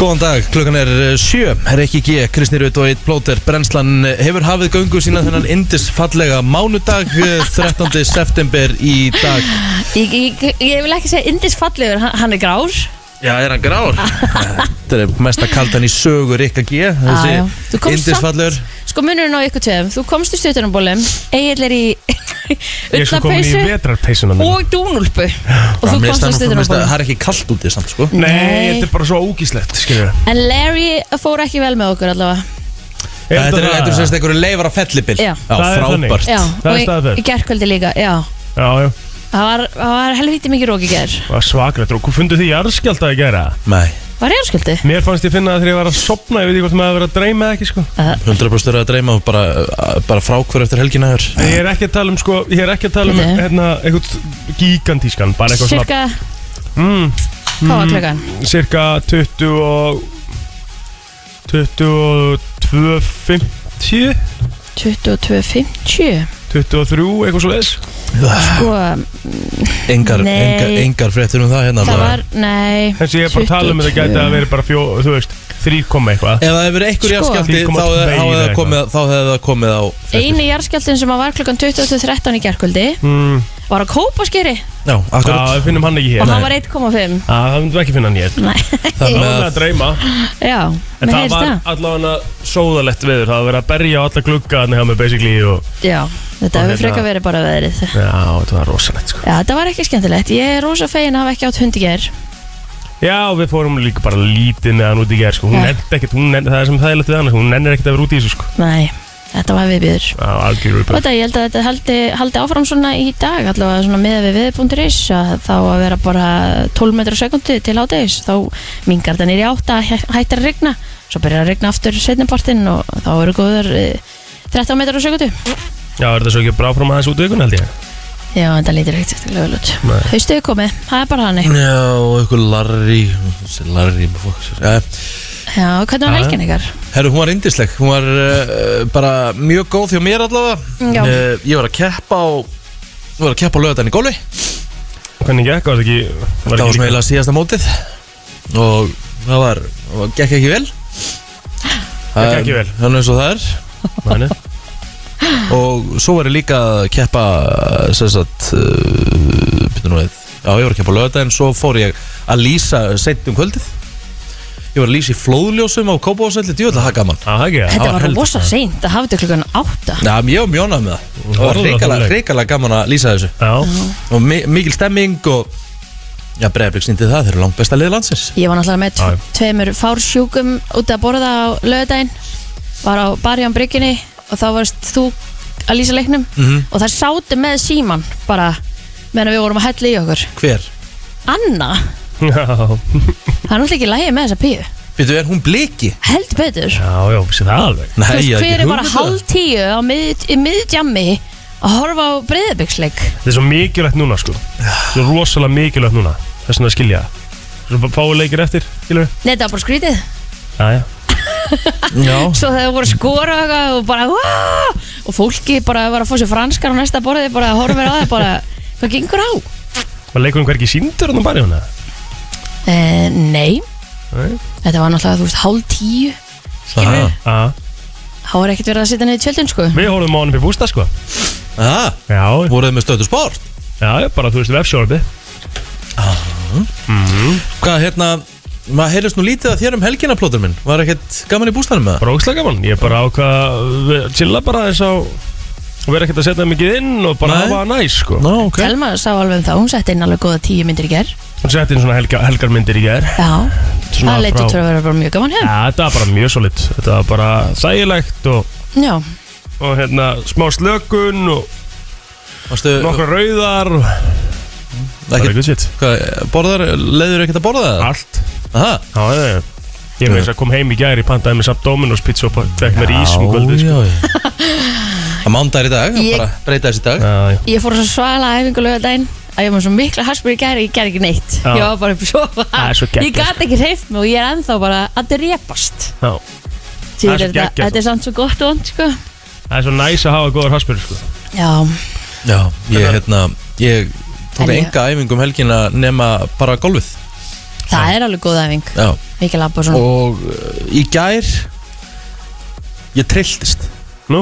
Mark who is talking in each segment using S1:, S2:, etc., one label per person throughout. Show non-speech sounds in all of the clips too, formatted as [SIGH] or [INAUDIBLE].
S1: Góðan dag, klukkan er eh, sjö, Rikki G, Kristi Rut og Eitt Plóter Brennslan eh, hefur hafið göngu sína þennan indisfallega mánudag eh, 13. september í dag
S2: Ég, ég, ég vil ekki segja indisfallegur, hann, hann er grár
S1: Já, er hann grár? [LAUGHS] Þetta er mesta kaldan í sögu Rikka G
S2: Já, Ah, já. Þú
S1: Þessi
S2: komst samt-
S1: indisfallur
S2: Sko munurinn á ykkur tveim, þú komst í stuttunarbólum Egil er í
S3: Ég er sko komin í
S2: ullapeysu
S3: vetrarpeysuna mín
S2: og dúnúlpu Og
S1: Já, mér finnst
S2: þú komst í
S1: það nú- mér finnst það-
S2: stuttunarbólum
S1: það er ekki kalt úti samt sko
S3: Nei, þetta er bara svo ógíslegt, skilur
S2: En Larry fór ekki vel með okkur allavega
S1: Þetta er þetta er sem sagt einhverju leifar á fellibill
S2: Já.
S3: Það er þannig.
S1: frábært
S2: Já,
S3: Það er
S2: og
S3: staðfest.
S2: í, í gerkvöldi líka, já
S3: Já, já,
S2: Það var, það var helvítið mikið rók í ger
S3: það var svakrætt og hvað fundu þið jarðskjálta að gera?
S1: Nei,
S2: Var ég ásköldi?
S3: Mér fannst ég finna það þegar ég var að sopna, ég veit ekki hvort maður að vera að dreyma eða ekki, sko
S1: 100% er að dreyma og bara, bara frákvör eftir helgina þér
S3: Ég er ekki að tala um, sko, ég er ekki að tala um,
S2: Bíddu.
S3: hérna, eitthvað gigantískan, bara eitthvað svona
S2: Cirka,
S3: mm,
S2: hvað var klukkan?
S3: Cirka 20 og 22, 50,
S2: 22.50
S3: 23, eitthvað svo leis
S2: Sko,
S1: engar,
S2: Nei.
S1: engar, engar fréttir um það hérna
S2: það
S1: bara.
S2: var, nei
S3: Þessi ég er bara að tala um að það gæti að vera bara fjó, þú veist, þrý koma eitthvað
S1: Ef það hefur einhver
S2: Sko.
S1: jafnskjálti þá
S3: 3,2
S1: hefði
S3: eða
S1: það
S3: eitthvað.
S1: komið, þá hefði það komið á fréttir.
S2: Einu jarðskjaldin sem var klukkan 20.13 í gerkvöldi
S3: mm,
S2: var á Kópaskeri
S1: Já,
S3: Já,
S1: akkurat
S3: við finnum hann ekki
S2: og
S3: hér
S2: hann var 1,5
S3: Já, það myndum við ekki finna hann hér
S2: Nei,
S1: Það
S3: Það
S1: með
S3: var með
S1: að
S3: að dreyma
S2: já,
S3: En
S2: mér
S3: það
S2: heyrist
S3: var
S2: það
S3: allavega sóðalegt viður Það var verið að berja á alla glugga Þannig að með basically og...
S2: Já, þetta
S3: Og
S2: hefur
S3: hérna-
S2: frekar verið bara veðrið
S3: Já, þetta var rosalegt sko
S2: Já, þetta var ekki skemmtilegt Ég er rosa fegin að hafa ekki átt hundi ger
S3: Já, við fórum líka bara lítið með hann út í gerð sko. Hún
S2: Já.
S3: nennt ekkert, hún nennt, það er sem þægilegt við hann Hún nennir ekkert að vera út í þessu sko
S2: Nei, þetta var viðbjöður
S3: Já, algjör
S2: Og
S3: upplöð
S2: þetta, ég held að þetta haldi, haldi áfram svona í dag allavega svona með við við.is að þá að vera bara 12 metrar á sekundi til hádegis þá mingar þetta nýri átta hæ- hættir að rigna svo byrjar að rigna aftur setnipartinn og þá eru góður eh, 13 metrar á sekundi
S3: Já, er þetta svo ekki bara áfram aðeins út í vikun held ég
S2: Já, en það lítir ekkert sérstaklega vel út
S3: Nei.
S2: Haustu er komið, það er bara hannig
S1: Já, og einhver Larry þessi Larry fólk, ja.
S2: Já, hvernig var
S3: Já, já.
S2: helgin ykkar?
S1: Herru, hún var indisleg Hún var uh, bara mjög góð hjá mér allavega
S2: Já.
S1: Eh, Ég var að keppa á Ég var að keppa á lögðan í gólu
S3: Hvernig gekk, var þetta ekki var
S1: Það
S3: ekki
S1: var svona
S3: líka-
S1: eiginlega síðasta mótið Og það var, það gekk ekki vel
S3: Það gekk ekki vel.
S1: Þannig eins og það er
S3: Nei, nei.
S1: Og svo var ég líka að keppa sem sagt uh, byrju nú við Já, ég var að keppa á lögðan Svo fór ég að lýsa seint um kvöldið Ég var að lýsa í flóðljósum á Kópavásvelli Djúvel að það er gaman
S3: Já, það ekki það?
S2: Þetta
S1: var
S2: var
S1: heldur
S2: rosa seint að hafa þetta klukkan átta
S1: Já, ég var mjónað með það Það var
S3: Orðalag.
S1: reikalega, reikalega gaman að lýsa þessu
S3: Já,
S1: Og mi mikil stemming og Já, Breiðablík sýndi það, þeir eru langt besta lið landsins
S2: Ég var náttúrulega með
S3: Já, já.
S2: tve- tveimur fársjúkum út að borða á lögadaginn var á barján bryggjunni og þá varst þú að lýsa leiknum
S1: Mhm.
S2: og þær sátu með síman bara meðan við vorum að hella í okkur
S1: Hver?
S2: Anna,
S3: já,
S2: það er náttúrulega ekki lægi með þessa píu
S1: Býtu, er hún bliki?
S2: held betur
S3: [LAUGHS] já, já, vissi það alveg
S1: Nei,
S2: Þú veist,
S1: ég hafði
S2: hver
S1: ekki
S2: er
S1: hugmynd
S2: bara
S1: um
S2: hálf tíu á mið, í miðdjammi að horfa á breyðabyggsleik
S3: Þetta er svo mikilvægt núna sko Svo rosalega mikilvægt núna Þess vegna skilja það Svo bara fáið leikir eftir, skilur við
S2: Nei, það var bara skrítið
S3: Já, já
S1: það. Já,
S2: Svo þegar voru að skora og eitthvað og bara "Vá!" og fólki bara var að fá sér franskar á næsta borðið bara að horfa á það bara hvað gengur á?
S3: Var leikurinn um hvergi síndur hann á barjónu?
S2: Uh, nei,
S3: Nei
S2: þetta var náttúrulega, þú veist, hálf tíu skilur,
S1: Aha.
S3: Já
S2: þá var ekkert verið að sitja niður í tjöldin, sko
S3: Við horfum á hann fyrir bústa sko
S1: Aha.
S3: Já
S1: Voruð þið með stöðu sport?
S3: Já, já, bara þú veist vefsjórfi
S1: Hvað, hérna, maður heyrðist nú lítið að þér um helgina plótur minn Var ekkert gaman í bústanum með það?
S3: Bara ógislega gaman Ég bara ákvað að Chilla bara eins á Og vera ekkert að setja mikið inn Og bara
S1: Nei.
S3: hafa það næs sko
S1: Ná, ok
S2: Telma sá alveg um það, hún setti inn alveg góða tíu myndir í ger
S3: Hún setti inn svona helga, helgarmyndir í gær
S2: Já,
S3: Svona
S2: það leitt
S3: frá-
S2: út fyrir að vera bara mjög gaman
S3: Já,
S2: hef
S3: þetta var bara mjög solid Þetta var bara þægilegt og,
S2: Já,
S3: og hérna smá slökun Og
S1: Varstu,
S3: nokkra rauðar og, Bara
S1: ekkert,
S3: good shit
S1: hvað, borðar, leiður ekkert að borða það?
S3: Allt
S1: Aha.
S3: Já, já, já Ég meins að kom heim í gær Ég pantaði mér samt Dominos pizza Og fekk mér ís um kvöldið sko.
S1: Já, já,
S2: [LAUGHS]
S1: já Það mándar í dag,
S2: Ég-
S1: bara breyta þessi dag
S3: Já, já
S2: ég fór á svo svala æfingu lögadaginn að ég var með svo mikla haspur í ger ég ger ekki neitt
S3: Já.
S2: Ég var bara upp svo
S3: Það er svo geggjað, sko.
S2: Ég gat ekki hreift mig og ég er ennþá bara að drepast
S3: Já.
S2: Því
S3: Það er svo
S2: þetta-
S3: geggjað,
S2: Þetta er samt svo gott og ond, sko
S3: Það er svo næs að hafa góðar haspur sko.
S2: Já,
S1: Já, ég,
S3: Þetta-
S1: hérna, ég tók
S2: En ég-
S1: enga æfingu um helgina nema bara golfið
S2: það er alveg góð æfing
S1: Já,
S2: Mikið labba og svona
S1: og uh, í gær ég trilltist
S3: Nú,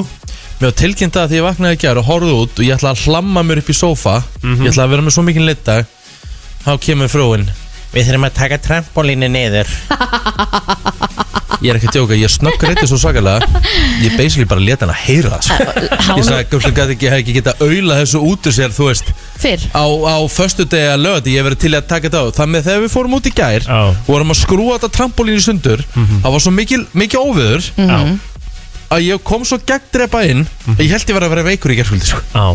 S1: mér var tilkynnt það að því ég vaknaði í gær og horfði út og ég ætla að hlamma mér upp í sófa
S4: Mhm.
S1: ég ætla að vera með svo mikinn litdag þá kemur frúin
S4: Við þurfum að taka trampolínu niður
S1: [LAUGHS] ég er ekki að djóka, ég snögg reyndi svo sakalega ég basically bara leta hann að heyra það sko. ég
S2: Hána
S1: sagði að Gullin gæti ekki, hefði ekki geta auðla þessu út úr sér, þú veist
S2: fyrr
S1: á, á föstu degi að lögði, ég hef verið til í að taka þetta á þannig að þegar við fórum út í gær
S3: Já.
S1: og vorum að skrúa þetta trampolín í sundur
S4: Mhm.
S1: það var svo mikil, mikil óviður
S3: á,
S1: að ég kom svo gegndrepa inn að ég held ég var að vera veikur í gerðskvöldi sko.
S3: á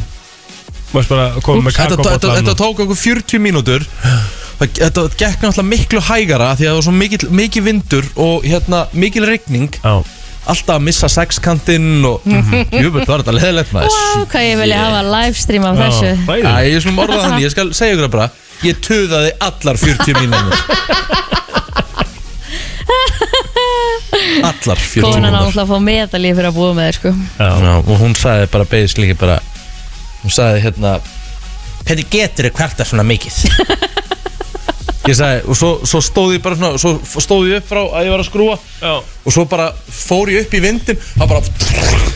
S3: Mást bara koma með
S1: þetta, þetta,
S3: kakobotlan
S1: þetta tók okkur 40 mínútur Það- þetta gekk náttúrulega miklu hægara af því að það var svo mikil, mikil vindur og hérna, mikil regning
S3: Á,
S1: alltaf að missa sexkantinn og júbel, var þetta leðilegt maður
S2: Wow, hvað ég vilja hafa livestream af
S3: á,
S2: þessu
S3: bæði
S1: Æ, ég er svona orðað hann, ég skal segja ykkur það bara Ég töðaði allar 40 mínútur Allar 40
S2: Konan
S1: mínútur
S2: ánáttúrulega að fá medalíð fyrir að búa með þér sko
S3: Já,
S1: Já, og hún sagði bara beigis líka bara Hún sagði hérna
S4: Hvernig getur þau kvarta svona mikið?
S1: [LAUGHS] Ég sagði, og svo, svo stóð ég bara svona Svo stóð ég upp frá að ég var að skrúa
S3: já
S1: Og svo bara fór ég upp í vindin Það bara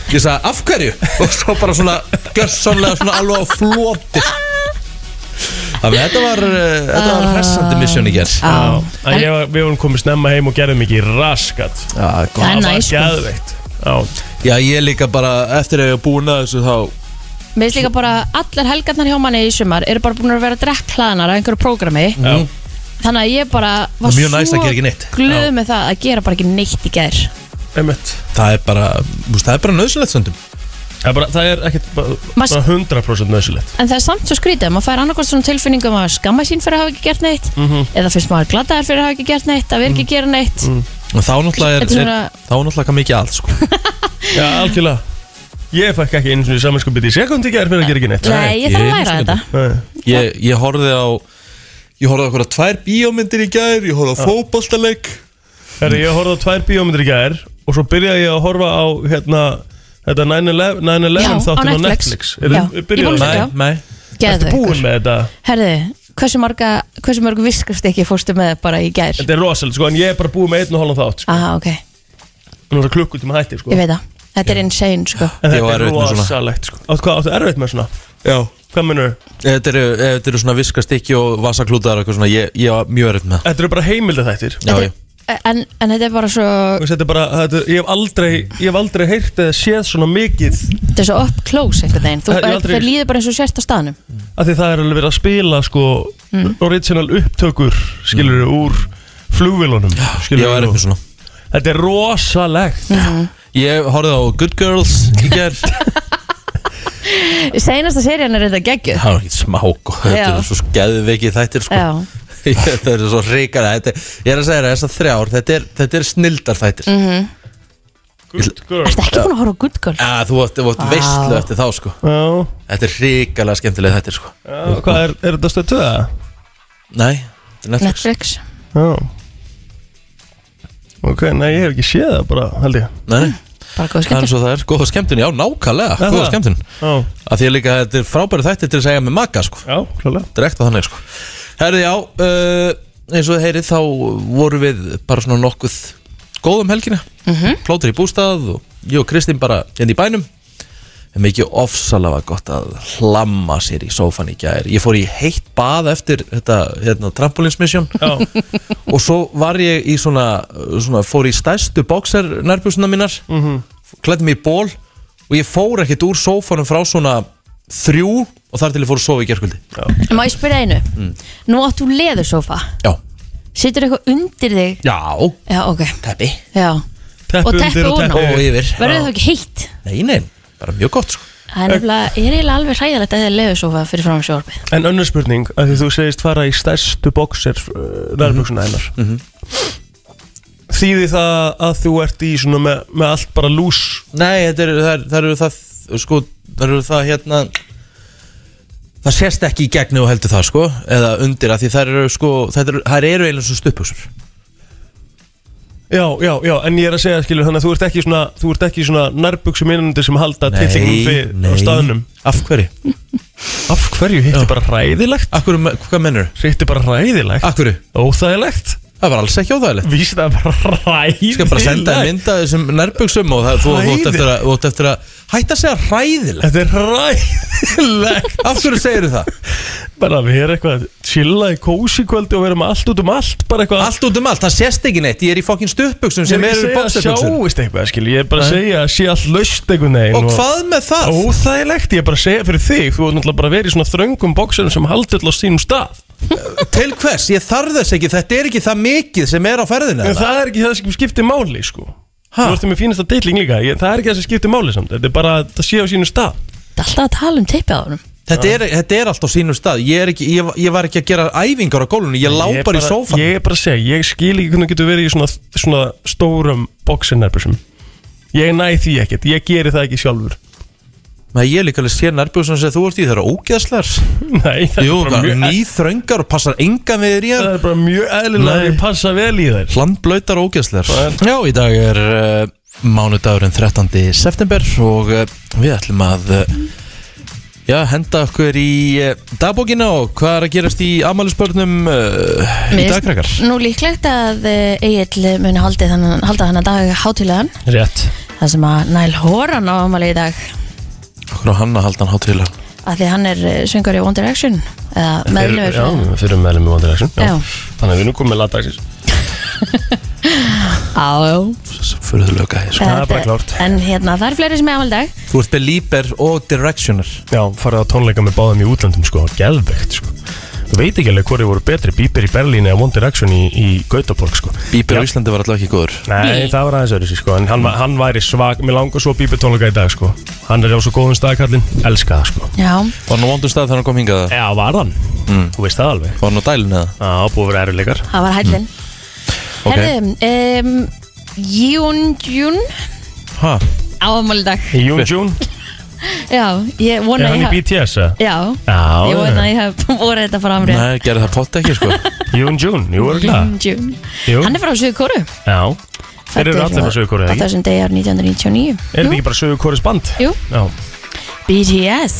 S1: Ég sagði, af hverju? Og svo bara svona Gjörssonlega svona alveg á floti Þannig, að þetta var eh, Þetta var hressandi misjón í gerð Já,
S2: Á.
S3: En ég, var- Við vorum komið snemma heim og gerðum ekki raskat
S1: gott
S2: Það er
S3: var
S2: næs, sko.
S3: geðveikt Já,
S1: Já, ég líka bara eftir að ég er búin að þessu þá
S2: Mér finnst líka bara allar helgarnar hjá manni í sumar eru bara búin að vera drekk hlaðanar af einhverju prógrami Mhm.
S3: já
S2: Þannig að ég bara var
S1: Mjög næst að gera ekki neitt.
S2: glöð með það að gera bara ekki neitt í gær
S3: Einmitt.
S1: Það er bara, þú veist, það er bara nöðsynlegt söndum
S3: Það er, bara, það er ekkert bara,
S2: Mas-
S3: bara 100% nöðsilegt
S2: En það er samt svo skrítið, maður fær annarkvæmst svona tilfinningum að skamma sín fyrir að hafa ekki gert neitt
S1: Mhm.
S2: eða finnst maður glataðar fyrir að hafa ekki gert neitt að vera ekki að gera neitt
S1: Og þá náttúrulega er,
S2: Þetta er
S1: er,
S2: svona-
S1: þá er náttúrulega kann mikið allt
S2: [LAUGHS]
S1: sko.
S3: Já, algjörlega Ég fæk ekki einu svona samanskupið í sekundi gerð fyrir að gera ekki neitt
S2: Nei, ég
S1: ég
S2: þarf
S1: er
S2: að læra
S1: svona
S2: þetta
S3: Nei.
S1: ég, ég horfði á Ég horfði á okkur að tvær bíómyndir í gær Ég horfði á fótboltaleik
S3: Herri, ég horfði á tvær bíómyndir í gær og svo byrjaði ég að horfa á hérna, þetta 9/11
S2: Já,
S3: 9/11
S2: á
S3: þáttum á
S2: Netflix.
S3: Netflix
S2: Já,
S3: Eru-
S2: ég
S3: byrjaði
S2: búin að
S3: það?
S2: Já.
S1: nei
S3: Ertu búin
S2: Geðveikur.
S3: með þetta?
S2: Herðu, hversu marga hversu mörg viskast ekki fórstu með bara í gær?
S3: Þetta er rosalega, sko, en ég er bara búin með einn og hálfan þátt sko.
S2: Aha, ok,
S3: Nú er það klukkutíma hætti, sko
S2: Ah. ég veit það Þetta er insane, sko
S3: En
S1: Ég á
S3: þetta er
S1: erfitt með svona.
S3: rosalegt, sko Áttu hvað, áttu erfitt með svona?
S1: Já
S3: Hvað minnur?
S1: Þetta eru, eh, þetta eru svona viskastykki og vasaklútar og eitthvað svona Ég, ég var mjög erfitt með það
S3: Þetta eru bara heimildið þættir
S1: Já,
S2: Þetta
S1: já.
S2: er- en, en þetta er bara svo
S3: Þetta er bara, þetta, er- ég hef aldrei, ég hef aldrei heyrt eða séð svona mikið
S2: Þetta er svo up close einhvern veginn Þú
S3: Ég
S2: bara,
S3: aldrei-
S2: aldrei... líður bara eins og sért á staðnum
S3: af því það er alveg verið að spila, sko,
S2: Mm.
S3: original upptökur, skilur úr flugvilunum,
S1: Mm. Ég
S3: skilur
S1: var erfitt með svona
S3: Þetta er rosalegt
S1: Ég horfði á Good Girls í
S2: [LAUGHS]
S1: gær Það
S2: Seinasta serían er þetta geggjuð
S1: var ekki smá og Þetta
S2: Já.
S1: eru svo geðveiki þættir sko. [LAUGHS]
S2: Já,
S1: þetta er svo ríkar þetta, ég er að segja það, þessar þrjár þetta er, þetta er snildar þættir
S2: Mhm.
S1: mm.
S3: Good girl
S2: ertu ekki búin að horfa á Good Girl?
S1: Ah, þú átt, þú átt
S2: Vá.
S1: veistlu eftir þá sko.
S3: Já,
S1: þetta er ríkarlega skemmtilega þættir sko.
S3: já hvað er, er þetta stöð 2 eða?
S1: nei, þetta er Netflix
S2: Netflix
S3: Já Ok, nei, ég hef ekki séð það bara, held ég
S1: nei, nei.
S2: Bara góð
S1: það er
S2: skemmtun
S1: svo það er, góða skemmtun, já nákvæmlega
S3: Er
S1: góða
S3: það?
S1: skemmtun,
S3: Já,
S1: að því að líka þetta er frábæri þættir til að segja með maga sko.
S3: já, klálega
S1: direkt að þannig sko. herði já, uh, eins og þið heyrið þá vorum við bara svona nokkuð góðum helgina, plótur í bústað og ég og Kristín bara inn í bænum en mikið ofsalega gott að hlamma sér í sófan í gær ég fór í heitt bað eftir þetta hérna, trampolinsmissjón
S3: [LAUGHS] Já,
S1: og svo var ég í svona, svona fór í stærstu bóksar nærbjúsuna mínar mm klætti mig í ból og ég fór ekkert úr sófanum frá svona þrjú og þar til ég fór að sofa í gerkvöldi
S2: Má ég spyrja einu? Nú átt þú leðursofa
S1: já,
S2: Situr eitthvað undir þig?
S1: já
S2: Já, ok
S1: teppi
S2: Já
S3: teppi
S2: Og teppi
S3: undir og
S2: ofan á.
S3: teppi
S1: og yfir
S2: Verður það ekki heitt?
S1: nei, nei, bara mjög gott sko.
S2: Það er nefnilega, ég er eiginlega alveg hræðilegt að það er leðursofa fyrir fram sjóarpið
S3: En önnur spurning, að því þú segist fara í stærstu bóksir uh, nærbuksuna einar
S2: Mhm.
S3: Þýði það að þú ert í svona með, með allt bara lús
S1: nei, þetta eru það, það, eru það sko, það eru það hérna það sést ekki í gegni og heldur það sko, eða undir að því það eru sko, það eru, það eru eiginlega svo stuppusur
S3: Já, já, já, en ég er að segja skilur þannig að þú ert ekki svona, þú ert ekki svona nærbuksum innandi sem halda tillingum fyrir á staðnum
S1: af hverju?
S3: Af hverju hitti bara hræðilegt?
S1: Af hverju, hvað mennur?
S3: Hitti bara hræðilegt?
S1: Af hverju?
S3: Óþægilegt?
S1: Það var alls ekki óþægilegt
S3: Víst það er bara ræði
S1: Ég skal bara senda þér mynd af þessum nærbuksum og það, þú, þú átt eftir, að- þú átt eftir að hætta að segja hræðilegt
S3: Þetta er [LAUGHS] ræðilegt
S1: Af hverju segirðu það?
S3: Bara að vera eitthvað Chilla í kósi kvöldi og vera með allt út um allt Bara eitthvað
S1: Allt út um allt, það sést ekki neitt Ég er í fokkin stuttbuksum
S3: Ég
S1: sem
S3: er
S1: eru
S3: ekki að segja að
S1: bóksebuksum
S3: sjáist eitthvað skil Ég er bara að
S1: Nei.
S3: segja að sé allt löst einhvern veginn
S1: Og hvað með það?
S3: Óþægilegt, ég er bara að segja fyrir þig Þú er náttúrulega bara að vera í svona þröngum bóksum sem haldi alltaf sínum stað
S1: Til hvers? Ég þarf þess ekki, þetta er ekki það mikið sem er á ferðinu
S3: En það er ekki það sem skiptir máli sko
S1: Ha?
S3: Þú ertu með fínasta deitling líka ég, Það er ekki það sem skiptir máli samt Þetta er bara að það sé á sínum stað
S2: Þetta er alltaf að tala um teipið á honum
S1: þetta, er, þetta er allt á sínum stað Ég, er ekki, ég, ég var ekki að gera æfingar á gólunni Ég lá
S3: Ég er
S1: bara í
S3: bara-
S1: sófan
S3: Ég er bara að segja, ég skil ekki hvernig þú getur verið í svona, svona stórum bóksinnarbjörnsum Ég næ því ekkert, ég geri það ekki sjálfur [LAUGHS]
S1: Nei, Ég er líka alveg sér nærbuksum sem þú ert í Það eru ógeðslegar
S3: Nei, það
S1: Jú,
S3: er bara
S1: það,
S3: mjög
S1: nýþröngar og passar engan við þér í
S3: Það
S1: hann
S3: er bara mjög eðlilega að
S1: Nei.
S3: ég passa vel í þær
S1: Hlandblöytar og ógeðslegar
S3: Það
S1: Já, í dag er uh, mánudagurinn 13. september og uh, við ætlum að uh, já, henda okkur í uh, dagbókina og hvað er að gerast í amalisbörnum uh, í
S2: Mér-
S1: dagkrakkar
S2: Nú líklegt að Egil muni haldi þennan, halda þennan dag hátilegan
S3: Rétt
S2: Það sem að Næl Horan á ámali í dag
S1: Okkur á hann að halda hann hátilega
S2: að því hann er eh, söngur í One Direction eða meðlumur
S3: Já, fyrir meðlum í One Direction
S2: Já.
S3: Þannig að við erum komið með latdagsins
S2: á, já.
S1: Furðulega gæði
S3: Það er bara
S2: En-
S3: klárt.
S2: Eh, En hérna, það er fleiri sem er ámali í dag
S1: Þú ert belieber og directioner
S3: Já, farið á tónleika með báðum í útlandum sko, geðvegt sko Þú veit ekki alveg hverju voru betri Bíber í Berlín eða One Direction í, í Gautaborg sko
S1: Bieber
S3: Já.
S1: á Íslandi var alltaf ekki góður
S3: Nei, það var aðeins öðru sko En hann, var- hann væri svag, mér langar svo Bíber tónleika í dag sko Hann er á svo góðum staðkallin, elska það sko
S2: Já,
S1: Var hann á vondum stað þegar hann kom hingað það?
S3: Já, var hann, þú veist það alveg
S1: Var hann á dælinu það?
S3: Já, búið að vera erfileikar
S2: það var hællin
S3: Mm,
S1: Ok.
S2: Herðu, um, Jún Jún
S1: Ha?
S2: ámali í dag
S3: Í Jún Jún,
S2: Já, ég
S3: er
S2: vona
S3: hann í
S2: ég haf
S3: BTS eða?
S2: Já,
S3: Já,
S2: ég vona
S3: já.
S2: ég [LAUGHS] haf voru þetta fram rétt
S1: Nei, gerði það pott ekki sko
S3: Jún Jún, jú er glæð
S2: Jún.
S3: Jú.
S2: Hann er frá Suður Kóru
S3: Já, þeir eru allir frá Suður Kóru,
S2: ekki?
S3: eða ekki?
S2: Á þessum degi árið 1999
S3: Er þetta ekki bara sögur kóris band?
S2: Jú.
S3: Já
S2: BTS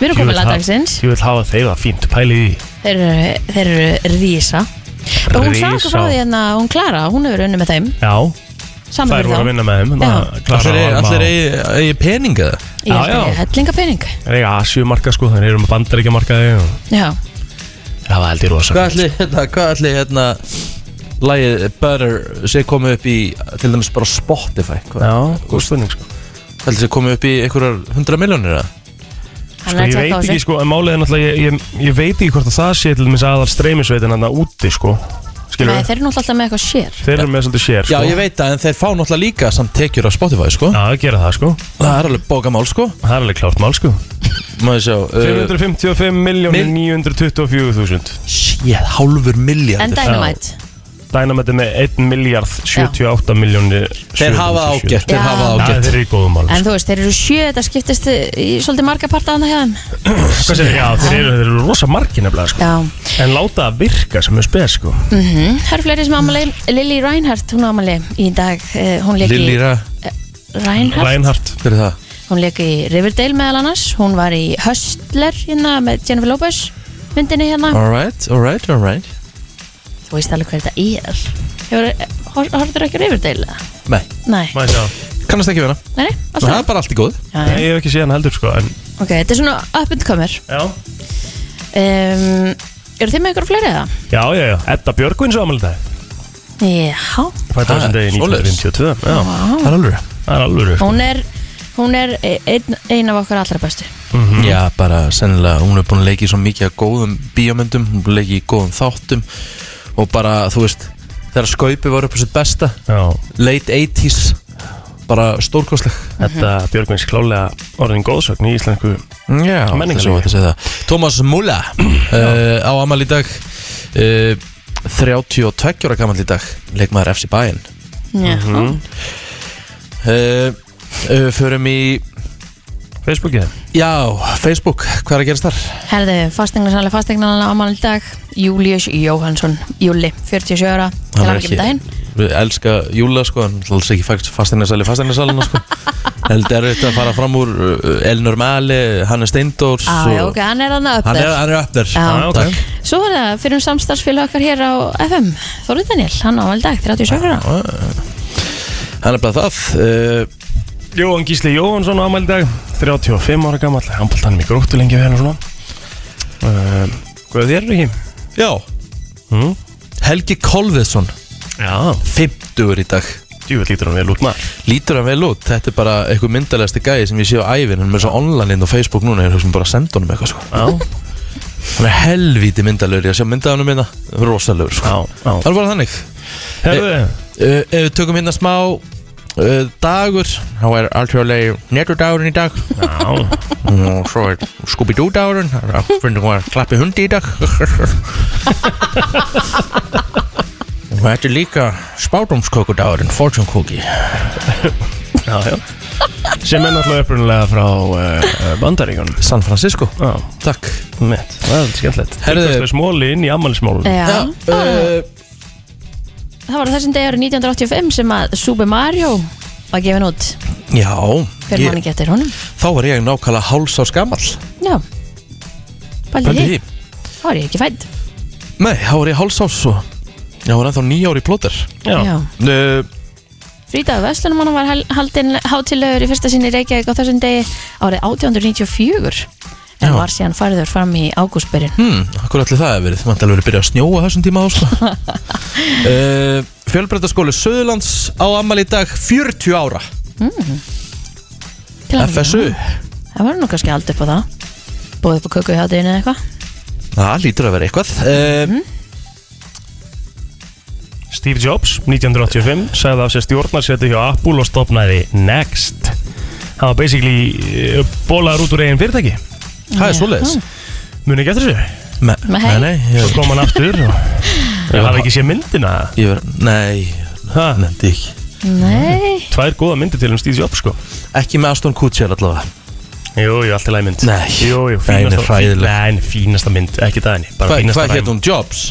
S2: Við erum komið lagdagsins
S3: Ég vil hafa þeir það fínt, pæli í því.
S2: Þeir eru, þeir eru rísa Og hún sá okkur
S3: Risa.
S2: frá því hérna Hún Klara, hún hefur unni með þeim
S3: Já, þær
S2: Saman
S3: voru að
S2: fyrir þá
S3: vinna með þeim
S2: Já.
S1: Allir eigi- Allir eigi eigi peninga það
S2: Ég
S3: Já, já.
S2: held ekki hellinga pening
S3: Það er eiga asju marka sko, þannig eru með bandaríkja markaði og
S2: Já,
S3: það var heldur rosa
S1: Hvað ætli, hérna, hvað ætli, hérna Lægið Butter sé komið upp í Til dæmis bara Spotify Hvað
S3: Já, góð spurning sko
S1: hvað ætli sé komið upp í einhverjar 100 miljónir eða?
S2: hann
S3: Sko
S2: er að
S3: ég veit
S2: tjekka á
S3: ekki
S2: þessu
S3: sko, en málið er náttúrulega, ég, ég, ég veit ekki hvort að það sé til dæmis aðal streymisveitin hann úti sko Skilur
S2: Nei, þeir eru náttúrulega alltaf með eitthvað sér
S3: Þeir eru með svolítið sér
S1: Já,
S3: sko
S1: ég veit það, en þeir fá náttúrulega líka samt tekjur af Spotify, sko
S3: Já, þeir gera það sko
S1: Það er alveg bókamál, sko
S3: Það er alveg klárt mál sko
S1: Maður sjá uh,
S3: 555.924.000
S1: Sjéð, hálfur
S2: En
S1: miljardur
S2: Dynamite
S3: Dynamite er með 1 miljard 78 miljónir
S1: Þeir hafa það ágætt,
S2: Já.
S1: þeir hafa það
S3: Næ, þeir
S1: ágætt
S3: eru í góðum sko. mál
S2: En þú veist, þeir eru sjö Þetta skiptist í svolítið marga parta hann að hjá þeim
S3: Hvað segir Já, þeir eru, þeir eru rosa margir nefnilega sko
S2: Já
S3: En láta það virka sem er spes sko
S2: Mhm. Það eru fleiri sem ámali Lily Reinhardt, hún ámali í dag Eh, Hún leik í
S1: Lillýra,
S2: Reinhardt
S3: Reinhardt
S1: hver er það?
S2: Hún leik í Riverdale meðal annars Hún var í Hustler hérna með Jennifer Lopez myndinni hérna
S1: Alright, alright, alright
S2: Þú veist alveg hver þetta er Hefur, horfður ekki á Riverdale eða?
S1: Nei,
S2: Nei,
S3: Má ég sjá
S1: kannast ekki vera Nei,
S2: nei, nei,
S1: Það
S2: alltaf
S1: er bara allt í góð
S2: já,
S3: Nei,
S2: já.
S3: ég hef ekki séð hann heldur sko en,
S2: Ok, þetta er svona up and comer
S3: Já
S2: um, Eru þið með ykkur fleiri eða?
S3: Já, já, já Edda Björgvins ámæli dag
S2: Já,
S3: Fætt á
S1: Ah,
S3: þessum degi
S1: svoleiðis.
S3: 1952 Já,
S2: Vá.
S3: það er alveg Það er alveg sko.
S2: hún er Hún er ein, ein af okkar allra bestu
S1: Já, bara sennilega, hún er búin að leika í svo mikið af góðum bíómyndum, hún er búin að leika í góðum þáttum og bara, þú veist, þegar skaupi var upp á sitt besta,
S3: Já,
S1: late 80s, bara stórkostleg.
S3: Edda Björgvins klálega orðin góðsögn í íslensku
S1: Já,
S3: Menningarleg.
S1: þess að þetta segja það. Thomas Mulla uh, á amal í dag, uh, 32 ára gammal í dag, leikmaður FC Bayern.
S2: Já,
S1: Uh, uh, förum í,
S3: Facebookið
S1: já, Facebook, hvað er að gerast þar?
S2: Herðu, fasteignarsali fasteignarsali ámæli dag Július Jóhansson, Júli, 47 ára Til
S1: er
S2: að ekki
S1: ekki-
S2: daginn
S1: Við elska Júla sko En hún er alls ekki fægt fasteinarsali fasteinarsali
S2: [LAUGHS]
S1: sko. Held er þetta að fara fram úr uh, Elnur Mali, Hannes Steindors
S2: Á, já, ok, hann er hann að
S1: Hann er, hann er upp þér
S2: Já.
S3: Já, ok.
S1: Takk.
S2: Svo er það fyrir um samstarfsfélag okkar hér á FM Þorður Daniel, hann á aldag 37 ára
S1: Hann er bara það uh,
S3: Jóhann Gísli Jóhansson á afmæli í dag 35 ára gammal, handbóltanum í gróttu lengi við hennar svona uh, Hvað er þér ekki?
S1: Já
S3: Mm.
S1: Helgi Kolviðsson
S3: Já,
S1: 50 í dag
S3: djúvel lítur hann vel út maður
S1: Lítur hann vel út, þetta er bara eitthvað myndalegasti gæði sem ég sé á ævin, hann er svo online inn á Facebook núna, ég er hugsa bara að senda honum eitthvað sko.
S3: Já,
S1: Hann er helvíti myndalegur, ég sé myndað hann um hérna, rosalegur sko.
S3: já, já
S1: Það er bara þannig.
S3: Herðu,
S1: Uh, ef við tökum hérna smá uh, dagur, þá er alþjóðlegi neturdagurinn í dag
S3: já,
S1: og svo er Scooby-Doo dagurinn, það er að finnum hvað að klappi hundi í dag. og þetta er líka spátumskókudagurinn, fortune cookie.
S3: já, já Sem er náttúrulega upprunalega frá uh, Bandaríkunum
S1: San Francisco,
S3: Já,
S1: takk.
S3: mitt, það er skemmtilegt
S1: Herðu-
S3: Herðu Smóli inn í ammælismólun
S2: Já,
S1: uh,
S2: það var á þessum degi árið 1985 sem að Super Mario var gefin út
S1: Já,
S2: fyrir manni getur honum
S1: þá var ég nákvæmlega háls árs gammal
S2: Já, bældi
S1: Pældi
S2: því,
S1: því?
S2: þá var ég ekki fædd
S1: Nei, þá var ég háls árs og ég var ennþá nýjári plóter
S3: Já,
S1: uh,
S2: Frítaðu Vestlunumann var hal- haldinn hátilegur í fyrsta sinni í Reykjavík á þessum degi árið 1894
S1: Já.
S2: en var síðan færður fram í ágústbyrjun
S1: hmm, Hvað ætli það hefur verið? Það ætli að verið byrja að snjóa þessum tíma þá sko. uh, Fjölbreytaskóli Söðurlands á ammali í dag 40 ára
S2: Til hamingju.
S1: FSU
S2: Það var nú kannski aldrei upp á það Bóðið upp á köku í hátteginu eða eitthvað
S1: Það lítur að vera eitthvað uh,
S3: Steve Jobs, 1985, sagði af sér stjórnarsetu hjá Apple og stopnaði Next. Það var basically uh, bólaður út úr eigin fyrirtæki.
S1: Það er svoleiðis
S3: Muni ekki eftir þessu.
S1: Me,
S2: Nei.
S1: Nei, nei
S3: Svo
S1: ég,
S3: kom hann aftur og [LAUGHS]
S1: Já.
S3: það hafði ekki séð myndina.
S1: ég var, Nei,
S3: Ha,
S1: nefndi ekki
S2: Nei,
S3: tvær góða myndir til um Steve Jobs sko.
S1: Ekki með Aston Kutcher allavega
S3: Jú, jú, allt í lagi mynd.
S1: Nei.
S3: Jú, jú,
S1: Nei, hún er hræðileg.
S3: Nei, en fínasta mynd, ekki það henni. Bara
S1: Hva-
S3: fínasta
S1: Hvað hétt hún? Jobs?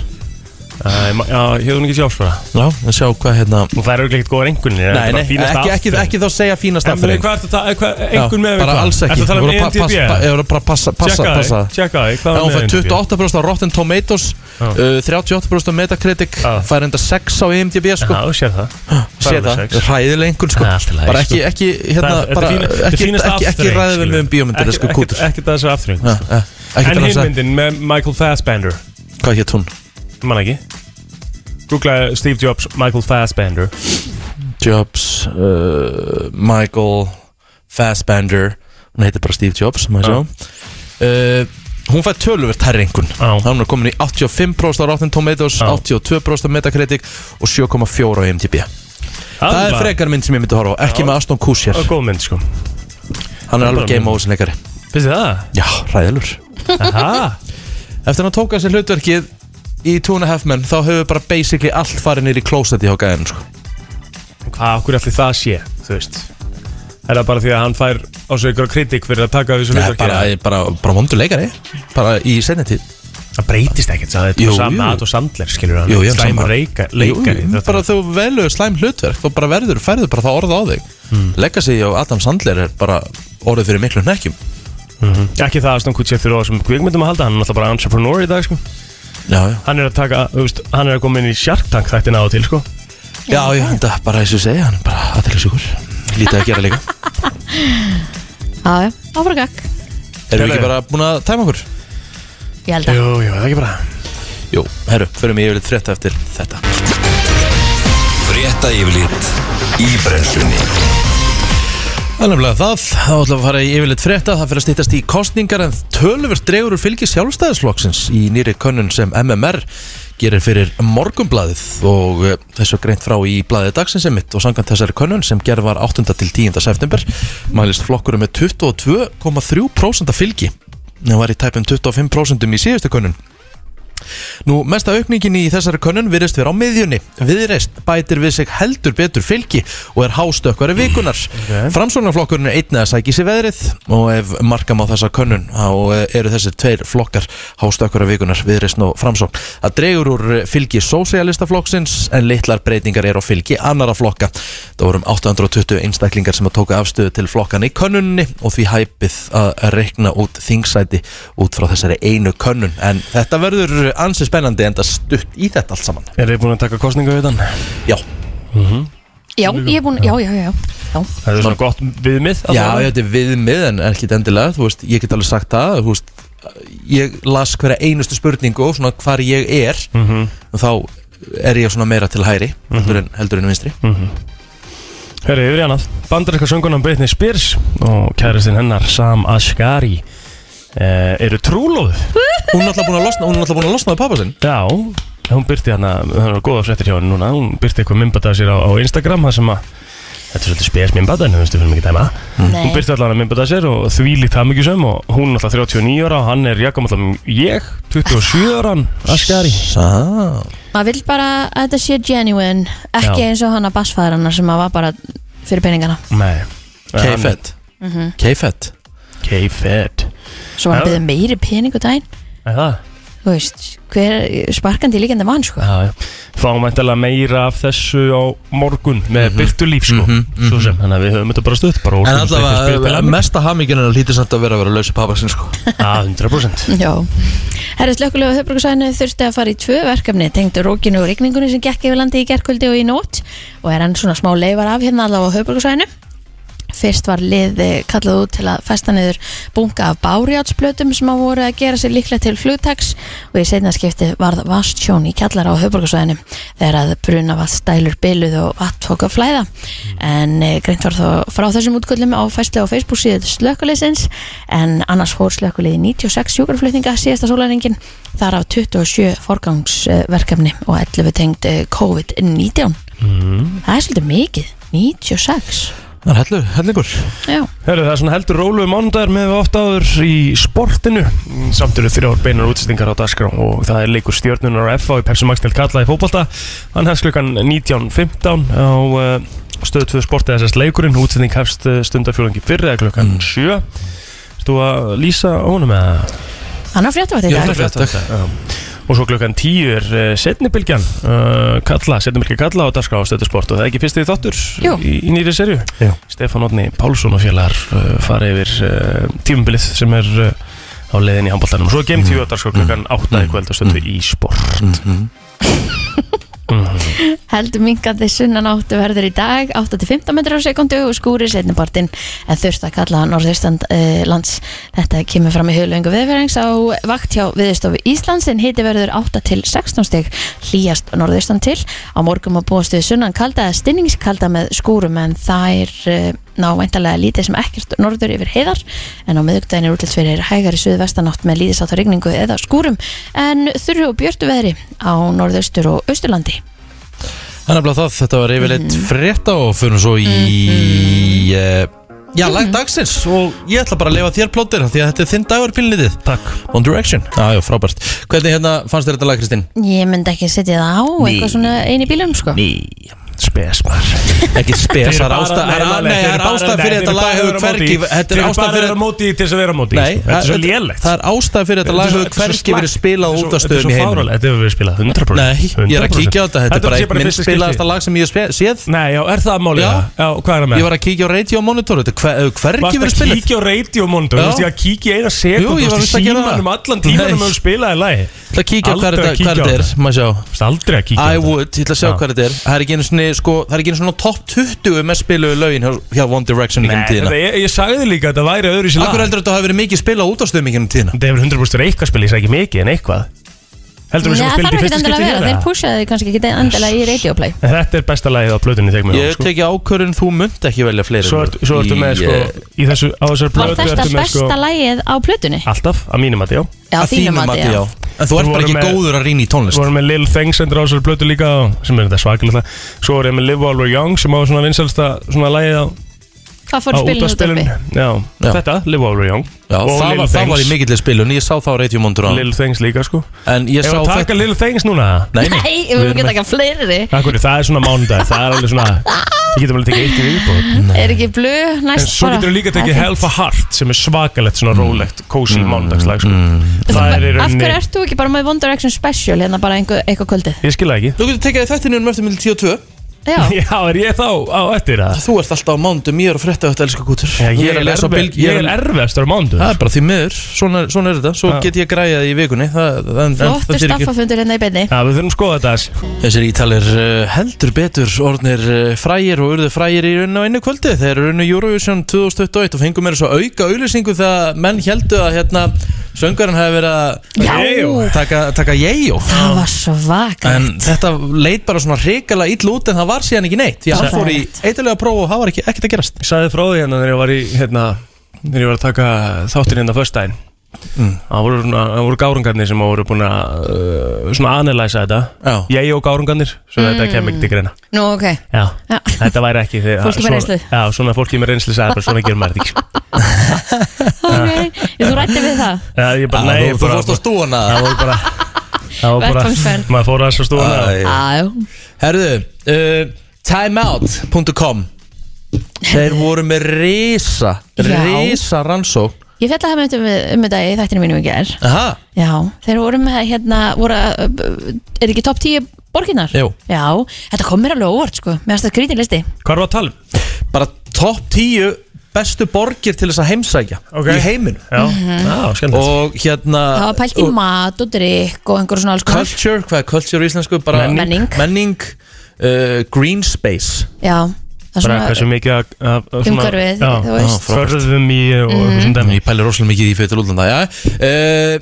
S3: Uh, já, hétt hún ekki Jobs bara.
S1: Já, að sjá hvað hérna
S3: Og það er auðvitað ekkert góðar engunni.
S1: Nei, nei, ekki, ekki, ekki þá segja fína
S3: En
S1: staðferðing
S3: hvað ertu að tala,
S1: Já,
S3: engun með
S1: Bara alls ekki
S3: Ertu að tala um
S1: Ég voru bara að
S3: IMDb?
S1: passa- Ég voru bara að passa, passa,
S3: Tjekka
S1: passa
S3: þig, tjekka þig,
S1: Já,
S3: hvað var
S1: hún
S3: með
S1: fær
S3: IMDb?
S1: 28% á Rotten Tomatoes
S3: Já.
S1: uh, 38% á Metacritic
S3: Já.
S1: Fær enda 6 á IMDb sko
S3: Já, þú sér það
S1: Sér
S3: alveg
S1: það,
S3: sex.
S1: ræðileg einhvern sko
S3: Það er allt í lagi,
S1: Bara ekki,
S3: sko.
S1: ekki, hérna
S3: Það er- þetta er
S1: bara,
S3: fína- þetta er
S1: Ekki,
S3: fínasta
S1: ekki, ekki
S3: afþreying,
S1: ræðið við
S3: skilur.
S1: með um bíómyndir sko kútur
S3: Ekki það sem aftur
S1: Já, já, Ekki
S3: En
S1: tala
S3: hinn
S1: þess að
S3: myndin með Michael Fassbender
S1: Hvað hétt hún?
S3: Man ekki Googlaði Steve Jobs Michael Fassbender
S1: Jobs uh, Michael Fassbender Hún heitir bara Steve Jobs sem maður sjá uh, Hún fær töluvert herri einhvern
S3: Já.
S1: Hún er komin í 85% á Rotten Tomatoes
S3: Já.
S1: 82% á Metacritic og 7,4% á IMDb Það er
S3: var-
S1: frekar mynd sem ég myndi horfa á Ekki
S3: Já.
S1: með Aston Kutcher
S3: Það var góð mynd sko
S1: Hann er
S3: það er
S1: alveg
S3: bara
S1: game
S3: mynd.
S1: over sem leikari
S3: Finnst þið það?
S1: Já, ræðilur
S3: Aha
S1: Eftir hann tók að sér hlutverkið í Two and a Half Men þá hefur bara basically allt farið nýr í klósetti hjá gæðin sko.
S3: Hvað okkur allir það sé Þú veist Er það bara því að hann fær á sig ykkur kritik fyrir að taka þessu
S1: Nei, bara,
S3: hlutverki
S1: bara, bara vondur leikari Bara í senni tíð
S3: Það breytist ekkert Það er
S1: Jú,
S3: bara saman
S1: jú.
S3: að og sandler skilur hann
S1: Jú, ég er
S3: Slæmur
S1: sammála.
S3: reika- leikari
S1: Jú, jú,
S3: þetta-
S1: bara þú velur slæm hlutverk þú bara verður, færður bara það orð á þig mm. Legacy og Adam Sandler er bara orðið fyrir miklu nekkjum
S3: Ekki það að Stone Kutcher þurfa á þessum kvikmyndum að halda Hann er náttúrulega bara entrepreneur í dag sko
S1: já, já,
S3: hann er að taka, þú veist, hann er að koma inn í Shark Tank þættina á og til, sko
S1: já, já, þetta er bara eins og ég segja hann er bara aðeinsjúkur, lítið að gera [LAUGHS] líka
S2: já, já, áfragak
S1: erum við ekki bara búin að tæma okkur?
S2: Ég held að
S3: jú, það er ekki bara
S1: Jú, herru, förum við yfirleitt frétta eftir þetta
S5: Frétta yfirlit í brennslunni
S1: Það er nefnilega það, þá ætlum við að fara í yfirleitt frétta, það fyrir að stýttast í kostningar en tölvur dregur úr fylgi sjálfstæðisflokksins í nýri könnun sem MMR gerir fyrir morgumblaðið og eh, þessu er greint frá í blaðið dagsins emitt og samkvæmt þessari könnun sem gerð var 8. til 10. september mælist flokkurum með 22,3% af fylgi en var í tæpum 25% í síðustu könnun Nú, mesta aukningin í þessari könnun virðist vera á miðjunni. Viðreist bætir við sig heldur betur fylgi og er hástökkvari vikunar. Okay. Framsóknarflokkurinn er einnig að sækja í sig veðrið og ef markam á þessa könnun þá eh, eru þessir tveir flokkar hástökkvari vikunar, viðreist og framsókn. Það dregur úr fylgi sósialistaflokksins en litlar breytingar er á fylgi annara flokka. um Það vorum 820 einstaklingar sem að tóka afstöðu til flokkan í könnunni og því hæpið að rekna út þingsæti út frá þessari einu könnun. En þetta verður ansi spennandi enda stutt í þetta allt saman.
S3: Er þið búin að taka kostninga við þann?
S1: Já,
S2: Já, ég er búin, já, já, já, já.
S3: Það er svona gott viðmið
S1: já, þetta er viðmið en ekkit endilega, þú veist, ég get alveg sagt það, þú veist, ég las hverja einustu spurningu og svona hvar ég er
S3: Mhm.
S1: og þá er ég svona meira til hæri heldur en, heldur en vinstri.
S3: Herri, yfir í annað Bandaríska söngunan Britney Spears og kæristinn hennar Sam Asghari eh, eru trúlóð
S1: Hún er alltaf búin að losna, hún er alltaf búin að losna á pappa sinn.
S3: Já, hún byrti hérna það eru góða fréttir hjá henni núna hún byrti eitthvað mymbata sér á, á Instagram það sem að Þetta er svolítið spes mymbata en þú veistu fyrir mikið dæma Hún byrti allan að mymbata sér og þvílíkt hamingjusum og hún er alltaf 39 ára og hann er jakum alltaf ég 27 ára hann Asghari
S1: Sá.
S2: Maður vill bara að þetta sé genuine ekki
S3: Já.
S2: eins og hann að basfæðar hennar sem að var bara fyrir peningana
S3: Nei
S1: K-Fed. K-Fed.
S3: K-Fed
S2: svo var hann
S3: Já.
S2: byggði meiri peningu dæn
S3: Það
S2: þú veist, hver sparkandi í líkandi mann sko
S3: Já, já. fáum eitthvað meira af þessu á morgun með mm byrtulíf sko, svo sem, þannig að við höfum þetta bara stutt bara
S1: En allavega, eh, mesta haminginu lítið samt að vera að vera að lausa pappa sinn sko.
S3: að 100%
S2: Já, herri slökkulega höfbruksæðinu þurfti að fara í tvö verkefni tengdu rókinu og rigningunni sem gekk yfir landi í gerkvöldi og í nótt og er hann svona smá leifar af hérna allavega á höfbruksæðinu Fyrst var lið eh, kallað út til að festa niður bunga af bárjátsplötum sem að voru að gera sér líklega til flugtags og í setna skipti varð vastjón í kjallara á höfburgarsvæðinu þegar að bruna vatnstælur byluð og vatn tók að flæða. En eh, greint var þó frá þessum útgöllum á fæslu á Facebook síðu slökkuleysins en annars fór slökkuleiði 96 sjúkarflutninga síðasta sólæringin þar af 27 forgangsverkefni og 11 tengd eh, COVID-19.
S3: Mhm.
S2: Það er svolítið mikið, 96.
S1: Það er hellur, hellingur.
S2: Já.
S3: Hörru, það er svona heldur rólu mánudagur með við oft áður í sportinu Mm, samt eru þrjár beinar útsendingar á dagskrá og það er leikur stjórnunar og FA í Pepsi Max til kalla í fótbolta hann hefst klukkan 19.15 á uh, stöðu 2 sportið þessast leikurinn útsending hefst eh, stundafjólangi fyrir eða klukkan 7 Þú að lýsa honum eða?
S2: Hann á fréttavætt í
S1: Já, það
S2: dag
S1: er rétt, takk.
S3: Já. Og svo klukkan tíu er uh, setnibylgjan uh, Kalla, setnibylgja Kalla á dagskrá á stöðusport og það er ekki fyrsti þáttur
S2: Jú.
S3: í, í nýri serju
S1: Jú.
S3: Stefán Otni Pálsson og félagar uh, fara yfir uh, tímubilið sem er uh, á leiðin í handbóltanum Svo er game tíu á dagskrá klukkan
S1: Mm.
S3: átta í kvöld og stöndu í sport
S1: Mhm.
S3: Mm.
S2: Heldur minkandi sunnan áttu verður í dag 8-15 metrar á sekundu og skúri setnipartin en þurft að kalla norðaustan eh, lands. Þetta kemur fram í höflöngu viðverðings á vakt hjá viðstofu Íslands en hiti verður 8-16 stig hlýjast norðaustan til. Á morgum að búast við sunnan kalda eða stinningskalda með skúrum en það er eh, ná væntalega lítið sem ekkert norður yfir heiðar en á miðugdæðin er útlits fyrir hægari suðvestanátt með líðisátt á rigningu eða skúrum en þurru og björtu veðri á norðaustur og austurlandi.
S1: Það er nefnilega það, þetta var yfirleitt frétta og fyrir svo í... eh, Já, langt dagsins og ég ætla bara að leifa þér plótir því að þetta er þinn dagur pílnitið.
S3: Takk
S1: One Direction. Já, já, frábært. Hvernig hérna fannst þér þetta lag, Kristín?
S2: Ég myndi ekki setja það á eitthvað svona einu bílum sko
S1: Ný.
S3: Spesmar
S1: Ekki spes, það er ástæð nei, það er ástæð fyrir þetta lag hefur hvergi, þetta er ástæð fyrir
S3: Þeir eru bara að vera á móti í til þess að vera á móti í,
S1: Nei,
S3: sko. Þetta er svo lélegt
S1: það er ástæð fyrir þetta lag hefur hvergi verið spilað út af stöðum í heiminum.
S3: Þetta hefur verið spilað 100%
S1: Nei, ég er að
S3: 100%.
S1: kíkja á þetta, þetta er
S3: sé
S1: bara minn
S3: fyrsta skipti.
S1: spilaðasta lag sem ég hef spe- séð.
S3: Nei, já, er það
S1: Já.
S3: málið það? Já, hvað er það með?
S1: Ég var að kíkja á radio monitor, þetta hver- hefur hvergi verið
S3: Varst Mm. að
S1: spilað.
S3: kíkja á radiomóndu,
S1: Já.
S3: þú veist ég að kíkja í eina sekund
S1: Jú, ég var víst að gera það.
S3: um allan tímanum
S1: Nei.
S3: að spila í lagi Þú
S1: ætla að kíkja hvað
S3: Aldrei
S1: þetta,
S3: að
S1: hvað
S3: kíkja á
S1: þetta er, maður sjá
S3: veist aldrei að kíkja á
S1: I
S3: þetta.
S1: would, ég ætla að sjá
S3: Já.
S1: hvað þetta er Það er ekki einu svona, sko, það er ekki einu svona top 20 með spiluðu lögin hjá, hjá One Direction í
S3: Nei,
S1: gennum tíðina
S3: þetta- ég, ég sagði líka að þetta væri öðru sér lag
S1: Akkur heldur þetta hafi verið mikið spila út á stöðum í gennum tíðina
S3: Þetta hefur 100% verið eitthvað spil, ég sagði ekki mikið en eitthvað Heldur við sem
S2: Nei,
S3: að
S2: það
S3: spila
S2: þarf
S3: í
S2: ekki
S3: fyrsta
S2: endilega að
S3: skipti
S2: vera,
S3: hér
S2: þeir
S3: eða?
S2: pushaði kannski ekki endilega í radioplay
S3: En Þetta er besta lagið á blöðunni, þegar mér
S1: Ég hef
S3: sko.
S1: tekið ákvörðin þú munt ekki velja fleiri
S3: Svo
S1: lög
S3: ertu- svo ertu með,
S1: í,
S3: sko,
S1: eh,
S3: í þessu, á þessar
S2: Var
S3: blöðu
S2: þetta
S3: ertu með, sko,
S2: besta lagið á plötunni?
S3: Alltaf, að mínum að já
S2: Já,
S1: að
S2: þínu mati, já
S1: En þú ert
S3: Þú
S1: bara
S3: voru
S1: ekki
S3: með-
S1: góður að rýna í
S3: Svo
S1: tónlist
S3: erum við Lil Thing sendur á þessari blötu líka og, sem er þetta svakilegt lag. Svo erum við Live While We're Young sem á svona vinsælsta svona lagið á
S2: Það fór í
S3: Á
S2: spilinu
S3: útvarpsspilun.
S2: útvarpi.
S3: Já,
S1: Já.
S3: þetta, Live Over Young
S1: Já,
S3: Og
S1: það
S3: Little
S1: var, það var í
S3: Things.
S1: mikillir spilun, ég sá það á Radio Mondur
S3: Lil Things líka sko
S1: En ég
S3: Ef
S1: sá
S3: að taka Lil Things núna
S1: Nei, nei,
S2: Nei, við vorum geta ekki að fleiri
S3: Akkur, það er svona mánudag, það er alveg svona Ég getum alveg tekið eitt í viðbót
S2: Er ekki blu
S3: En
S2: næst
S3: svo
S2: bara?
S3: getur við
S2: Það
S3: líka
S2: er
S3: tekið
S2: fínt.
S3: Helfa Heart sem er svakalegt svona rólegt, kósi mm. mánudagslag sko. Það er í
S2: Af
S3: rauninni
S2: hverju ert þú ekki bara með One Direction Special hérna bara einhver, eitthvað
S3: [LAUGHS]
S2: kvöldið?
S3: Ég skil það ekki
S1: Þú getur tekið þættinu um eftir mjög 10 og 2
S2: Já,
S3: [LAUGHS] Já, er ég þá á eftir það?
S1: Þú ert alltaf á mándum, ég er að frétta þetta, elskar kútur
S3: Já, ég, er
S1: lesa á
S3: erfi,
S1: bylg-
S3: ég er erfiðastur á mánudag
S1: Það er bara því miður, svona, svona er þetta Svo
S3: Já.
S1: get ég græjað í vikunni það, það, en- en það
S2: flottur
S1: þýðir ekki-
S2: staffafundur hérna í beinni
S3: Já, við þurfum að skoða þetta aðeins.
S1: Þessir ítalir uh, heldur betur orðnir uh, frægir og urðu frægir í raun og einu kvöldi Þeir eru unnu Eurovision 2021 og fengum mér svo auka auðlýsingu þegar menn heldu að hérna söngarinn hefði verið að
S2: Já. Jeyjó.
S1: taka, taka jeyjó
S2: Það var svaka
S1: En þetta leit bara svona hrikalega ill út en það var síðan ekki neitt Því að
S2: Það
S1: hann fór í eitthvað próf og það var ekki, ekkert að gerast
S3: Ég sagði frá því hérna þegar ég var í hérna, þegar ég var að taka þáttir hérna fyrst daginn það voru, svona- það voru gárungarnir sem voru búin að uh, svona analysa þetta
S1: Já.
S3: ég og gárungarnir, svo þetta kemur ekki til greina
S2: Nú, ok
S3: [LAUGHS] já,
S2: Mm. Já.
S3: þetta væri ekki þegar,
S2: Fólki með
S3: svona-
S2: reynslu.
S3: já, svona fólki með reynslu sagði bara svona gerum maður þetta [LAUGHS] ekki sko.
S2: Ok, þú rætti við það
S3: já, ég bara, nei,
S1: Þú-
S3: ég
S1: Þú
S3: bara,
S1: fórst á stúana
S3: það voru bara það voru bara,
S2: Vettvangsferð.
S3: maður fór aðeins á stúna
S1: Æ.
S2: Á,
S1: Herðu, uh, timeout.com Þeir voru með risa,
S2: Já.
S1: risa rannsók
S2: Ég fjalla það með um, um þetta í þættinu mínum í ger
S1: Aha,
S2: Já, þeir voru með hérna voru, að- Er ekki topp 10 borginar?
S1: Jú.
S2: Já, þetta kom mér alveg á óvart sko Mér finnst það skrítin listi
S3: hvað er það að tala um?
S1: bara topp 10 bestu borgir til þess að heimsækja
S3: Ok.
S1: í heiminu
S3: já,
S2: Mhm.
S3: já, skemmtilegt
S1: og hérna
S2: Það var pælt í mat og drikk og einhver svona alls konar
S1: culture, hvað er culture í íslensku? Bara
S2: Menning.
S1: menning uh, green space
S2: Já, það er
S3: bara hversu
S2: svona
S3: mikið að- að- að svona-
S2: umhverfið
S3: já,
S2: Þú veist Mhm.
S3: förðum í og eitthvað sem dæmi
S1: ég pæli rosalega mikið í því fyrir útlanda já, uh,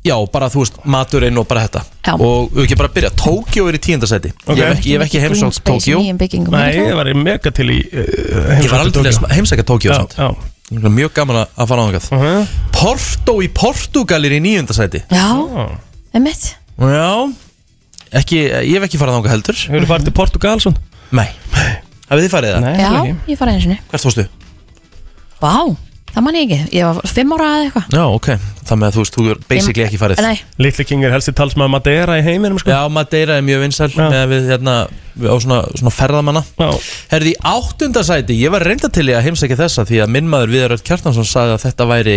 S1: já, bara þú veist maturinn og bara þetta
S2: Já.
S1: og við ekki bara að byrja, Tókjó er í tíundasæti
S3: Ok.
S1: ég, hef ekki- ég hef ekki heimsótt Tókjó
S2: Nýjum byggingum
S3: Nei,
S2: er
S3: ég
S2: það?
S3: var mega til í uh,
S1: ég var aldrei að heimsækja Tókjó
S3: Já,
S1: samt.
S3: já
S1: mjög gaman að að fara á þangað
S3: Mhm.
S1: Porto í Portugal er í níundasæti
S2: Já, emmitt
S1: já ekki, ég hef ekki farað þangað heldur
S3: Hefur farið til Portugal svo?
S1: Nei Hafið þið farið það?
S3: Nei,
S2: Já,
S3: ekki.
S2: ég fara einu sinni
S1: Hvert fórstu?
S2: Vá, það man ég ekki Ég var fimm ára eða eitthvað
S1: Já, ok Það með að þú veist, þú er basically ekki farið
S2: Nei,
S3: Little King er helsti talsmaður Madeira í heiminum sko
S1: Já, Madeira er mjög vinsæl
S3: Já.
S1: með við hérna við á svona, svona ferðamanna
S3: Já.
S1: Herði í áttunda sæti, ég var reynda til í að heimsækja þessa því að minn maður Viðar Öll Kjartansson sagði að þetta væri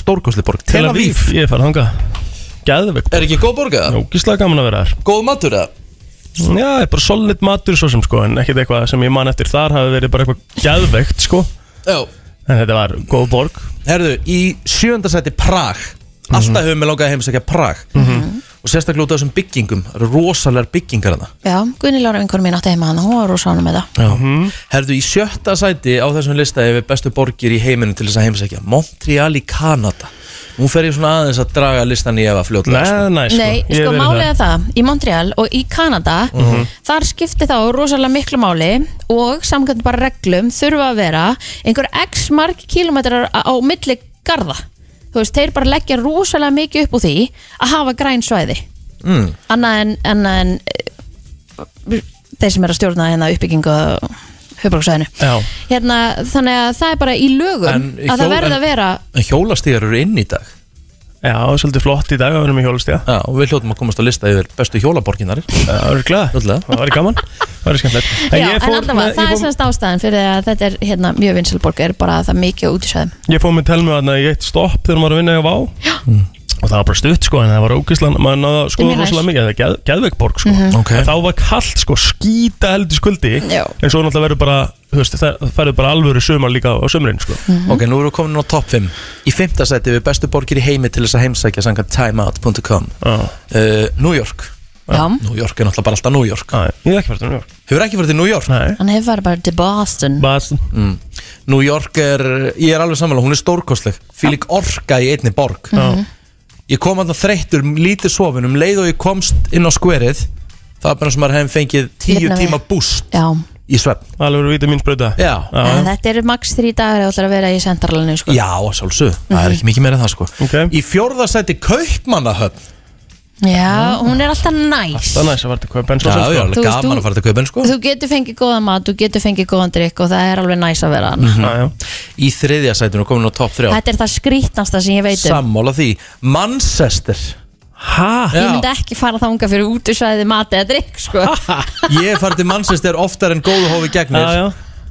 S1: stórkostliborg Tel Aviv
S3: Ég farið þangað Gæðveik
S1: Er ekki góð borg eða?
S3: Ógíslega gaman að vera þar
S1: Góð matur eða?
S3: Já, er bara solid matur svo sem sko En ekkert eitthvað sem ég man eftir þar hafi verið bara eitthvað gæðveikt sko
S1: Já
S3: En þetta var góð borg
S1: Herðu, í sjöunda sæti Prag Alltaf hefur mig langað að heimsækja Prag Og sérstaklega út af þessum byggingum það eru Rosalegar byggingar hana
S2: já, Gunni Lára vinkonu mín átti heima hann Hún var rosa ánum með það
S1: Já. Mhm. Herðu í sjötta sæti á þessum lista yfir bestu borgir í heiminu til þess að heimsækja Montreal í Kanada Nú fer ég svona aðeins að draga listan í efa fljótlega sko.
S3: Nei, næ, sko
S2: Nei,
S3: Ég
S2: sko
S3: verið
S2: málið er það, í Montreal og í Kanada þar skipti þá rosalega miklu máli og samkvæmt bara reglum þurfa að vera einhver x marg kilometrar á á milli garða þú veist, þeir bara leggja rosalega mikið upp úr því að hafa græn svæði
S1: mm.
S2: annað en, annað en eh, þeir sem er að stjórna hérna uppbyggingu höfbruksvæðinu
S3: Já.
S2: hérna, þannig að það er bara í lögum
S1: En í
S2: að það
S1: hjó-
S2: verði
S1: en-
S2: að vera
S1: En hjólastíðar eru inn í dag
S3: Já, svolítið flott í dag að vera með hjólustíða
S1: Já, og við hljótum að komast á lista yfir bestu hjólaborginar
S3: Það var glæð
S1: Fljótlega.
S3: Það var gaman Það var skemmtilegt
S2: Já,
S3: ég
S2: en
S3: fór
S2: allavega,
S3: með-
S2: það
S3: ég
S2: er
S3: fór-
S2: semst ástæðan fyrir að þetta er hérna, mjög vinsalborg er bara að það er mikið á útisæðum
S3: Ég fóð með telmu að ég eitt stopp þegar maður var að vinna hjá Vá Mm. og það var bara stutt sko en það var ógislan maður náða sko
S2: mjög næs.
S3: rosalega mikið það er geð, geðveikborg sko
S1: Ok.
S3: en þá var kallt sko skýta heldur skuldi
S2: Mhm. Já.
S3: en svo náttúrulega verður bara þú veist það það færður bara alvöru sumar líka á sumrin sko
S2: Mhm.
S1: Ok, nú erum við komin á topp 5 Í fymta sæti yfir bestu borgir í heimi til þess að heimsækja samkvæmt timeout.com
S3: Já.
S1: uh, New York
S2: Já,
S3: Mhm.
S1: New York er náttúrulega bara alltaf New York
S3: Æ, ég hef ekki verið til New York
S1: Hefur ekki farið til New York?
S3: Ah.
S1: Mm.
S3: Nei
S2: hann hefur farið bara til Boston
S3: Boston
S1: New York er, ég er alveg samanlega, hún er stórkostleg Fílik orka í einni borg
S3: Já
S2: Mhm.
S1: Ég kom alltaf þreyttur, lítið sofin um leið og ég komst inn á skverið Það var bara sem maður hefði fengið tíu
S2: Lifna við.
S1: tíma búst
S2: Já,
S1: í svefn
S3: alvöru Ah, vita mín spröta
S1: Já,
S3: Já.
S2: en þetta eru max þrý dagar ef þú ætlar að vera í sendaralinu sko.
S3: Mhm.
S1: já, sjálfsög, það er ekki mikið meira en það sko
S3: Ok.
S1: Í fjórðasæti Kaupmannahöfn
S2: Já, hún er alltaf næs
S3: Það er næst að verða hvað benn
S1: Já,
S3: svo
S1: það er
S3: sem
S2: Þú
S1: alveg
S2: veist,
S1: gaman
S2: þú-
S1: að fara til kaupin sko
S2: Þú getur fengið góða mat, þú getur fengið góðan drikk og það er alveg næs að vera
S3: Mhm.
S2: hana
S3: Ah,
S1: Í þriðja sætinu komin á top 3
S2: Þetta er það skrítnasta sem ég veit um
S1: Sammála því Manchester
S3: Hæ?
S2: Ég
S1: Já.
S2: myndi ekki fara þanga fyrir útusvæði mat eða drikk sko.
S1: Ég hef farið til Manchester oftar en góðu hófi gegnir
S3: Já, já.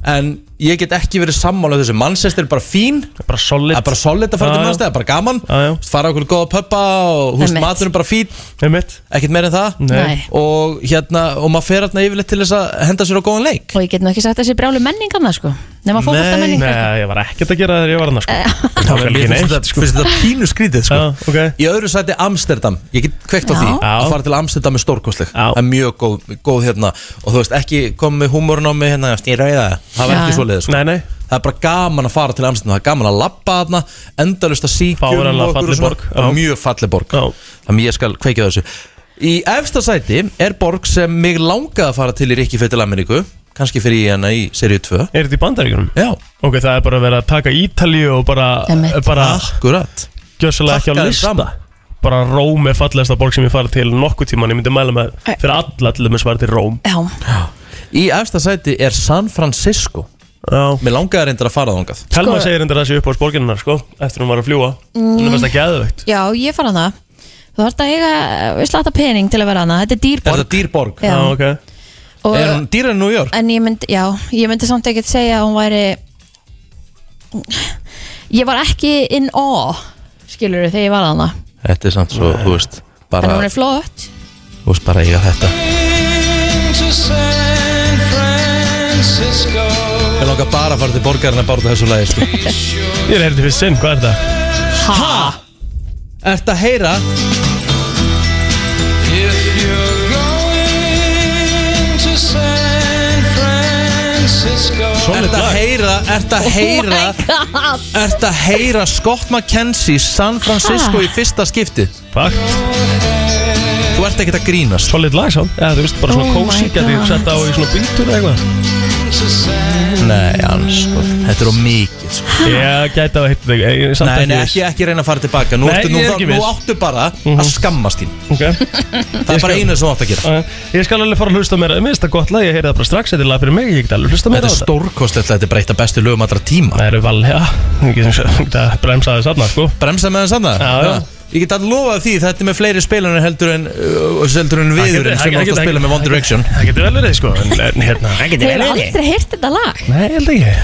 S1: En ég get ekki verið sammála þessu Manchester er bara fín
S3: Bara solid
S1: Það er bara solid að fara
S3: Já,
S1: til
S3: já.
S1: Manchester, það er bara gaman
S3: Já, já.
S1: Fara okkur góða pöppa og húst
S2: Einmitt.
S1: maturinn bara fín
S3: Með mitt
S1: Ekkert meir en það
S2: Nei.
S1: Og hérna, og maður fer hérna yfirleitt til þess að henda sér á góðan leik
S2: Og ég get nú ekki sagt að þessi brjálu menning annað sko. Nefna fókvölda menning
S3: Nei, ég var ekkert að gera þegar ég var hann sko.
S1: Já,
S3: Það var
S1: mér
S3: ekki
S1: finnst
S3: neitt sko.
S1: þetta- finnst þetta pínu skrítið sko.
S3: Já, ok
S1: Í öðru sæti Amsterdam Ég get kveikt á
S2: Já.
S1: því
S3: Já.
S1: Að fara til Amsterdam er stórkostleg
S3: Já.
S1: Það er mjög góð, góð hérna Og þú veist ekki komið með húmórun á mig hérna Í rauða Það var
S2: Já.
S1: ekki svo leiðis sko.
S3: Nei, nei
S1: Það er bara gaman að fara til Amsterdam Það er gaman að labba þarna Endalust að síkjum
S3: Fáránlega
S1: og okkur
S3: falleg
S1: og svona.
S3: borg. Já.
S1: Það er Mjög falleg borg
S3: Já.
S1: Þannig ég skal kveikja á þessu Í efsta sæti er borg sem mig langaði að fara til í Rikki fyrir til Ameríku Kanski fyrir ég hana í seríu 2
S3: Er þetta í bandaríkunum?
S1: Já,
S3: Ok, það er bara verið að taka Ítalíu og bara,
S2: Einmitt. Ah.
S3: bara
S1: akkurat
S3: gjössalega ekki á
S1: Pakka þeim
S3: lista
S1: saman.
S3: Bara Róm er fallegasta borg sem ég farið til nokkuð tíman Ég myndi mæla með fyrir alla til þess að fara til Róm
S2: Já,
S1: Í efsta sæti er San Francisco
S3: Já
S1: Mér langaði reyndir að fara þangað
S2: Sko-
S3: Telma
S2: Mm.
S3: segir endur þessi upp á sporginnar sko Eftir hún var að fljúa Hún er mest að geðvögt
S2: já ég fara hana Þú þarf að eiga eh, við slata pening til að vera hana Þetta er
S1: Er þetta
S2: dýrborg
S1: dýr borg?
S2: Já.
S3: Já, ok
S2: og,
S1: Er hún dýr en New York?
S2: En ég myndi, já, ég myndi samt ekkert segja að hún væri Ég var ekki in awe Skilur þegar ég var hana
S1: Þetta er samt svo, þú veist
S2: En
S1: bara,
S2: hún er flott
S1: Þú veist bara eiga þetta Ég langar bara að fara til borgarinn að bárta þessu lagi sko.
S3: Ég er heyrði fyrir sinn, hvað er þetta?
S2: Ha?
S1: Ertu að heyra?
S3: Solid
S1: Ertu að
S3: lag
S1: heyra? Ertu að heyra?
S2: Oh My god
S1: Ertu að heyra Scott McKenzie San Francisco í fyrsta skipti?
S3: Fakt
S1: Þú ert ekkert að grínast
S3: Solid lag sá Já, þú veist, bara
S2: Oh
S3: svona
S2: my
S3: kósi Gæti
S2: God.
S3: sett á í svona bíltúr eða eitthvað
S1: Nei, alls sko. Þetta er á mikið sko.
S3: Ég gæti að heita þig
S1: Nei, nei, ekki, ekki reyna að fara tilbaka Nú,
S3: Nei,
S1: ertu, nú,
S3: ég er
S1: þá-
S3: ekki
S1: nú
S3: viss.
S1: áttu bara að skammast þín
S3: Ok [LAUGHS]
S1: Það er
S3: Ég
S1: bara
S3: skal-
S1: einu sem þú átt að gera
S3: Jæja, Ég skal alveg fara að hlusta mér Mér finnst það gott lag, ég heyrði það bara strax Þetta er lag fyrir mig, ég get alveg hlusta mér
S1: Þetta er stórkostlegt, þetta er breyta bestu lögum allra tíma
S3: Það eru val, já Ég get sem sagt að bremsa þess aðna, sko
S1: Bremsa með þess annað
S3: Já, já.
S1: Ég get alltaf lofað því, þetta er með fleiri spilunar heldur en, uh, heldur en viðurinn sem átt að spila með One Direction
S3: Það getur vel verið, sko En, en hérna Það
S2: Ég hef aldrei heyrt þetta lag
S3: Nei, ég held ekki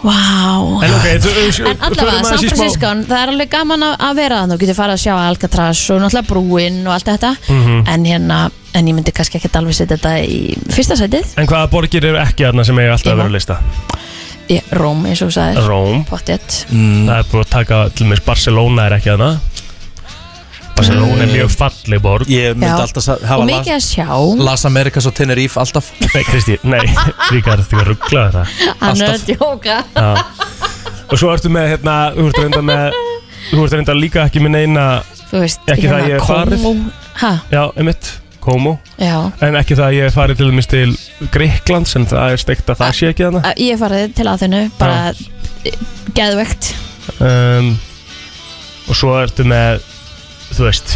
S2: Vá wow.
S3: En ok, þú
S2: En allavega, San Francisco, það er alveg gaman að, að vera þannig, þú getur farið að sjá Alcatraz og náttúrulega brúinn og allt þetta
S1: Mhm.
S2: en hérna, en ég myndi kannski ekkert alveg setja þetta í fyrsta sætið
S3: En hvaða borgir eru ekki aðna sem eiga alltaf
S2: Ég
S3: að vera
S2: má.
S3: að lista?
S2: í Róm, eins og þú sagðir,
S3: Róm
S2: pottet
S1: Mm.
S3: Það er búið að taka, til og meins Barcelona er ekki aðna Barcelona er mjög falleg borg
S1: Ég myndi alltaf sa-
S2: og
S1: hafa
S2: mikið
S1: Las,
S2: að sjá
S1: Las Americas og Tenerife alltaf
S3: Nei, Kristi, nei, [LAUGHS] Ríkard, þú er rugglaður það
S2: hann
S1: alltaf.
S2: er að djóka
S3: Og svo ertu með, hérna, þú ert reynda með Þú ert reynda líka ekki með neina
S2: þú veist, hérna,
S3: Ekki það ég hef farið.
S2: ha,
S3: Já, emitt, Komo
S2: já,
S3: En ekki það að ég hef farið til dæmis til Greiklands En það er steikt að það sé ekki þarna
S2: Að- ég hef farið til aðinu bara geðvegt
S3: um, Og svo ertu með Þú veist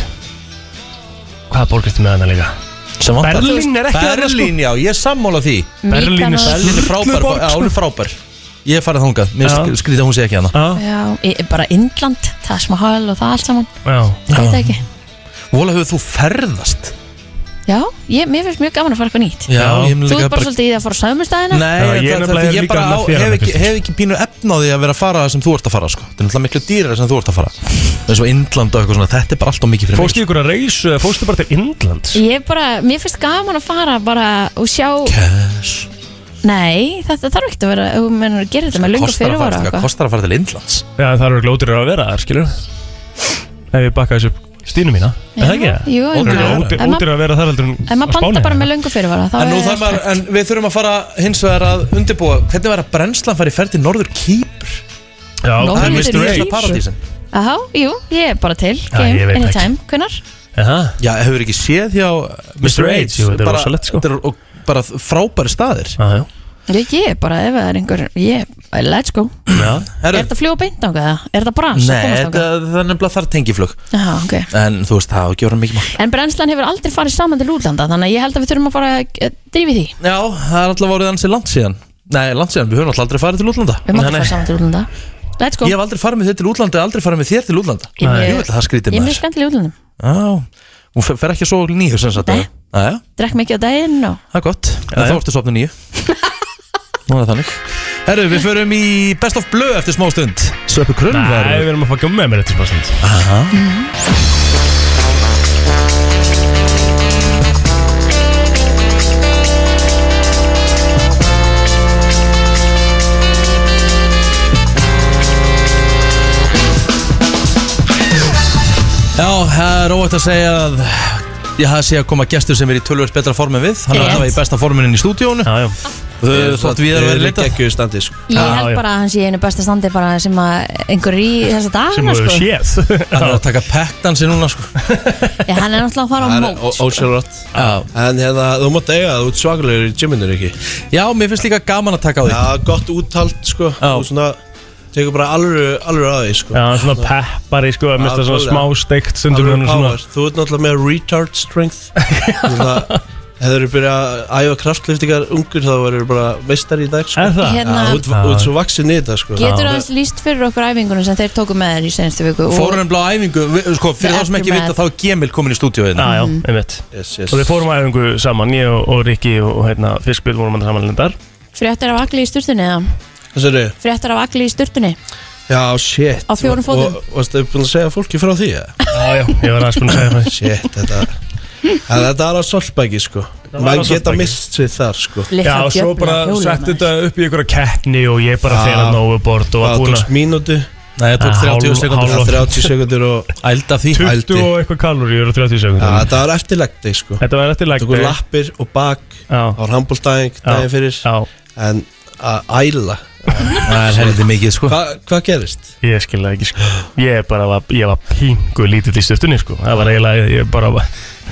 S3: Hvaða borg ertu með þarna líka?
S1: sem vantar.
S3: Berlín er ekki þarna, sko.
S1: Berlín, já, ég er sammála því
S3: Berlín er
S1: Berlín er frábær,
S3: Sturluborg,
S1: já,
S3: sko.
S1: hún er frábær Ég er farið þangað, mér
S3: Já.
S1: sk- skrýta að hún sé ekki hérna. hana
S3: Já,
S2: Já, í- bara Indland, Taj Mahal og það allt saman,
S3: já
S2: ég veit það ekki
S1: Vola, hefur þú ferðast?
S2: Já, ég, mér finnst mjög gaman að fara eitthvað nýtt
S1: Já, ég myndi
S2: Þú
S1: líka
S2: ert bara svolítið í það að fara á sögumustæðina
S1: Nei,
S3: Já,
S1: það,
S3: ég
S1: ég, það,
S3: nefnilega
S1: það,
S3: er
S1: ég
S3: líka
S1: bara á,
S3: alveg fyrir
S1: hef,
S3: hana,
S1: ekki,
S3: Kristín.
S1: hef ekki pínu efnaði að vera að fara það sem þú ert að fara sko. Það er náttúrulega miklu dýrar sem þú ert að fara eins og Indland og eitthvað svona, þetta er bara alltaf mikið fyrir mig sko.
S3: Fóstu ykkur að reisu eða fóstu bara til Indlands?
S2: Ég bara, mér finnst gaman að fara bara og sjá
S1: Cash
S2: Nei, þetta þarf ekki að vera Þú mennur að gera þetta með lungu
S1: Kostar að fara-
S2: fyrirvara og
S1: hvað
S2: eitthvað.
S1: Kostar að fara til Indlands
S3: Já, það eru glótir að vera þar, skilur Ef ég bakka þessu upp stínu mína Er það ekki?
S2: Jú, ég meina, ef
S3: Ótir,
S2: maður-
S3: ótir að vera þar heldur en
S2: En maður
S3: á Spáni,
S2: panta bara
S3: eða?
S2: með lungu fyrirvara þá
S1: En, nú
S2: er-
S1: þarf maður, en við þurfum að fara hins vegar að undirbúa Hvernig verður að brennslan fari ferð til Norður Kýpr?
S3: Já,
S2: Nó,
S3: það
S2: þetta
S3: er
S2: er
S3: Mr.
S1: Ísla
S2: Kýpr.
S3: Eight
S1: paradísin
S2: Aha, Jú, ég er bara til
S3: ég
S2: Game
S3: veit ekki.
S2: anytime, hvenar?
S3: Jaha.
S1: Já, hefur ekki séð hjá Mr.
S3: Mr. Eight,
S1: Aids
S3: jú, þetta er rosalegt, sko.
S1: Þetta er og- bara frábæri staðir
S3: Ah, Já, já.
S2: Ég, ég bara, ef það er einhver ég, Let's go Er
S3: Já,
S1: Herru,
S2: þetta fljóð beint ángað það? Er þetta brans að
S1: Nei,
S2: komast
S1: þetta,
S2: ángað?
S1: það er nefnilega þar tengiflug
S2: Já, ok
S1: En þú veist, það á ekki voru mikið mál
S2: En brennslan hefur aldrei farið saman til útlanda Þannig að ég held að við þurfum að fara að eh, drífa í því
S1: Já, það er alltaf voruð ansið land síðan Nei, land síðan, við höfum alltaf aldrei farið til útlanda
S2: Við máttum
S3: Nei, nei.
S2: fara saman til útlanda Let's go
S1: Ég hef aldrei farið með þér til útlanda og aldrei farið með þér til útlanda
S2: Ég er mjög-
S1: Ég vil það skrítið
S2: Ég
S1: með
S2: er mjög
S1: þér
S2: skemmtileg í útlandum
S1: Já, hún fer- fer ekki að sofa nýju sem sagt
S2: Nei.
S1: Næja,
S2: Drekk mikið á daginn og
S1: það er gott En
S3: Já,
S1: þá
S3: já.
S1: ertu sopnið nýju Nú er það þannig Herru, við förum í Best of Blue eftir smá stund Sveppu Krunn var
S3: Nei, við erum að fá gummi með mér eftir spásnund
S1: Já, það er óvægt að segja að Ég hafði sé að koma gestur sem er í tölvöld betra form en við Hann er
S2: Rétt.
S1: allavega í besta formunin í stúdíónu
S3: Ah, Já, já
S1: Þótt við erum að vera leitað
S5: Ekki standi sko
S2: Ég
S3: Já,
S2: held
S3: já.
S2: bara að hans í einu besta standi bara sem að einhver er í þessa
S3: Sem
S2: dagana
S3: þú hefur
S2: sko.
S3: séð [LAUGHS]
S1: Hann er að taka pektansi núna sko
S2: Já, hann er náttúrulega að fara á
S5: Það
S2: mót
S5: er ósjálfrátt
S1: Já,
S5: En hérna, þú mátt eiga það, þú ert svakalegur í gyminu ekki
S1: já mér finnst líka gaman að taka á því
S5: Já, gott úttalt sko
S1: Já.
S5: Þú svona, tekur bara alveg, alveg að því sko
S3: Já, svona peppari, sko, að mista svona smá
S5: klálega.
S3: steikt stundum
S5: Alveg
S3: hérna svona
S5: power. Þú ert náttúrulega með retard strength Þú það Hefur þú byrjað að æfa kraftliftingar ungur þá verður bara meistari í dag sko.
S3: Er það?
S5: Já, Þú
S2: Hérna,
S5: ert- þú ert svo vaksin í þetta sko.
S2: getur aðeins líst fyrir okkur æfingunum sem þeir tóku með þér í senstu viku og-
S1: Fórum ennblá um æfingu, við, sko, fyrir
S2: Við
S1: þá sem ekki
S2: eftirmat.
S1: vita þá er Gemil komin í hérna. stúdíóinu
S3: Já, Ah, já, einmitt
S5: yes, yes.
S3: Og við fórum að æfingu saman, ég og, og Rikki og, og hérna, Fiskbjörn vorum að saman lindar
S2: Fréttir af agli í sturtunni eða?
S5: Hvað segirðu?
S2: Fréttir af agli í sturtunni
S5: Já, shit
S2: Á fjórum fótum.
S5: Og- Varstu búin að segja fólki frá því? eða?
S3: Ah, Já, já, ég var aðeins búin að segja það
S5: Shit, þetta að Þetta er á solbæki, sko
S3: var á
S5: Man geta
S3: Solbæki.
S5: mist sig þar, sko
S3: Já, og svo bara sett þetta upp í einhverja keppni og ég bara
S5: Já.
S3: fer að nógu bort og var
S5: Það
S3: búin
S5: tókst
S3: að
S5: mínútu
S1: Nei, það tók
S3: Ah,
S1: 30
S3: hálf-
S1: sekundur
S5: það er 30 sekundur og
S1: Ælda því
S5: Tuff.
S3: 20 og eitthvað kalóri og 30
S5: Já,
S3: sekundar
S5: Þetta var eftirlegti, sko
S3: Þetta var eftir
S5: Tóku
S3: lagdi
S5: lappir og bak
S3: Já,
S5: Það var handbóltæðing
S3: Já.
S5: daginn fyrir
S3: já,
S5: En að æla
S1: Það er heldur mikið sko
S5: Hva- Hvað gerist?
S3: ég skilði ekki sko Ég bara var, ég var pingu lítið í stöftunni sko Það var eiginlega, ég bara var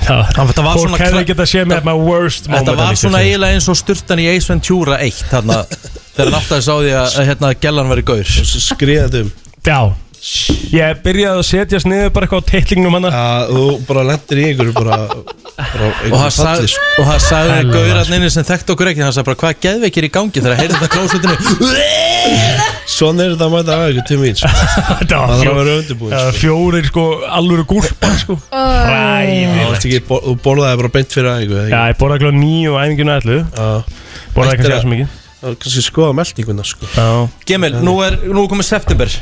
S3: það var-
S1: Þetta var
S3: Fólk
S1: svona
S3: hefði
S1: kra-
S3: ekki að sé með my worst moment
S1: Þetta var svona
S3: í sturtunni.
S1: eiginlega eins og styrtan í Ace Ventura 1 Þarna [LAUGHS] þegar hann áttaði sá því að að, hérna gellan var í gaur
S5: Skriðaðum
S3: Já Ég byrjaði að setjast niður bara eitthvað á teitlingnum hann
S5: að þú bara lendir í einhverju bara, bara
S1: Og það
S5: einhverju
S1: sagði,
S5: falli, sko.
S1: og það sagði
S3: Helviti.
S1: gauran inni sem þekkti okkur ekki Það sagði bara hvað geðveikir í gangi þegar að heyrði þetta klósutinu [LAUGHS]
S5: Svona er þetta að mæta aðeins til mín sko.
S3: [LAUGHS] Þetta
S5: Það
S3: var
S5: þarf að
S3: fjó-
S5: vera undirbúin
S3: það
S5: sko.
S3: var fjórir sko alvöru gúlpar sko
S5: Já,
S3: Ræðilegt
S5: varstu ekki- bor- Þú borðaði bara beint fyrir aðingu
S3: Já, ég borðaði ekki nýju og æfinginu ætlu Borðaði
S5: Ættir
S3: ekki að
S5: að-
S3: svo mikið
S5: Kanski skoða meldinguna sko
S3: Já
S1: Gemil, nú er, nú er komið september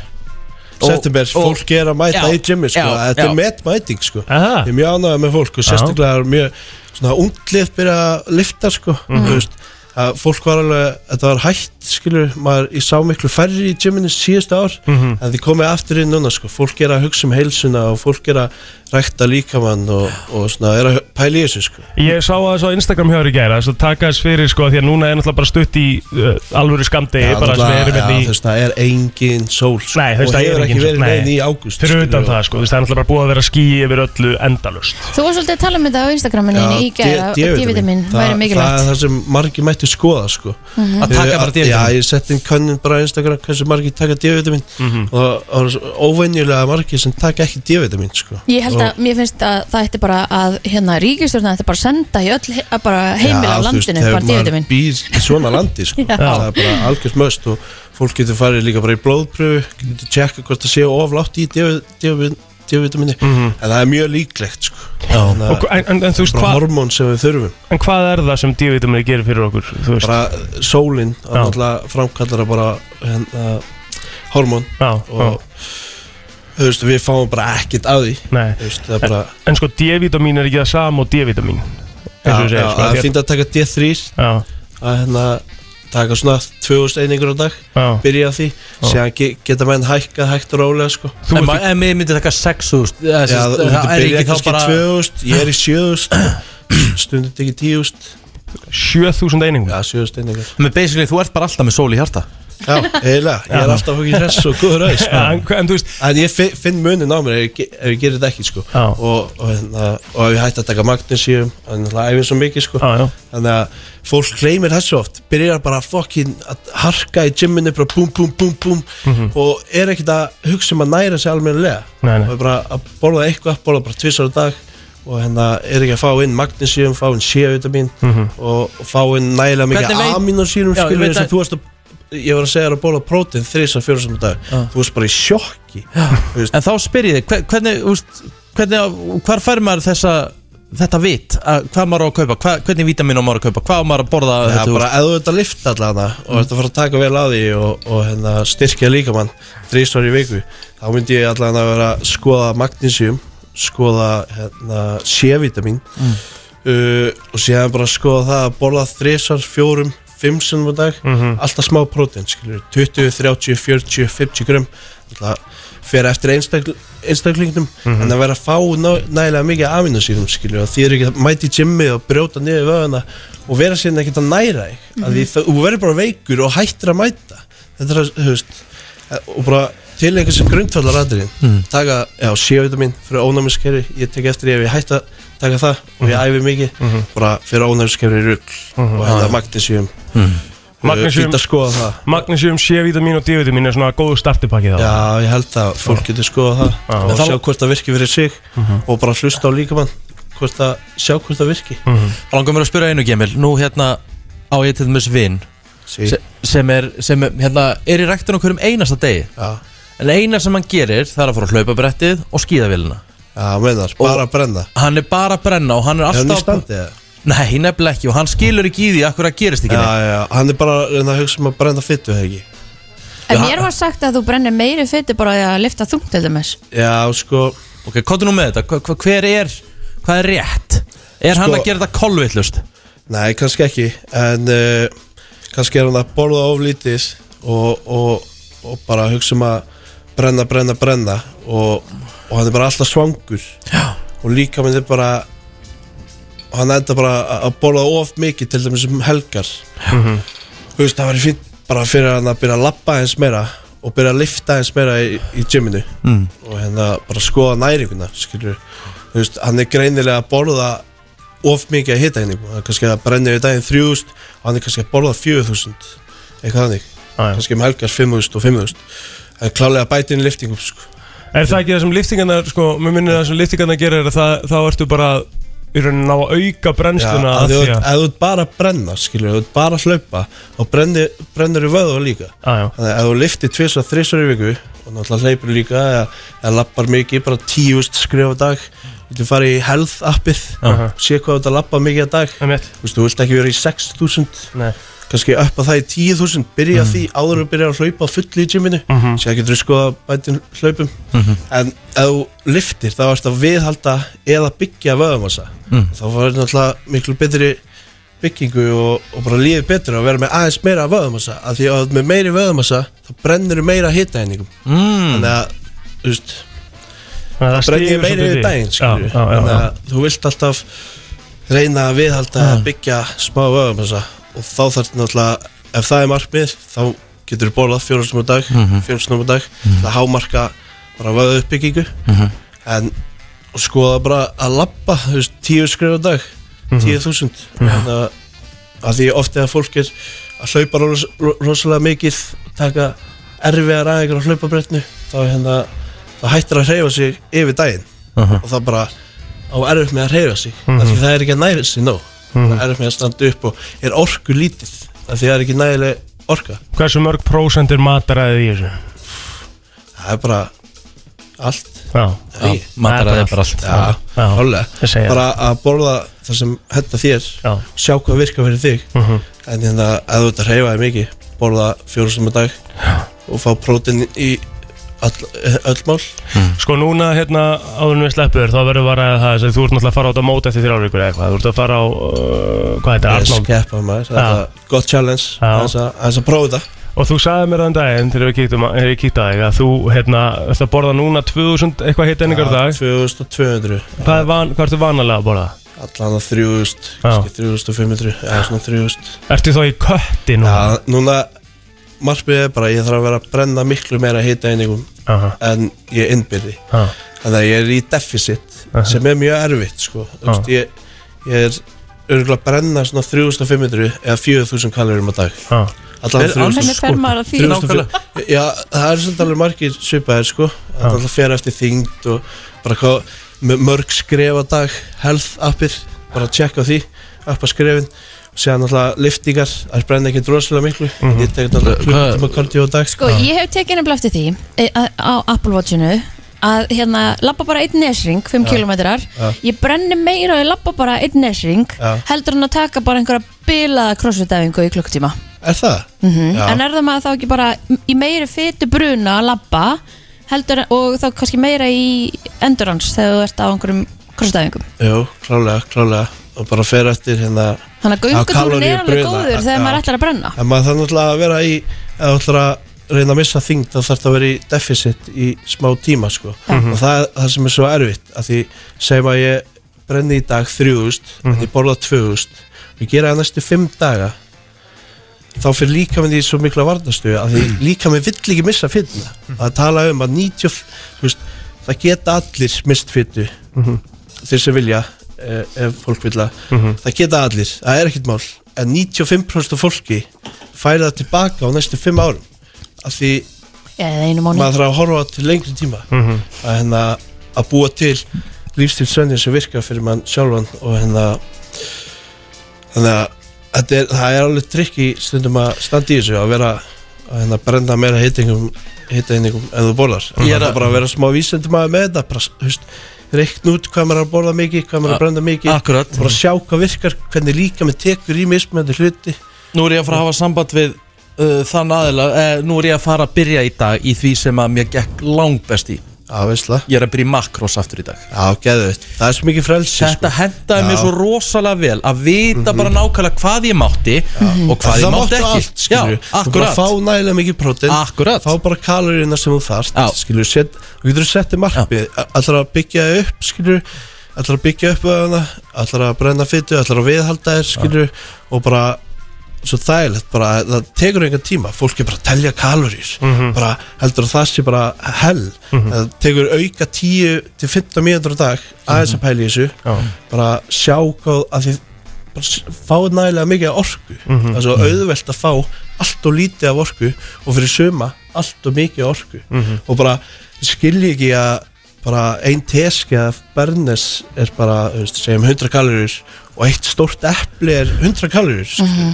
S5: September,
S1: og-
S5: fólk er að mæta
S1: Já,
S5: í gymmi sko
S1: já,
S5: Þetta
S1: já.
S5: er metmæting sko
S3: Aha.
S5: Ég er mjög ánægð með fólk og sérstaklega er mjög Svona unglið byrja að lifta sko
S3: Mhm.
S5: Þú veist að fólk var alveg, þetta var hægt skilur, maður, ég sá miklu færri í gyminu síðustu ár,
S3: Mhm.
S5: en þið komið aftur inn núna sko, fólk er að hugsa um heilsuna og fólk er að rækta líkamann og, og svona, er að pæla í þessu sko
S3: Ég sá það svo á Instagram hjá þér í gæra þess að taka þess fyrir sko því að núna er náttúrulega bara stutt í uh, alvöru skamdegi
S5: Já,
S3: bara sem við erum
S5: náttúrulega,
S3: hérna
S5: já,
S3: í
S5: þú veist, það er engin sól sko.
S3: Nei, þú veist,
S5: og
S3: það er
S5: hefur
S3: engin
S5: ekki
S3: sól,
S5: verið
S3: nei.
S5: neinn í ágúst
S3: fyrir
S5: skilur
S3: utan
S5: við.
S3: það sko þú veist það er náttúrulega bara búið að vera ský yfir öllu endalust
S2: Þú var svolítið að tala um þetta á Instagraminu
S5: Já,
S2: í gæra
S5: D-
S2: D-vitamin
S5: D-vitamin. Það-
S2: væri
S5: Það er
S2: mikilvægt Mhm.
S5: það sem margir mættu skoða sko.
S1: Að taka bara
S5: Ég- Já,
S1: D-vitamin.
S5: ég sett inn könnun bara á Instagram hversu margir taka D-vitamin
S1: Mhm.
S5: og það eru svo óvenjulega margir sem taka ekki D-vitamin sko.
S2: Ég held að, mér finnst að það ætti bara að hérna, ríkistjórna ætti bara að senda í öll he- að bara heimil á
S5: Já, þú veist,
S2: landinu
S5: þegar
S2: bara
S5: maður
S2: D-vitamin
S5: býr í svona landi sko.
S2: [LAUGHS] Já.
S5: það er bara algjörst möst og fólk getur farið líka bara í blóðpröfu getur tjekka hvort það sé oflátt í D-vitamini
S1: Mhm.
S5: en það er mjög líklegt sko. Þannig að-
S3: og, en, en, en þú veist
S5: bara
S3: hvað
S5: hormón sem við þurfum
S3: en hvað er það sem D-vitamin gerir fyrir okkur þú veist
S5: bara sólinn að
S3: Já.
S5: náttúrulega framkallar að bara hérna, hormón
S3: já,
S5: og
S3: já,
S5: þú veist við fáum bara ekkert af því
S3: nei
S5: þú veist það er bara
S3: en sko D-vitamin er ekki það sama og D-vitamin eins og
S5: Já,
S3: þú
S5: já,
S3: segir sko
S5: það er
S3: því að-
S5: fínt að taka D3
S3: já,
S5: að hérna taka svona 2000 einingur á dag
S3: já
S5: byrja á því síðan ge geta menn hækkað hægt og rólega sko
S3: Þú
S1: En
S3: ert
S1: ma- en mér myndi taka 6
S5: Já, þú þú
S1: Það er
S5: byrja
S1: ekki þá
S5: kannski
S1: bara
S5: 2000, ég er í 7000 stundum tekið 10.000
S3: 7000 einingum
S5: Já, 7000 einingar
S1: Men basically þú ert bara alltaf með sól í hjarta
S5: Já, eiginlega, ég er alltaf ekki hress og góður aðeins sko.
S3: en, hva- en þú veist
S5: En ég fi- finn munin á mér ef ég, ge- ef ég gerir þetta ekki sko.
S3: Já.
S5: og, og, hérna, og ef ég hætti að taka magnesíum þannig að æfum svo mikið sko.
S3: Já, já.
S5: þannig að fólk gleymir þessu oft byrjar bara fokkin að harka í gyminu bara búm búm búm búm og er ekkert að hugsa um að næra sig almennilega
S3: Mhm. Nei, nei.
S5: og er bara að borða eitthvað borða bara tvisar á dag og hérna er ekki að fá inn magnesíum, fá inn C-vitamin
S3: Mhm.
S5: og, og fá inn nægilega mikið
S4: Hvernig veit-
S5: aminosýrum
S4: Já, ég
S5: skilur
S4: veit
S5: þess að
S4: að-
S5: þú varst að ég var að segja þér að bóla prótin þrísar fjóra sem dag
S4: Ah.
S5: þú varst bara í sjokki
S1: En þá spyr ég þig, hve- hvernig, úst, hvernig á- hvar fær maður þessa þetta vit, að, hvað maður á að kaupa hvað, hvernig vítamin á maður að kaupa, hvað á maður að borða
S5: Já,
S1: þetta,
S5: bara ef þú ert að lifta allan og ert að fara að taka vel á því og, og hérna, styrkja líkamann þrísvar í viku þá myndi ég allan að vera að skoða magnesium skoða hérna, C-vitamin uh, og síðan bara skoða það að borða þrísvar, fjórum, fimm sinnum á dag alltaf smá prótein, skilur 20, 30, 40, 50 grum alltaf fyrir eftir einstakl einstaklingnum en að vera að fá ná- nægilega mikið aminosýrum skilur og því er ekki að mæti gymmi og brjóta niður vöðuna og vera síðan ekkert að næra þig mm því það- þú verður bara veikur og hættir að mæta þetta er að, þú veist og bara til einhvers sem grundfallar aðriðin
S1: Hmm.
S5: taka, já, C-vitamin fyrir ónæmiskerfi ég tek eftir því ef ég hætt að taka það og
S1: Hmm.
S5: ég æfi mikið, bara fyrir ónæmiskerfi rugg og hérna
S1: Ah.
S5: magnesium
S1: Hmm.
S3: Magnesium.
S5: fýtt að skoða það
S3: Magnesium, C-vitamin og D-vitamin er svona góðu startupakki þá
S5: Já, ég held að fólk getur
S3: Já.
S5: skoða það og
S1: Ah. En þá- Hmm.
S5: sjá hvort það virki fyrir sig og bara hlusta á líkamann hvort að sjá hvort það virki
S1: Þá langar mér að spyrja einu gemil, nú hérna á ég til þess vinn
S5: sí.
S1: Se- sem er, sem er, hérna, er í rektin okkur um einasta degi
S5: Já,
S1: en eina sem hann gerir það er að fara á hlaupabrettið og skíðavélina
S5: já mennar, bara að brenna
S1: hann er bara að brenna og hann er
S5: Er hann í
S1: alltaf
S5: standi eða?
S1: nei, nefnileg ekki og hann skilur ekki í því akkur að gerist ekki
S5: Já,
S1: neitt.
S5: já, hann er bara að reyna að hugsa um að brenna fyttu eða ekki
S2: En mér var sagt að þú brennir meiri fytti bara því að lifta þungt til dæmis
S5: Já, sko,
S1: ok, hvað er nú með þetta, hva, hva, hver er hvað er rétt, er hann
S5: Sko-
S1: að gera þetta kolvillust
S5: nei, kannski ekki en uh, kannski er hann að borða oflítið og, og, og bara hugsa um að brenna, brenna, brenna og, og hann er bara alltaf svangur
S1: Já.
S5: og líka minn er bara hann enda bara að- að borða of mikið til dæmis um helgar þú veist, það væri fínt bara fyrir hann að byrja að lappa eins meira og byrja að lifta eins meira í, í gyminu mm. og hérna bara skoða næringuna skilur, þú veist, hann er greinilega að borða of mikið að hita hérna henni hann er kannski að brenna í daginn 3000 og hann er kannski að borða 4000 eitthvað þannig,
S3: Já, já.
S5: kannski um helgar 5000 og 5000 en klálega bæti inn liftingum sko.
S3: Er það ekki það sem liftingarnar, sko, mér minnir að það sem liftingarnar gerir er að það, þá ertu bara að, í rauninni á að auka
S5: Já,
S3: brennsluna
S5: að
S3: að
S5: þú
S3: því
S5: ert-
S3: að,
S5: ef þú ert bara að brenna skilur, ef þú ert bara að hlaupa og brennir, brennir í vöðu líka
S3: að já,
S5: Þannig að ef þú liftir tvisvar, þrisvar í viku og náttúrulega hleypur líka eða, eða lappar mikið, bara tíust skrifa dag viltu fara í health appið
S3: Aha.
S5: sé hvað þú ert að lappa mikið að dag
S3: það mitt,
S5: Þú veist, þú vilt ekki vera í 6.000
S3: nei,
S5: kannski upp að það í 10.000 byrja því áður að byrja að hlaupa á fullu í gyminu
S3: Mhm.
S5: mm -hmm. sér getur þú skoða bætin hlaupum en ef þú liftir þá ertu að viðhalda eða byggja vöðumassa mm. þá var náttúrulega miklu betri byggingu og, og bara lífið betur að vera með aðeins meira vöðumassa af því að þú ert með meiri vöðumassa þá brennur meira hitaeiningum
S1: mm.
S5: þannig að þú veist
S3: þannig að Sko, það
S5: brennir
S3: stígur
S5: meiri við daginn
S3: Já,
S5: skilur
S3: já, já,
S5: þannig að þú vilt alltaf reyna að viðhalda að byggja smá vöðum þessa og þá þarf náttúrulega ef það er markmið þá getur þú borðað fjórumsnum á dag mm
S3: Mhm.
S5: -hmm. á dag það hámarka bara vöðu uppbyggingu
S3: Mhm.
S5: en og skoða bara að labba þú veist, tíu skrif á dag
S3: Mhm.
S5: tíu þúsund þannig að- að því oft eða fólk er að hlaupa ros rosalega mikið taka erfiðar aðeins á hlaupabrettnu þá er hérna það hættir að hreyfa sig yfir daginn og það bara á erfitt með að hreyfa sig mm því
S3: Mhm.
S5: það er ekki að næra sig nóg það er erfitt með að standa upp og er orku lítið af því það er ekki nægileg orka
S3: Hversu mörg prósendur mataræði í þessu?
S5: það er bara allt
S3: Já,
S1: já, matar að
S3: Það er
S1: það bara allt
S5: já,
S3: Já.
S5: klálega.
S3: Ég segi
S5: bara að borða það sem henda þér
S3: já, Mhm.
S5: sjá hvað virkar fyrir þig en þannig að ef þú ert að hreyfa þig mikið borða fjórustum að dag og fá prótin í all, öll mál
S3: sko núna hérna áðurum við sleppur þá verður bara að það, þú ert náttúrulega að fara át á mót eftir þrjár vikur eða eitthvað, þú ert að fara á uh, hvað heitir,
S5: Ég
S3: Arnold
S5: skeppa maður, þetta er gott challenge
S3: Já.
S5: aðeins að aðeins að prófa þetta
S3: Og þú sagði mér þann daginn þegar við kíktum að- þegar ég kíkti að þig að þú hérna, ert að borða núna 2000 eitthvað hitt enningar dag
S5: 2200
S3: Hvað, er van, hvað ertu vanalega að borða?
S5: Allan að 3000,
S3: Já.
S5: kannski 3500 eða svona 3000
S3: Ertu þá í kötti núna?
S5: Já, núna markmiðið er bara að ég þarf að vera að brenna miklu meira hita einingum
S3: Aha.
S5: en ég innbyrði
S3: Ha.
S5: þannig að ég er í deficit
S3: Aha.
S5: sem er mjög erfitt sko.
S3: Já.
S5: Þú veist, ég, ég er örgulega að brenna svona 3500 eða 4000 kalorum á dag
S3: Ha.
S5: Allan sko.
S1: Er-
S5: 3000
S6: Hvernig
S1: Hvernig
S6: fer maður að því?
S5: 3500 Já, það er svolítið alveg margir svipaðir sko Það er alltaf fyrir eftir þyngd og bara hvað með mörg skref á dag health appir, bara að tjekka á því appa skrefin og séðan alltaf liftingar, það brenna ekki drosalega miklu ég tek alltaf klukkutíma kardio á dag
S2: Sko, ég hef tekið nefnilega eftir því e, að- á Apple Watchinu að hérna, lappa bara einn nesring, 5 ja. kilometrar ég brenni meira og ég lappa bara einn nesring,
S5: Já.
S2: heldur hann að taka bara einhverja bilaða crossfit-æfingu í klukktíma
S5: Er það?
S2: Mhm.
S5: Já.
S2: en er það maður þá ekki bara í meiri fytu bruna að lappa heldur, og þá kannski meira í endurans þegar þú ert á einhverjum crossfit-æfingum
S5: Jú, klálega, klálega og bara fyrir eftir hérna
S2: þannig að
S5: Já,
S2: göngutúrin
S5: kaloríur
S2: er alveg
S5: bruna.
S2: góður þegar
S5: Já.
S2: maður ætlar að brenna
S5: en maður þarf náttúrulega að vera í ef þú ætlar að reyna að missa þyngd þá þarf það að vera í deficit í smá tíma sko. og það er það sem er svo erfitt að því segjum að ég brenni í dag 3000 en ég borða 2000 og ég gera það næstu 5 daga þá fyrir líka minn í svo mikla varnastu að því líka minn vill ekki missa fytna að tala um að 90 þú veist, það geta allir mist fytu þeir sem vilja eh, ef fólk vilja það geta allir, það er ekkert mál en 95% af fólki færi það tilbaka á næstu 5 árum af því
S2: eða einu mánu
S5: maður þarf að horfa til lengri tíma
S1: Mhm.
S5: að, hérna, að búa til lífstilsvenni sem virka fyrir mann sjálfan og hérna þannig að þetta er, það er alveg trikk í stundum að standa í þessu að vera að hérna, brenda meira hittingum hitteiningum en þú borðar en
S1: Ég er
S5: það
S1: að-
S5: er bara að vera smá vísendum að með þetta bara, þú veist, reikn út hvað maður er að borða mikið hvað maður er að brenda mikið
S1: Akkurat,
S5: og bara sjá hvað virkar, hvernig líka með tekur í mismöndi hluti
S1: nú er ég að fara að hafa samband við uh, þann aðila uh, Nú er ég að fara að byrja í dag í því sem að mér gekk langbest í
S5: Já, veistla,
S1: Ég er að byrja í makros aftur í dag
S5: já, geðveitt það er svo mikið frelsi sko.
S1: Þetta hendaði mér
S5: Já. Mhm.
S1: svo rosalega vel að vita bara nákvæmlega hvað ég mátti og hvað ég
S5: það
S1: mátti
S5: máttu
S1: ekki
S5: allt, skilur
S1: Já,
S5: Þú bara
S1: akkurat
S5: fá nægilega mikið prótin
S1: Akkurat.
S5: Fá bara kaloríuna sem þú þarft
S1: Já.
S5: Skilur, set, þú getur settið markmið Ætlar að byggja þig upp, skilur Ætlar að byggja upp öðuna Ætlar að brenna fytu, ætlar að viðhalda þér, skilur Og bara svo þægilegt bara, það tekur engan tíma fólk er bara að telja kaloríur
S1: Mhm.
S5: bara heldur að það sé bara hell það tekur auka 10 til 15 mínútur á dag aðeins
S1: Mhm.
S5: að pæla í þessu
S3: Já.
S5: bara sjá hvað að því bara s- fá nægilega mikið af orku það er svo auðvelt að fá allt og lítið af orku og fyrir suma allt og mikið af orku og bara skilji ekki að bara ein teski að bernes er bara, þú veist, segjum 100 kalorir og eitt stórt epli er 100 kalorir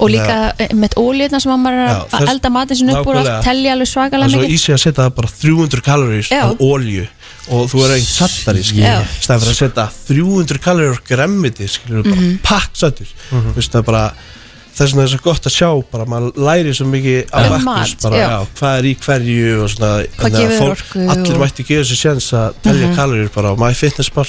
S2: og líka eh, með ólíðna sem að maður er
S5: Já,
S2: að- að
S5: þess-
S2: elda matinn sinni upp úr og
S5: nákvæmlega.
S2: allt telja alveg svakalega
S5: Það er svo
S2: mikið
S5: easy að setja bara 300 kalorir
S2: Já.
S5: á olju og þú er ekkert sattari
S2: Já.
S5: staðan fyrir að setja 300 kalorir á gremmiti skilur bara
S2: Mhm.
S5: pakk sattur þú veist það er bara þess vegna er svo gott að sjá bara maður læri svo mikið á
S2: Um
S5: Bakkus
S2: mat,
S5: bara
S2: já.
S5: já, hvað er í hverju og svona þannig að
S2: gefur
S5: fólk-
S2: orku
S5: allir
S2: og- Mhm.
S5: mætti gefa sér séns að telja kalorir bara á MyFitnessPal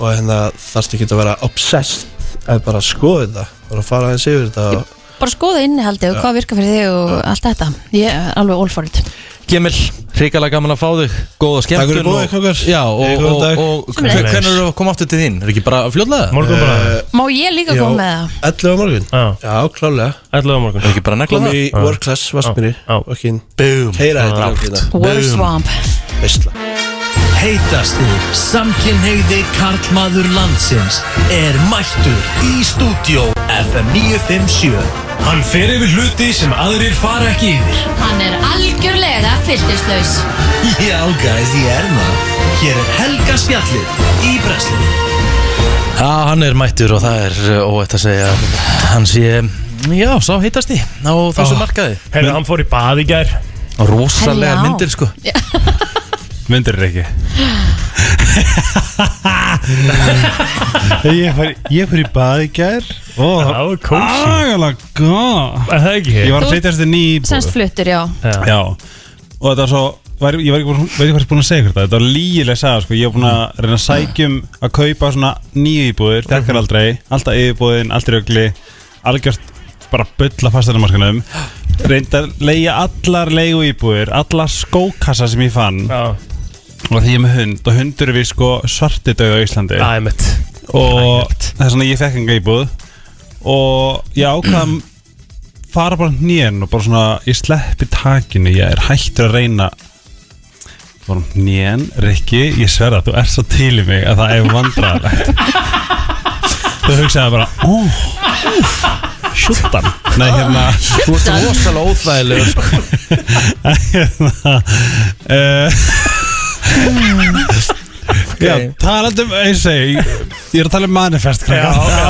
S5: og hérna þarfst ekki að vera obsessed að bara skoða þetta bara fara aðeins yfir þetta og
S2: bara skoða innihaldi og hvað virkar fyrir þig og allt þetta ég er alveg all for it
S1: Gemil, hrikalega gaman að fá þig Góða skemmtun og-
S5: fyrir bóðið, kókar.
S1: Já, og,
S5: Góðan
S1: og,
S5: dag.
S1: og, og hvernig er það að koma aftur til þín? Er ekki bara fljóðlega?
S3: Morgun
S5: Eh.
S3: bara
S2: má ég líka
S5: Já.
S2: koma með það
S5: 11 á morgun
S3: Já.
S5: já klálega
S3: 11 á morgun
S1: Er ekki bara að negla
S5: kom
S1: það?
S5: í work class vaskminni
S3: Já.
S5: og ekki
S1: Búm
S5: heyra þetta
S1: Klárt.
S5: langina.
S2: Word Swamp
S5: veistla
S7: Heitasti samkynheyði karlmaður landsins er mættur í stúdió FM 957 Hann fer yfir hluti sem aðrir fara ekki yfir
S6: Hann er algjörlega fyrtislaus
S7: Já, guys, ég er maður Hér er Helga Spjallið í Breslunni
S1: Já, hann er mættur og það er uh, óætt að segja að Hann sé, já, sá heitast í á þessu markaði
S3: Herðu, hann fór í bað í gær
S1: Rósalega
S2: Herri, já.
S1: myndir, sko
S8: Myndir er ekki Ég fór, ég fór í bað í gær og
S3: Já, kósi.
S8: agalega gott
S3: Er það ekki?
S8: Ég
S2: Þú-
S8: var að flytjast inn í íbúð
S2: semst fluttur, já
S8: Já, og þetta var svo var, Ég var ekki, búinn- veit ekki hvað búin að segja ykkur þetta Þetta var lígilega saga, sko, ég var búin að reyna að sækjum að kaupa svona nýju íbúður Dekkar aldrei, alltaf yfirbúðin, allt í ögli Algjört bara bulla fasteinamarkanum Reyndi að leigja allar leigu íbúður Allar skókassa sem ég fann
S3: Já,
S8: og því ég er með hund og hundur er við sko svartidauð á Íslandi
S3: það er mitt
S8: og það er svona ég fekk enga íbúð og ég ákvað fara bara nýjan og bara svona ég sleppi takinu, ég er hættur að reyna bara nýjan, Rikki, ég sverða þú ert svo til í mig að það er vandræðalegt þú hugsaði bara ó, úf, sjúttan nei, hérna,
S1: Þú ert rosalega óþægilegur sko.
S8: [LAUGHS] hérna uh, Já, talandi um, ég segi, ég er að tala um manifest
S3: Já,
S8: krakkar.
S3: já,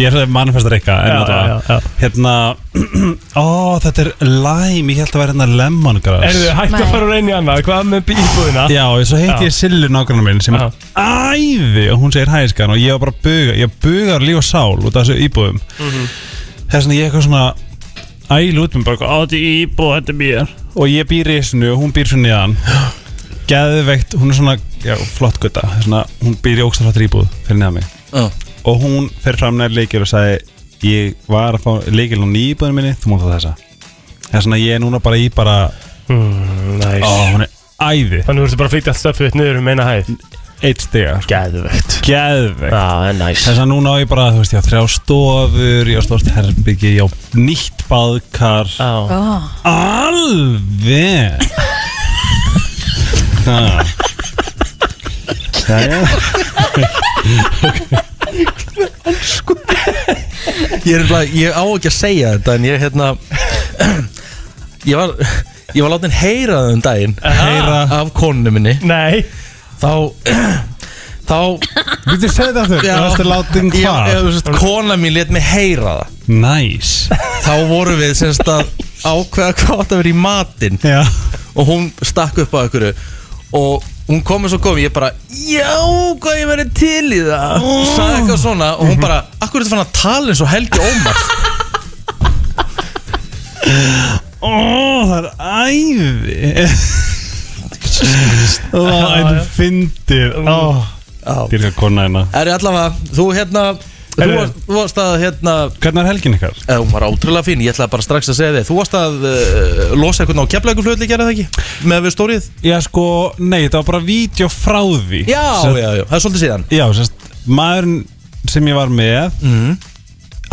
S8: Ég er að manifesta reyka
S3: Já, já, já.
S8: Hérna [CLEARS THROAT] Ó, þetta er lime, ég held að vera hérna lemongrass
S3: Erðu hægt að
S2: Nei.
S3: fara að reyna í annað, hvað með bí- íbúðina?
S8: Já, og svo
S3: Já.
S8: heiti ég Sillu nágrannar minn sem
S3: Já.
S8: er æði og hún segir hæskan og ég var bara að buga, ég bugar líf og sál út af þessu íbúðum
S3: Mhm.
S8: Þess vegna ég eitthvað svona æl út með bara eitthvað, á þetta er íbúð, þetta er mér og ég býr í þessinu og hún býr svo nýjan Geðveikt, hún er svona, já, flott gutta svona, hún býr í ógstaflættir íbúð fyrir neða mig
S4: Já.
S8: og hún fer fram nær leikir og sagði ég var að fá leikil á nýbúðinu minni, þú mátt það þessa Þess vegna ég er núna bara í bara,
S3: Mm,
S8: ó,
S3: nice.
S8: hún er æði
S3: Þannig þú ertu bara að flytja allt stöfið þitt niður um eina hæð
S8: eitt stiga
S3: Gæðvegt
S8: Geðvegt
S3: Já, en næs
S8: Þess að núna á ég bara, þú veist, ég á þrjá stofur Ég á stort herbyggi, ég á nýtt baðkar
S3: Já,
S2: oh.
S8: Alveg Ha. Jæja.
S1: ég, er, bara- ég á ekki að segja þetta En ég hérna [CLEARS THROAT] Ég var, ég var látin heyra það um daginn Heyra Af konunni minni
S3: Nei,
S1: Þá [CLEARS THROAT] Þá
S8: Viltu segja þetta aftur?
S1: Já.
S8: Það varstu látin
S1: ég, ég,
S8: hvað?
S1: þú veist, Kona mín let mig heyra það
S8: Næs
S1: Þá vorum við semst að ákveða hvað átt að vera í matinn
S8: Já
S1: og hún stakk upp á einhverju og hún kom eins og kom ég bara, já, hvað ég verið til í það oh. sagði eitthvað svona og hún bara, akkur er þetta fann að tala eins og Helgi [LAUGHS] Ómar
S8: Ó, það er [LAUGHS] æði Það er fyndið Ó, dýrka kona hérna
S1: er ég allavega, þú hérna þú
S3: Herru.
S1: varst, þú varst að hérna
S8: Hvernig er helgin ykkar?
S1: eða, hún var ótrúlega fín, ég ætlaði bara strax að segja þig þú varst að uh, losa eitthvað á keflækuflöðli gerði það ekki, með við stórið
S8: Já sko, nei, þetta var bara vídeo frá því
S1: já,
S8: Sem-
S1: já, já, það er svolítið síðan
S8: Já, sérst, maðurinn sem ég var með
S1: Mhm.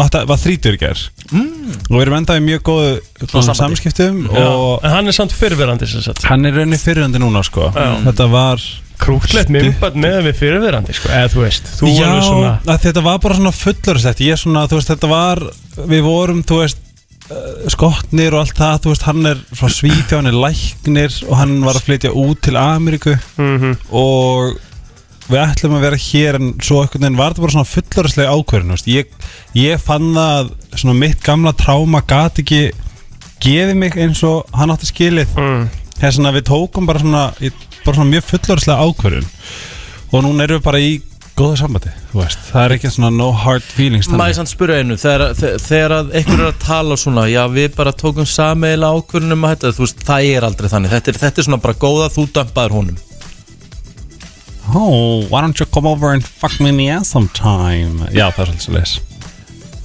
S8: átt að, var þrítur í gær mm. og við erum endað í mjög góðu svona,
S1: sambandi.
S8: samskiptum
S3: já.
S8: og
S3: en hann er samt fyrirverandi sem sagt
S8: hann er raunni fyriröndi núna sko þetta var
S3: Krúklegt
S8: Stutt.
S3: minnbætt með við fyrirverandi sko Eða þú veist, þú
S8: Já,
S3: voru svona
S8: að þetta var bara svona fullorðsett ég svona, þú veist, þetta var við vorum, þú veist eh, skotnir og allt það, þú veist, hann er frá Svíþjóð, hann er læknir og hann var að flytja út til Ameríku
S3: Mhm.
S8: og við ætlum að vera hér en svo einhvern veginn var þetta bara svona fullorðslega ákvörðin, þú veist, ég, ég fann það að svona mitt gamla tráma gat ekki gefið mig eins og hann átti skilið
S3: Mm.
S8: þess að við tókum bara svona, í- bara svona mjög fullorðslega ákvörðun og núna erum við bara í góðu sambandi þú veist. það er ekki svona no hard feelings þannig.
S1: maður sann spyrja einu, þegar, þe- þegar að einhver er að tala svona, já við bara tókum sameila ákvörunum að þetta, þú veist, það er aldrei þannig, þetta er, þetta er svona bara góða, þú dampaður honum
S8: oh, why don't you come over and fuck me in the ass sometime já, það er svolítið svo leis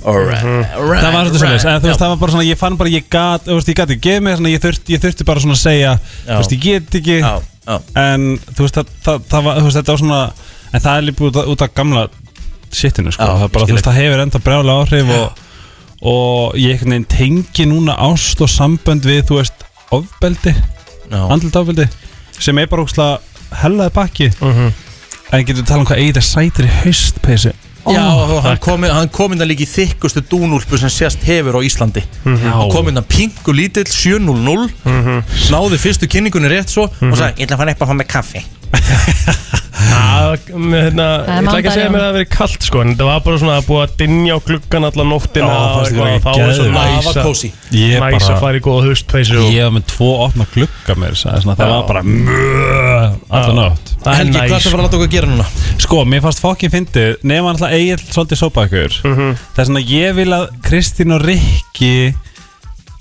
S1: alright, alright
S8: það var svolítið svo leis, þú veist, það var bara svona ég fann bara, ég gat, þú veist, ég gat ekki gefið mig svona, ég, þurft, ég þurfti bara svona að segja þú veist, ég get ekki
S1: já, já,
S8: en þú veist, það, það, það var, þú veist, þetta var svona en það er líka út, af- út af gamla shitinu, sko,
S1: Já,
S8: það, er bara,
S1: ég
S8: þú
S1: skil
S8: veist, það hefur enda brjála áhrif og, og ég einhvern veginn tengi núna ást og sambönd við, þú veist, ofbeldi,
S1: já,
S8: andlut ofbeldi sem er bara ógslag hellaði baki en getur við tala um hvað eigið er sætir í Oh, haustpeysu
S1: já og hann kom, hann kom innan líka í þykkustu dúnúlpu sem sérst hefur á Íslandi hann kom innan pingu lítill 700 náði fyrstu kynningunni rétt svo og sagði,
S4: Ég ætla að fara upp að fá með kaffi
S3: Já, með hérna,
S2: Það er
S3: ég ætla ekki að segja
S2: mandarín.
S3: mér að það verið kallt sko En þetta var bara svona að búa að dinja á gluggan allan nóttina
S8: Já,
S3: og
S8: fannst þér
S3: eitthvað,
S8: ekki
S3: Þá var svo
S8: geðveikt?
S1: það var
S3: næs að-
S1: kósi
S8: ég
S3: næs að
S8: bara
S3: fara í góða haustpeysu og-
S8: ég var með tvo opna glugga mér sagði, svona, það
S3: Já.
S8: var bara mjög allan átt
S3: uh, Það er
S1: Helgi, hvað er
S3: næs
S1: það að fara að láta okkur að gera núna?
S8: Sko, mér fannst fokkin fyndið Nefn alltaf Egil svolítið sópa ykkur
S3: Mhm.
S8: Það er svona ég vil að Kristín og Rikki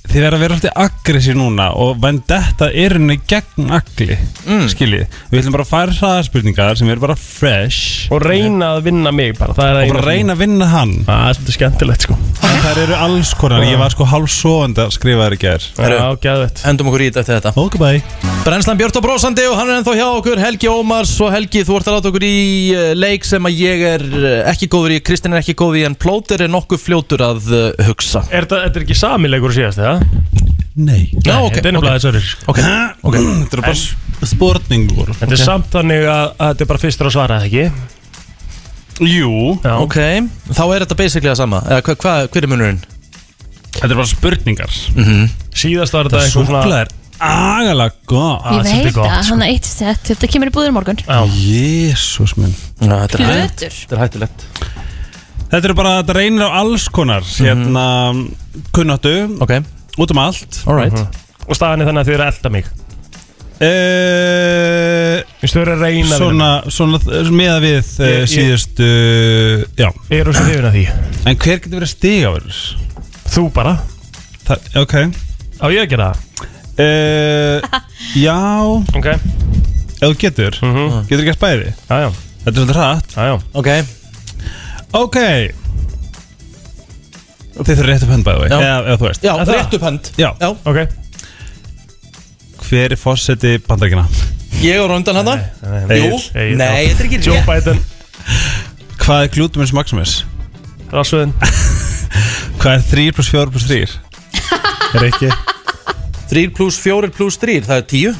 S8: Þið verða að vera alltaf agressi núna Og vendetta er henni gegn agli mm. Skiljið Við ætlum bara að færa hraðarspurningar Sem eru bara fresh
S3: Og reyna að vinna mig bara Það er
S8: Og bara reyna að vinna hann
S3: [LAUGHS] Það er svolítið skemmtilegt sko
S1: Hann
S8: þær eru alls konar Ég var sko hálfsofandi að skrifa þær í gær
S1: Herru.
S3: Já, gæðvett
S1: Endum okkur í þetta eftir þetta
S8: Ok, bye
S1: Brennslan Björn og Brósandi og hann er ennþá hjá okkur Helgi Ómars og Helgi, þú ert að láta okkur í eh, leik sem að ég er eh, ekki góður í Kristinn er ekki góður í en plóter er nokkuð fljótur að eh, hugsa
S3: Er þetta þetta er ekki sami leikur og síðast, eða?
S8: Nei
S1: Já,
S3: Nei, Þetta er nefnilega sko. þess aður
S1: ok, ok
S8: Þetta er bara s- spurning úr
S3: Þetta er samt þannig að, að þetta er bara fyrstur að svara, eða ekki?
S8: Jú
S3: Já
S1: Ok, þá er þetta basically það sama Eða hva, hva, hver er munurinn?
S8: Þetta er bara spurningar
S3: Síðast var þetta eitthvað
S8: Súkla er Mm. agalega gott
S3: Ah,
S2: Ég
S3: þetta er
S2: veit
S3: gott,
S2: að hann er eitt sett Þetta kemur í búður morgun
S3: Já,
S8: Jésús minn
S1: Ná, þetta er hægt
S2: Plötur
S1: Þetta er hættulegt
S8: Þetta er bara, þetta reynir á alls konar Hérna, kunnáttu
S1: Ok,
S8: Út um allt
S1: alright
S3: og staðan er þannig að þið eru að elda mig
S8: Eh,
S3: Þú veist, þau eru að reyna
S8: Svona, svona meða við
S3: Ég-
S8: uh,
S3: ég-
S8: síðustu Já
S3: Ég er svo hrifin að því
S8: En hver getur verið stigavörður?
S3: Þú bara
S8: Það, ok
S3: Á ég að gera það?
S8: uh, Já
S3: Ok
S8: Ef þú getur Getur ekki að spæði
S3: Já, já,
S8: Þetta er svolítið hratt
S3: já, já
S1: Ok,
S8: Ok Þið þurfum rétt upp hönd bæði
S1: Já.
S8: Eða, eða þú veist
S1: já,
S3: Er það?
S1: rétt upp hönd
S8: Já.
S1: já.
S3: Ok
S8: Hver er fórseti bandaríkina?
S1: Ég var á undan hann
S3: Nei,
S1: Jú,
S3: Egill, Egill,
S1: nei,
S3: já.
S1: þetta er ekki
S3: Joe
S1: rétt
S3: Biden
S8: Hvað er glútumins maximus?
S3: Rassvöðin
S8: Hvað er 3 pluss 4 pluss 3? Er ekki
S1: 3 pluss 4 pluss 3, það er 10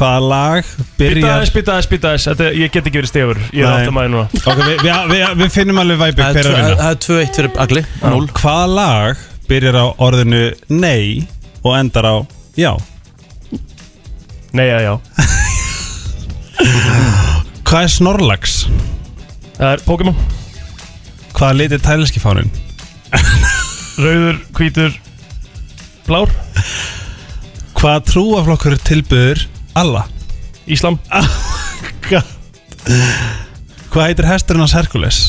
S8: Hvað lag
S3: Býta
S8: byrjar
S3: aðeins, býta aðeins, býta aðeins Þetta, ég get ekki verið stefur Ég er
S8: Nei.
S3: átt að maður núna
S8: Ok, við, við, við, við finnum alveg væpi
S1: Það
S8: hver er að
S1: er
S8: vinna
S1: 2-1 fyrir Agli
S8: Núll. Hvað lag byrjar á orðinu nei og endar á já?
S3: Nei, já, já
S8: Hvað er snorlags?
S3: Það er Pokémon
S8: Hvað litir tæliski fáninn?
S3: Rauður, hvítur, blár
S8: Hvað trúaflokkur tilbyður alla?
S3: Íslam
S8: Hvað heitir hesturinn hans Herkules?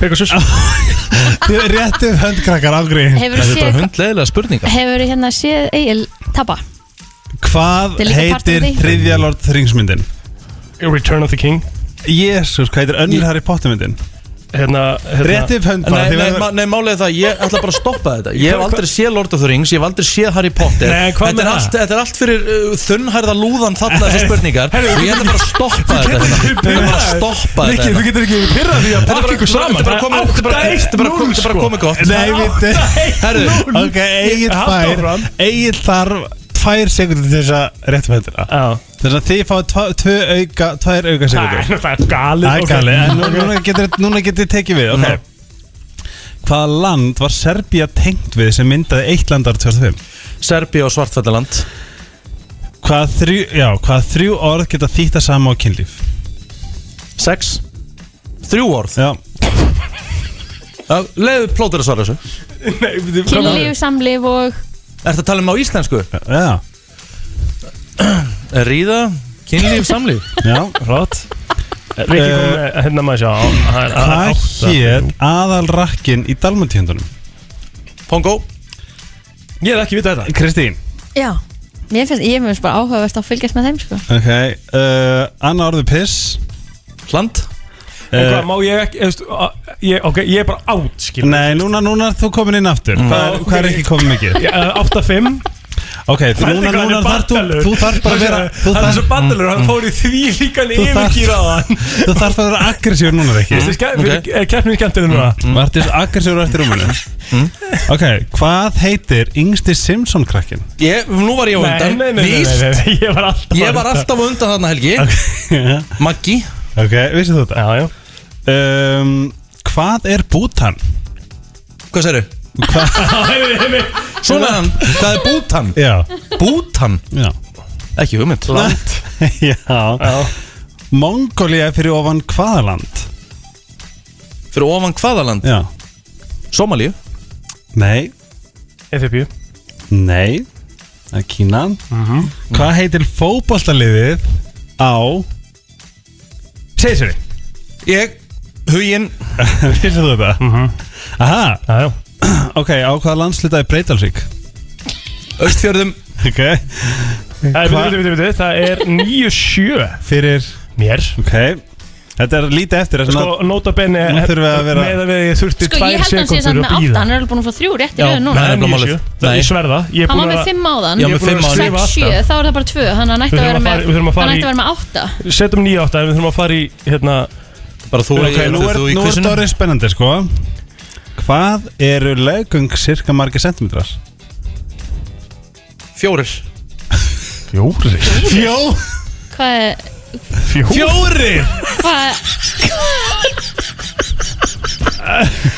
S3: Pegasus
S8: Þið er réttið höndkrakkar afgriðin
S2: Hefur þú
S1: Þetta er
S2: séð
S1: hundleðilega spurningar
S2: Hefur hérna séð Egil Tappa
S8: Hvað
S2: Þetta er líka partur af
S8: heitir
S2: því.
S8: þriðja lort þringsmyndin?
S3: Return of the King
S8: Jésús, hvað heitir önnur Harry Potter myndin?
S3: Hérna, hérna
S8: Réttið hönd bara
S1: Nei,
S8: þið
S1: nei,
S8: verður-
S1: ma- nei, málið er það, ég ætla bara að stoppa þetta Ég hef aldrei séð Lord of the Rings, ég hef aldrei séð Harry Potter
S3: Nei, hvað
S1: þetta,
S3: með
S1: er
S3: það?
S1: allt, þetta er allt fyrir uh, þunnhærða lúðan þarna þessar spurningar Og ég ætla bara að stoppa þetta hérna. Ég ætla bara að stoppa þetta
S8: Rikki,
S1: hérna.
S8: þú getur ekki pyrrað því
S1: Þetta
S8: að
S1: er bara-
S8: pakka ykkur saman
S1: Þetta er bara sko. komið- þetta er bara- þetta er bara komið- þetta er bara komið gott
S8: Nei, við
S1: Herru,
S8: [LAUGHS] Ok, Egil
S3: Haltu áfram.
S8: fær Egil þarf tvær sekundir til þess að réttum hendina
S3: Já
S8: Þess að þið fá tva- tvö auka tvær auka sekundir
S3: Nei, Það er galið ok.
S8: Ægali, en nú- núna getur núna getur þið tekið við,
S3: Já.
S8: ok Hvaða land var Serbía tengt við sem myndaði eitt landar 2005?
S1: Serbía og Svartfællaland
S8: Hvaða þrjú, já, hvaða þrjú orð geta þýtta sama á kynlíf?
S1: Sex Þrjú orð
S8: Já,
S1: Já, Leiðu plótur að svara þessu
S2: Kynlíf, samlíf og
S1: Er þetta að tala um á íslensku?
S8: já,
S1: Ríða, kynlíf, samlíf
S8: já [LAUGHS]
S3: Rátt Rikki kom með hérna maður sjá á- hann- hann-
S8: Eh, Hvað
S3: átta.
S8: hér aðal rakkin í Dalmatíundunum?
S1: Pongo
S3: Ég hef ekki vitað um þetta
S8: Kristín
S2: Já Mér finnst, ég finnst bara áhugavert að fylgjast með þeim sko
S8: Ok, uh, Anna orðu piss
S1: Land
S3: En
S8: Eh,
S3: hvað, má ég ekki, eðst, ég, ok, ég er bara Mm. átt, skil
S8: Nei, núna, núna er þú komin inn aftur hvað, er, hvað er ekki komin mikið?
S3: eh, Átta fimm
S8: Ok, þú, núna, núna þarf þú, þú þarf bara að vera Þú
S3: Hann er svo
S8: þarf,
S3: bandalur, hann fór í því líkan
S8: Þú Mm. þarf-
S3: yfirkýra á hann
S8: þú þarf að vera aggressífur núna ekki
S1: ok.
S3: Kjærnir kjæntir núna
S8: Mm. Vartis aggressífur eftir rúminu
S3: Mm.
S8: Ok, hvað heitir yngsti Simpson
S3: [LAUGHS]
S8: krakkin?
S1: Ég, nú var ég á
S3: Nei,
S1: undan
S3: nei, nei, nei,
S1: Víst.
S3: nei, nei, ég var alltaf
S1: Ég var alltaf á undan þarna Helgi
S8: ok,
S1: Maggi
S8: vissið þú þetta?
S3: Já, já
S8: Um, hvað er Bútan?
S1: Hvað segirðu? Svona er hann Það er Bútan
S8: Já,
S1: Bútan
S8: já
S1: Ekki hugmynd
S3: Land
S8: Já
S3: [LAUGHS] Já.
S8: Mongólia er fyrir ofan hvaða land?
S1: Fyrir ofan hvaða land?
S8: Já
S1: Somalíu
S8: Nei,
S3: Eþipju
S8: Nei, það er Kína Hvað heitir fótballtaliðið á [LAUGHS] Seyseri?
S1: Ég Huginn
S8: Vissið þú þetta? Aha,
S3: Já, já
S8: ok, á hvaða landslita er Breitalsvík?
S1: Östfjörðum
S8: Ok
S3: Það er-
S8: Hva-
S3: bíddu, bíddu, bíddu, bíddu, Það er 9-7
S8: Fyrir
S3: Mér
S8: Ok Þetta er lítið eftir þess
S3: Sko,
S8: að
S3: nota benni
S8: Nú þurfum við að vera-
S3: Með að við ég þurfti
S2: Sko ég
S3: tvær
S2: held að hann sé samt
S3: sekundur
S2: með
S3: að
S2: 8
S3: býða
S2: Hann er alveg búin að fá 3 rétt í
S1: Já,
S2: rauð
S1: það
S2: núna
S1: er
S3: En
S1: nefnilega
S3: ég
S1: málið.
S3: sjö.
S1: Nei.
S3: Ég sverða Ég er
S2: Hann var
S3: búin
S2: með
S3: að
S2: 5 áðan
S1: Já,
S3: Ég er
S1: með
S3: búin
S1: fimm
S3: að
S1: áður.
S3: skrifa
S2: 6, 7,
S3: alltaf
S2: þá er það bara 2 Þannig að hann ætti
S3: Við
S2: að vera
S3: þurfum að
S2: með
S3: fara- við þurfum að fara
S2: Hann
S3: í-
S2: ætti að vera með 8
S3: Setjum nýja átta En við þurfum að fara í Hérna
S1: Bara þú,
S3: Ok,
S1: í-
S8: Nú er,
S1: þú í
S8: nú er
S1: kvissinu
S8: þetta orðið spennandi sko Hvað eru legung cirka margir sentimetrar?
S1: Fjórir
S3: Fjóri
S8: Fjó
S2: Hvað er
S8: Fjóri
S2: Hvað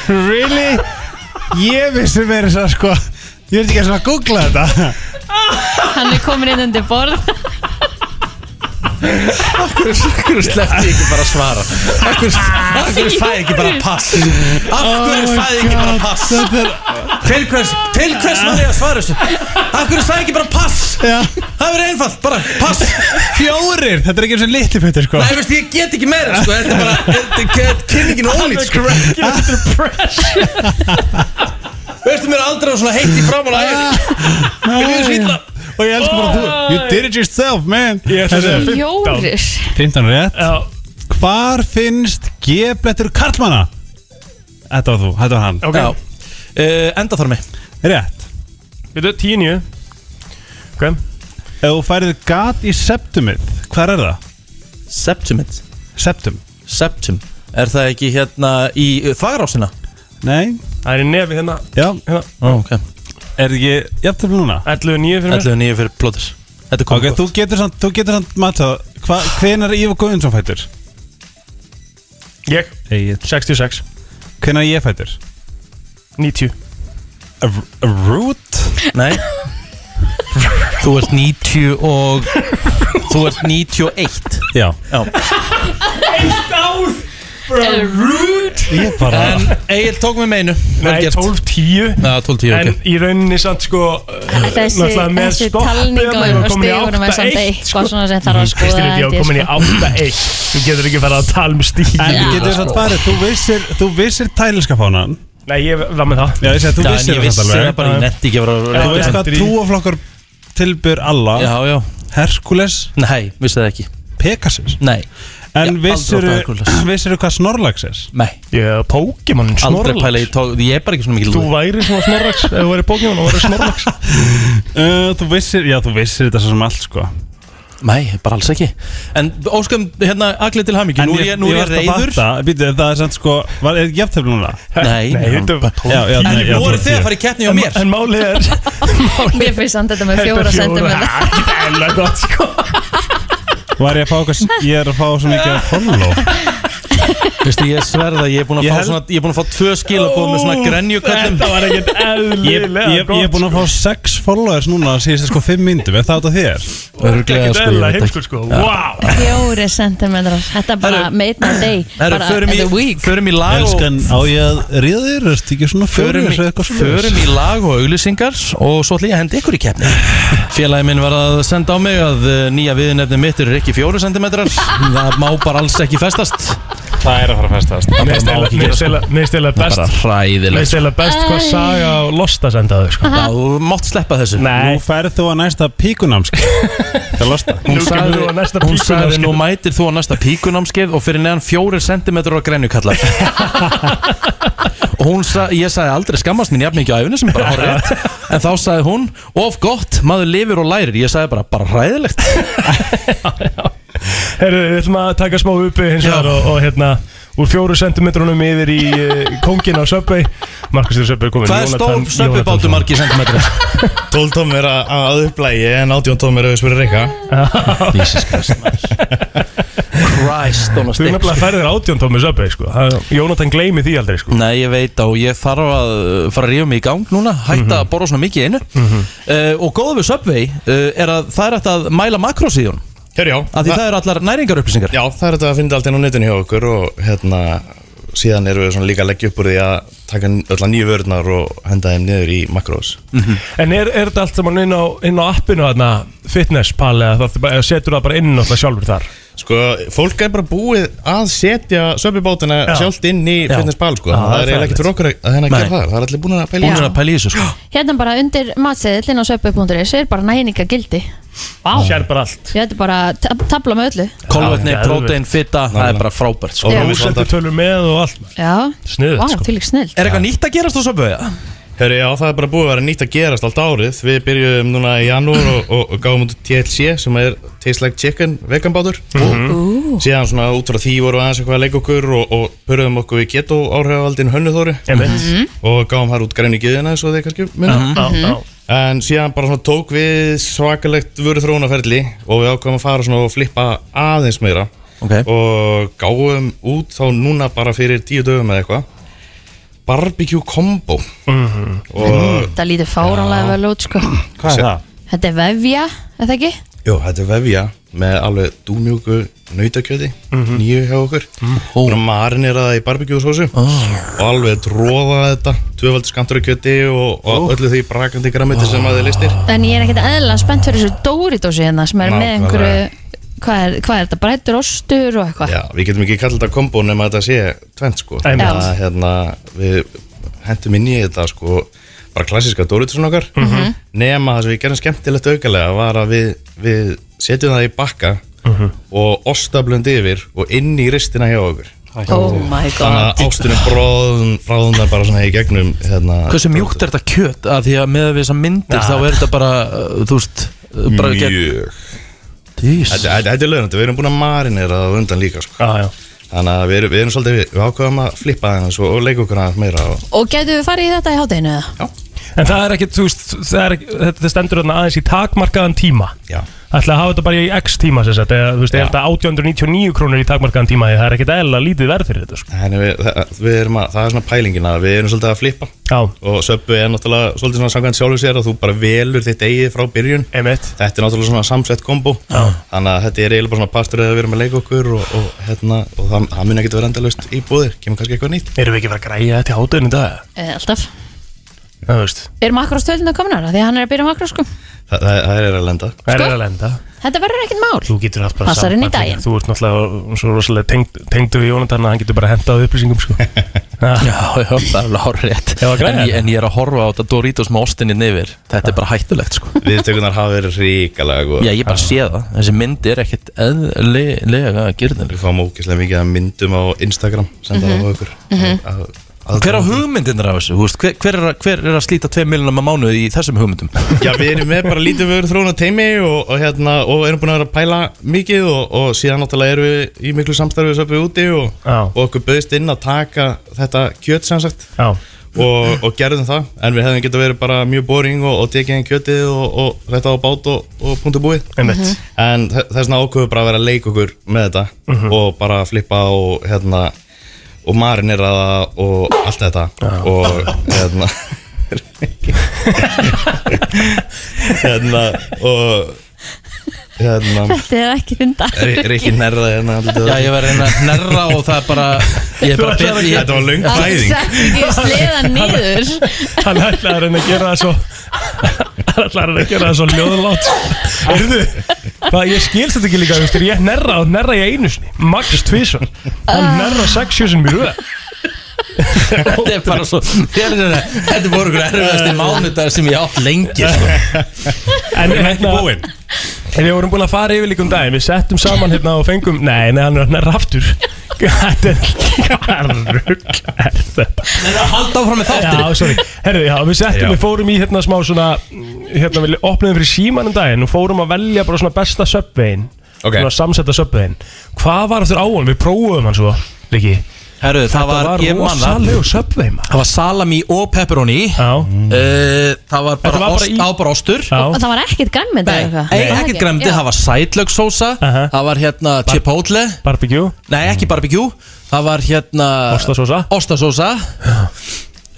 S8: Really? Ég vissi verið þess að sko Ég veit ekki að svona að googla þetta
S2: Hann er komin inn undir borð
S1: Akkur sleppti ég ekki bara að svara Akkur fæði ekki bara pass
S3: Oh
S1: Akkur fæði
S8: Oh
S1: ekki bara pass Til hvers Til hvers var ég að svara þessu Akkur fæði ekki bara pass Það verður einfalt, bara pass
S8: Fjórir, þetta er ekki eins og litli pötur sko
S1: Nei, veist, ég get ekki meira, sko Þetta er bara, þetta er kynningin ólít, sko Veistu mér er aldrei á svona heitt í framála
S8: Mér líður sýtla Og ég elsku bara þú You did it yourself man
S3: Ég ætla að segja fimm.
S2: Fjórir
S8: 15 rétt
S3: Já
S8: Hvar finnst gefblettur karlmanna? Þetta var þú, þetta var hann
S3: Ok
S1: Já Uh, enda þar með
S8: Rétt
S3: Við þau tíu nýju Ok
S8: Ef þú færið gat í septumið Hvar er það?
S1: Septumit
S8: Septum
S1: Septum Er það ekki hérna í uh, þvagrásina?
S8: Nei
S3: Það er í nefi hérna
S8: Já
S3: Hérna
S1: Ó, ok
S8: Er ég Jafnir núna
S3: 11 nýju fyrir mig
S1: 11 og 9 fyrir plóður Þetta er
S8: Ok,
S1: komið
S8: þú getur samt, þú getur samt matað Hva, Hvenær er Ívar Guðinsson fættur?
S3: Ég
S8: Egið
S3: 66
S8: Hvenær er ég fættur?
S3: 90
S8: A, a root?
S1: gott Nei Þú ert 90 og Þú ert 91
S8: Já
S1: Ég bara En Egil tók mig meinu Vel
S3: Nei,
S1: gert.
S3: 12 10
S1: Já, 12, 10,
S3: En
S1: ok
S3: í rauninni samt sko
S2: Þessi, þessi talningur og stegunum er samt eitthvað svona sem þarf að skoða
S3: Kristín er ég
S2: held
S3: að
S2: ég,
S3: komin í
S2: sko.
S3: 8-1 Þú getur ekki fara að tala um stíð
S8: En
S2: Já.
S8: þú getur samt farið, þú vissir, þú vissir tælinskapánan
S3: Nei, ég var með það
S8: Já, ég segi að þú
S1: Já, en
S8: vissir
S1: ég
S8: það
S1: vissi
S8: samt
S1: það
S8: alveg
S1: bara í netti ekki að vera
S8: Þú
S3: Já,
S8: veist hvað
S3: þetta er í-
S8: túaflokkur tilbyr alla
S1: Já, já
S8: Herkules,
S1: Nei, vissi það ekki
S8: Pegasus
S1: Nei
S8: En
S1: aldrei
S8: vissir
S1: átt
S8: [LAUGHS]
S1: Hercules.
S8: þú hvað Snorlax er?
S1: Nei
S3: Ég er Pokémon
S1: Aldrei pæla í
S3: Snorlax
S1: tók Ég er bara ekki svona mikil
S3: Þú væri svona Snorlax Ef þú væri Pokémon og væri Snorlax
S8: Uh, þú vissir, já þú vissir þetta svo sem allt sko
S1: Nei, bara alls ekki En óskum hérna Agli til hamingju Nú er ég, nú er ég reyður
S8: Býtu, það er samt sko, var, er jafntefni
S1: [LAUGHS]
S8: núna?
S1: Nei,
S3: Nei, þetta var
S8: Já, já,
S1: En
S8: nei,
S1: nú
S8: já, þú
S1: voru
S8: ert
S1: þið
S8: ég.
S1: að fara í keppni hjá mér
S3: En málið er
S2: Mér finnst samt þetta með
S3: Þetta er
S2: fjóra sentum
S3: Það er eða gott sko
S8: Var ég að fá eitthvað, ég er að fá svo mikið að
S1: [LAUGHS]
S8: follow
S1: Veistu, ég sverða Ég er búin að
S8: Ég
S1: fá
S8: held-
S1: svona Ég er búin að fá tvö skilabóð með svona grenjuköllum
S3: Þetta var ekkert
S8: Ég,
S3: eðlilega
S8: ég, ég er búin að
S1: sko.
S8: fá 6 followers núna síðast sko 5 myndum, er það út af þér?
S1: Örugglega, sko,
S3: Ekkert
S1: ég
S3: eðlilega
S1: veit
S3: heimskur sko Wow
S2: Fjóri sentimetrar Þetta er bara
S1: Herru-
S2: made my day
S1: Herru,
S2: bara
S1: förum
S2: in the
S1: í,
S2: week.
S1: förum í lag og
S8: Elskan, á ég að ríða þér, ertu ekki svona
S1: förum,
S8: fyrir
S1: í,
S8: þessu eitthvað
S1: förum í lag og auglýsingar og svo ætla ég að henda ykkur í keppni Félagi minn var að senda á mig að eh, nýja viðinefni mitt eru ekki fjóru sentimetrar það má bara alls ekki festast
S8: Það er að fara að festast
S1: það bara má ekki gera sko.
S3: Mér stila
S1: Það er
S3: best
S1: bara
S3: Mér
S1: hræðilegt
S3: stila best hvað saga og losta sendaði sko
S1: Já, þú mátt sleppa þessu
S8: Nú færð þú að næsta píkunámsk Það losta
S3: Nú
S1: Hún
S3: kemur
S1: sagði,
S3: þú á næsta
S1: hún sagði
S3: píkunámskeið.
S1: nú mætir þú á næsta píkunámskeið og fyrir neðan fjóru sentimetrar á grænu kallar og hún sagði, ég sagði aldrei skammast mín jafn mikið á æfinu sem bara horrið en þá sagði hún, of gott, maður lifir og lærir ég sagði bara, bara hræðilegt
S3: Herru, við ætlum að taka smá uppi hins vegar og, og hérna úr fjóru sentimetrunum yfir í uh, kongin á Subway Markus til Subway er komin
S1: Hvað er stór
S3: Jónatan-
S1: söpubátu
S3: Jónatan-
S1: margi sentimetri?
S9: 12 tómir að að upplægi en 18 tómir að spyrja reyka
S1: Jesus Christ Christ on a
S3: Þú er
S1: stick
S3: nefnilega að færa þér átjón tómið Subway sko Það- Jónatan gleymi því aldrei sko
S1: Nei, ég veit á, ég þarf að uh, fara að rífa mig í gang núna Hætta að borða svona mikið í einu uh, Og góða við Subway uh, er að það er hægt að mæla makrosíðun
S9: Hérjá,
S1: Af því það eru allar næringarupplýsingar
S9: Já, það er þetta að finna allt inn á netinu hjá okkur og hérna, síðan erum við svona líka að leggja upp úr því að taka öll nýju vörðnar og henda þeim niður í makrós
S3: En er, er þetta allt saman inn á, inn á appinu þarna fitnesspal eða það, eða setur það bara inn á það sjálfur þar
S9: Sko, fólk er bara búið að setja söpibótina
S3: Já.
S9: sjálft inn í
S1: Já.
S9: fitnesspal sko.
S1: Já,
S9: það,
S1: það er
S9: er eiginlega ekkert fyrir okkur að, að henni að
S1: Nei.
S9: gera það Það er allir búin að pæla í
S2: Já.
S1: Hún er að pæla í þessu sko
S2: Hérna bara undir matseðillin á söpu.is er bara næningagildi Vá,
S3: Sér bara allt
S2: þetta er bara ta- tabla með öllu
S1: Kolvetni,
S3: geðveikt.
S1: prótein, fitta, það er bara frábært sko
S9: Já.
S3: Og Rúsendu tölur með og allt
S2: Já,
S3: Sniðugt,
S2: vá,
S3: sko.
S2: því lík snill
S1: Er eitthvað nýtt að gerast á söpöðu?
S9: Hörru, já, það er bara búið að vera nýtt að gerast allt árið Við byrjuðum núna í janúar og, og, og gáum út TLC sem er Taste Like Chicken veganbátur Síðan svona út frá því vorum við aðeins eitthvað að leika okkur og, og purðum okkur við keto áhrifaldin hönnuþóri
S3: Einmitt
S9: og gáum hær út græni gjöðina eins og þið kannski minna
S3: Já, já
S9: En síðan bara svona tók við svakalegt vöru þróunaferli og við ákvæmum að fara svona og flippa aðeins meira
S1: Ok.
S9: og gáum út þá núna bara fyrir tíu dögum eða eitthvað Barbecue Combo og
S2: Þetta lítur fáránlega vel út, sko
S8: Hvað er það?
S2: Þetta er vefja, er það ekki?
S9: Jó, þetta er vefja með alveg dúmjúku nautakjöti, nýju hjá okkur og marinera það í barbecue sósu og alveg dróða þetta tvöfald skantur af kjöti og, og öllu því brakandi græmiti sem að þið listir
S2: En ég er ekkert eðlilega spennt fyrir þessu Doritósi hérna sem er með
S9: Nákvæmlega.
S2: einhverju Hvað er, hvað er þetta? Brættur ostur og eitthvað?
S9: Já, við getum ekki kallað þetta kombo nema þetta sé tvent sko
S3: Einmitt.
S9: Að, hérna, Við hendum inn í þetta sko bara klassiska Doritusson okkar nema það sem við gerum skemmtilegt aukalega var að við, við setjum það í bakka og ostablönd yfir og inn í ristina hjá okkur
S2: Oh my
S9: þannig
S2: god
S9: að ástunum bróðum bráðunar bara svona í gegnum hérna,
S1: Hversu mjúkt er þetta kjöt? Að því að með við þessar myndir þá er þetta bara, uh, þú veist uh, bara gegn-
S9: mjög
S1: Dís.
S9: Þetta þetta- þetta er lögnandi, við erum búin að marinera það á undan líka sko.
S3: Já, já
S9: þannig að við erum, við erum svolítið við, við ákveðum að flippa þennan og, og leika okkur aðeins meira og,
S2: Og getum við farið í þetta í hátæginu eða?
S3: En það er ekkert, þú veist, það er ekki, þetta stendur þarna aðeins í takmarkaðan tíma
S9: já
S3: Ætla að hafa þetta bara í x tíma sem sagt eða, Þú veist, ég held að 899 krónur í takmarkaðan tíma því Það er ekkert eðla lítið verð fyrir þetta sko.
S9: Þannig við, það, við erum að, það er svona pælingin að við erum svolítið að flippa
S3: Já,
S9: og söpbu er náttúrulega svolítið svona samkvæmt sjálfur sér að þú bara velur þitt eigið frá byrjun
S3: emitt
S9: Þetta er náttúrulega svona samsett kombo þannig að þetta er eiginlega bara svona partur að við erum að leika okkur og, og, hérna, og það, það mun ekkert vera endalaust í búðir, kemur kannski eitthvað nýtt
S3: Erum við ekki að fara að græja þetta í hátuðinu í dag? Sko?
S2: Eh, Alltaf
S3: Já, þú veist,
S2: Er makrostöldinu komnar? Því að hann er að byrja makros sko
S9: Þa, það, það er að lenda
S3: það er
S2: Sko?
S3: að lenda
S2: Þetta verður ekkert mál
S3: Þú getur haft bara
S2: Passar inn í
S3: samband við-
S2: daginn.
S3: Þú ert náttúrulega svo rosalega tengd, tengdur við Jónatan að hann getur bara hendað upplýsingum sko. Já,
S1: Já, já, það er alveg horrið
S3: Já, græja
S1: en, ég-
S3: þetta.
S1: en ég er að hérna. horfa á þetta Doritos með ostinni yfir Þetta er bara hættulegt sko
S9: Viðtökunar hafa verið ríkalega góð
S1: Já, ég bara sé það Þessi mynd er ekkit eðlega gyrnileg
S9: Við fáum ógeðslega mikið að myndum á Instagram senda það á okkur Að- að-
S1: Hver á hugmyndinir af þessu? þú veist? Hver, hver, er að, hver er að slíta 2 miljonum að mánuði í þessum hugmyndum?
S9: Já, við erum með bara lítið við erum þróna teimi og, og, hérna, og erum búin að vera að pæla mikið og, og síðan náttúrulega erum við í miklu samstarfið söpum við úti og,
S3: Já.
S9: og okkur bauðist inn að taka þetta kjöt sem sagt
S3: já,
S9: og, og gerðum það en við hefðum getað verið bara mjög boring og, og tekið einn kjötið og, og þetta á bát og, og punktu búið
S3: emitt
S9: en þe- þess vegna ákveðum við bara að vera að leika okkur með þetta
S1: Mhm.
S9: og bara flippa og hérna og marinera það og allt þetta og hérna hérna og hérna
S2: Þetta er ekki þinn dag
S9: er, er ekki nærða hérna
S1: Já,
S9: andlitið á þessu.
S1: ég var að reyna að nerra og það er bara Ég er bara
S3: ætlar að
S1: betri
S9: þetta var löng
S2: Alls
S9: fæðing
S2: ekki sleða niður
S3: [LAUGHS] Hann ætlaði að reyna að gera það svo Hann ætlaði að reyna að gera það svo ljóðlátt Erðu Hvað ég skilst þetta ekki líka þú veist, er Ég nerra og nerra ég einu sinni Magnus Tvísson Hann
S2: Ah.
S3: nerra sex sjössin mjög röð
S1: Þetta er bara svo Þetta voru ykkur erfiðasti mánudag sem ég átt lengi sko.
S3: En hérna búin. En við vorum búin að fara yfir líkum daginn Við settum saman hérna og fengum Nei, nei, hann er að nerra aftur [LAUGHS] Þetta er [LAUGHS] Hvað rugl er þetta?
S1: En að halda áfram með
S3: Já,
S1: þáttir
S3: sorry Herðu, já, við settum, við fórum í hérna smá svona Hérna, við opnaðum fyrir símanum daginn Og fórum að velja bara svona besta söpvegin
S9: Ok.
S3: Svona samsetta söpvegin Hvað var aftur á hann? Við prófuðum hann svo Liki
S1: Herru, það var, ég man það
S3: rosalegu söpvegin maður.
S1: Það var salami og pepperoni
S3: Já,
S1: uh, Það var bara,
S3: Þetta var bara
S1: ost,
S3: í-
S1: á bara ostur
S3: já
S2: Og það var ekkert græmið
S1: Nei, nei, ekkert græmdi, það var sætlökssósa
S3: Aha.
S1: Það var Mm. hérna chipotle
S3: Barbecue
S1: Nei, ekki barbecue Það var hérna
S3: Ostasósa?
S1: Ostasósa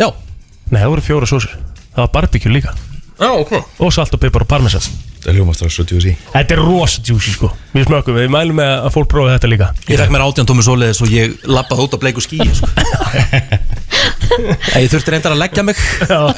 S1: Já
S3: Nei, það voru fjóra sósur Það var barbecue líka
S1: Já, ok
S3: Og salt og pipar og parmesan
S9: það hljóma strax svo djúsi
S3: Þetta er rosa juicy sko Við smökkum, við mælum með að fólk prófa þetta líka
S1: Ég fekk mér átján tómi svoleiðis og ég lappaði út á bleiku skíi [LAUGHS] sko. Ég þurfti reyndar að leggja mig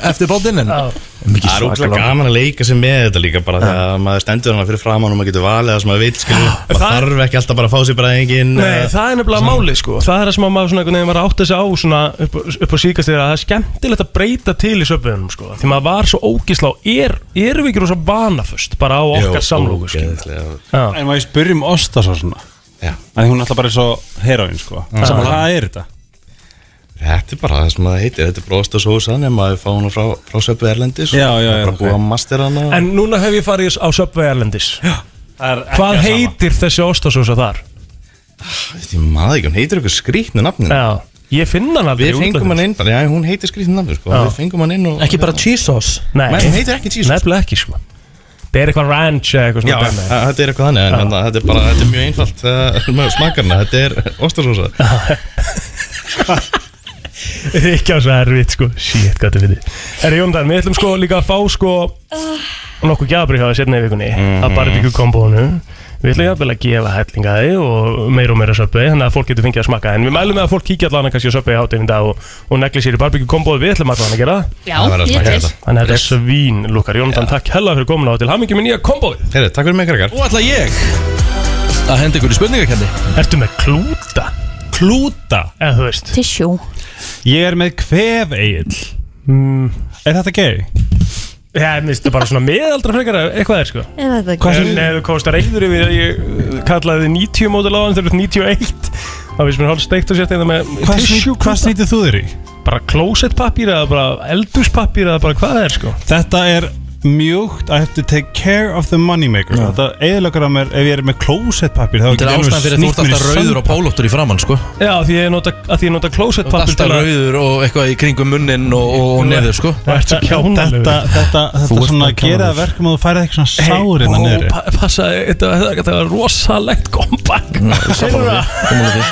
S1: eftir bátinn en,
S3: Já.
S9: Það er ógæslega gaman að leika sér með þetta líka bara þegar maður stendur hana fyrir framann og maður getur valið það sem maður veit skilur maður
S3: Það-
S9: þarf ekki alltaf bara að fá sér bara engin
S3: Nei, það er nefnilega máli sko Það er það sem að maður svona einhvern veginn var að átta sig á svona upp, upp á síkast þegar að það er skemmtilegt að breyta til í söpviðunum sko Því maður var svo ógísla og er, erum við ekki rosa vanafust bara á okkar samlóku sko Já,
S8: En maður spyrjum Osta svo svona
S9: Já.
S8: um Því hún er alltaf bara svo heroinn sko Saman hvað er þetta?
S9: Þetta er bara það sem maður heitir Þetta er bróðast og sósa en maður fá hana frá, frá söpvið erlendis
S8: Já,
S9: og
S8: já,
S9: bara
S8: já,
S9: búið
S8: ok.
S9: að master hana
S3: en núna hef ég farið á söpvið erlendis Hvað heitir þessi ostasósa þar?
S9: Þetta er maður ekki, hún heitir eitthvað skrýtnu nafnin
S3: Já, ég finn hann aldrei
S9: Við fengum hann inn, bara, já hún heitir skrýtnu nafnin sko.
S3: Já.
S9: Við fengum hann inn og
S4: Ekki bara cheese sauce
S3: Nei,
S9: Nei, hún heitir ekki cheese sauce.
S3: Nefnilega ekki sko Það er eitthvað ranch eða eitthvað
S9: Já,
S3: svona
S9: að-
S3: dæmi.
S9: að- þetta er eitthvað þannig, en hérna, þetta er bara, þetta er mjög einfalt uh, [LAUGHS] með smakarna, þetta er ostasósa
S3: Það er ekki á svo erfitt sko Shit, hvað þetta finnir Herri Jóndan, við ætlum sko líka að fá sko Nokkuð gjafbrið hjá það setna í vikunni
S8: Mhm.
S3: Að barbecue kombónu Við ætlum jafnvel að gefa hellingaði og meira og meira söpbi Þannig að fólk getur fengið að smakka En við mælum með að fólk kíkja allan að kannski á söpbi í hátinn í dag Og, og negli sér í barbecue kombóðu Við ætlum allan að gera það
S2: Já,
S9: Það verður
S2: ég er
S9: alltaf
S2: til
S9: að gera
S3: Þannig að þetta er svín, Lúkar Jóndan Takk hella fyrir komuna og til hamingjum í nýja kombóðu
S9: Heyrðu, takk fyrir mig krakkar
S1: Nú ætla ég að henda ykkur í spurningakenni
S3: Ertu með klúta?
S8: Klúta
S3: Eða þú veist
S2: Tissjú
S8: Ég er með kvef eigill
S3: mm,
S8: Er þetta gay?
S3: Já, mér finnst þetta bara svona miðaldra frekar ef eitthvað er sko
S2: Eða það ekki
S8: Hvað
S3: En ef þú komst að reyður yfir að ég uh, kallaði þið 90 mótil á hann þegar þú ert 91 þá finnst mér hálf steikt og sért þetta með
S8: Hvað
S3: tissue
S8: snýt- Hvað snýtið þú þér í?
S3: bara klósettpapír eða bara eldúspapír eða bara hvað það er sko
S8: Þetta er mjúkt I have to take care of the moneymaker Þetta eiginlega mér ef ég er með closetpapir
S1: Þetta
S8: Þetta
S1: er ástæðan fyrir að þú ert alltaf rauður og pálóttur í framann sko Þú
S3: Já, því ég nota, að því ég nota
S1: ert
S3: klósettpapír
S1: alltaf rauður og eitthvað í kringum munnin og, og, og neður sko
S3: Það er svo kjánalegur
S8: Þetta, þetta,
S1: Þú
S8: þetta
S1: ert
S8: svona
S1: bara
S8: gera
S1: kjánaður.
S8: verkum að þú færið eitthvað svona sár innan niður
S3: pa Passa, þetta var- þetta var rosalegt kompakt
S1: Sammála því, sammála því,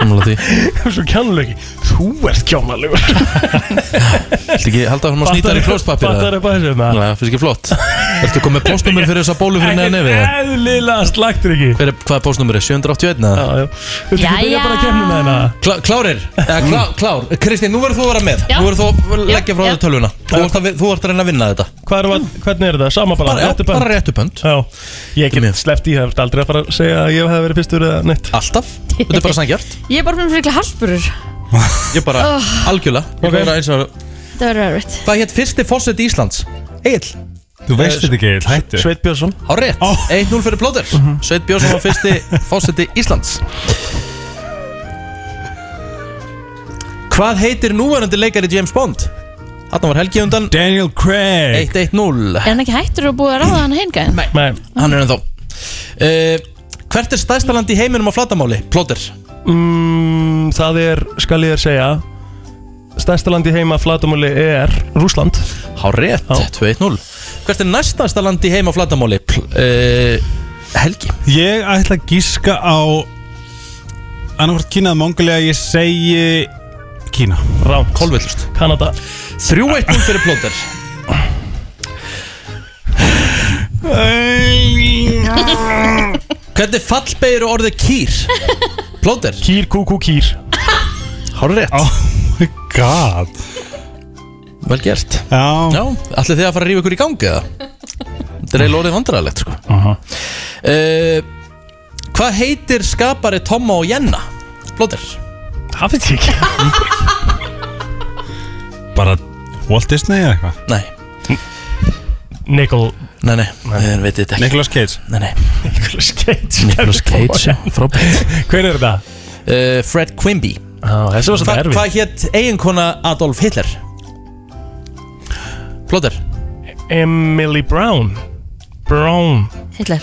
S1: sammála því
S3: Svo kjánalegi Þú ert kjánalegur
S1: Þetta ekki halda hún að snýta þér í klóspapir
S3: Fattar
S1: Það
S3: þau bara þessu maður?
S1: finnst ekki flott Ertu komið postnumur fyrir þessa bólu fyrir neða nefið eða?
S3: Ekkert eðlilega slagt ekki
S1: Hver er, hvað er postnumur er? 781 eða?
S3: Já, já Þú ert ekki að byrja
S2: Jæja.
S3: bara að kemna með hana
S1: Klá, klárir, eða klá,
S3: Mm.
S1: klár Kristín, nú verður þú að vera með
S2: Já.
S1: Nú verður þú að leggja frá
S2: Já,
S1: þér tölvuna Þú ert að, þú ert að reyna að vinna þetta
S3: Hvað er, mm. hvernig er þetta? Sama bara,
S1: Bara, já,
S3: réttu bönd?
S1: bara réttu pönd
S3: Já, ég
S1: Mér.
S3: get sleppt í það, það er aldrei að fara að segja að ég hef verið fyrstur eða neitt
S2: [LAUGHS]
S1: Alltaf, þetta er bara sangjart
S2: Ég er bara fyrir fyrir harspurur
S1: Ég bara,
S2: Ah.
S1: algjörlega Ég
S3: Ok.
S1: bara eins og-
S2: Það verður erfitt
S1: Hvað hétt fyrsti fósett Íslands? Egil
S8: Þú veist þetta ekki, Egill, hættu
S3: Sveit Björnsson
S1: Á rétt, 1-0 fyrir plóður Sveit Björnsson var fyrsti fósetti Íslands Hvað heitir núverandi leikari James Bond? Þarna var Helgi undan
S8: Daniel Craig
S1: 1-1-0
S2: Er hann ekki hættur að búið að ráða hann hengæðin?
S3: Nei,
S1: Hann er ennþá uh, Hvert er stærsta land í heiminum á flatamáli? Plóður
S3: mm, það er, skal ég þér segja Stærsta land í heima flatumöli er Rúsland
S1: Há rétt, 2-1-0 Hvert er næstasta land í heim á flatamáli? Uh, Helgi
S8: Ég ætla að gíska á annarkvort Kína að Mongolia ég segi Kína
S3: Rámt,
S1: Kolvillust
S3: Kanada
S1: 3-1-0 fyrir plóður Hvernig fallbegir orðið kýr? Plóður
S3: Kýr, kúkú, kýr
S1: Há rétt
S8: Oh my god
S1: Vel gert
S8: Já,
S1: Já, allir þið að fara að rífa ykkur í gangi eða? Þetta er eiginlega orðið vandræðalegt sko uh Hvað heitir skapari Tomma og Jenna? Blóður
S3: Það finnst ég ekki
S8: bara Walt Disney eða eitthvað
S1: Nei,
S3: Nicol
S1: nei, nei, þið veitir þetta ekki
S8: Nicolas Cage
S1: Nei, nei,
S3: Nicolas Cage
S1: Nicolas Cage, já, frábært
S3: Hver er þetta?
S1: uh, Fred Quimby
S3: Já, þessi var
S1: Hva,
S3: svolítið erfið
S1: Hvað hétt eiginkona Adolf Hitler? Blóður
S3: Emily Brown Brown
S2: Hitler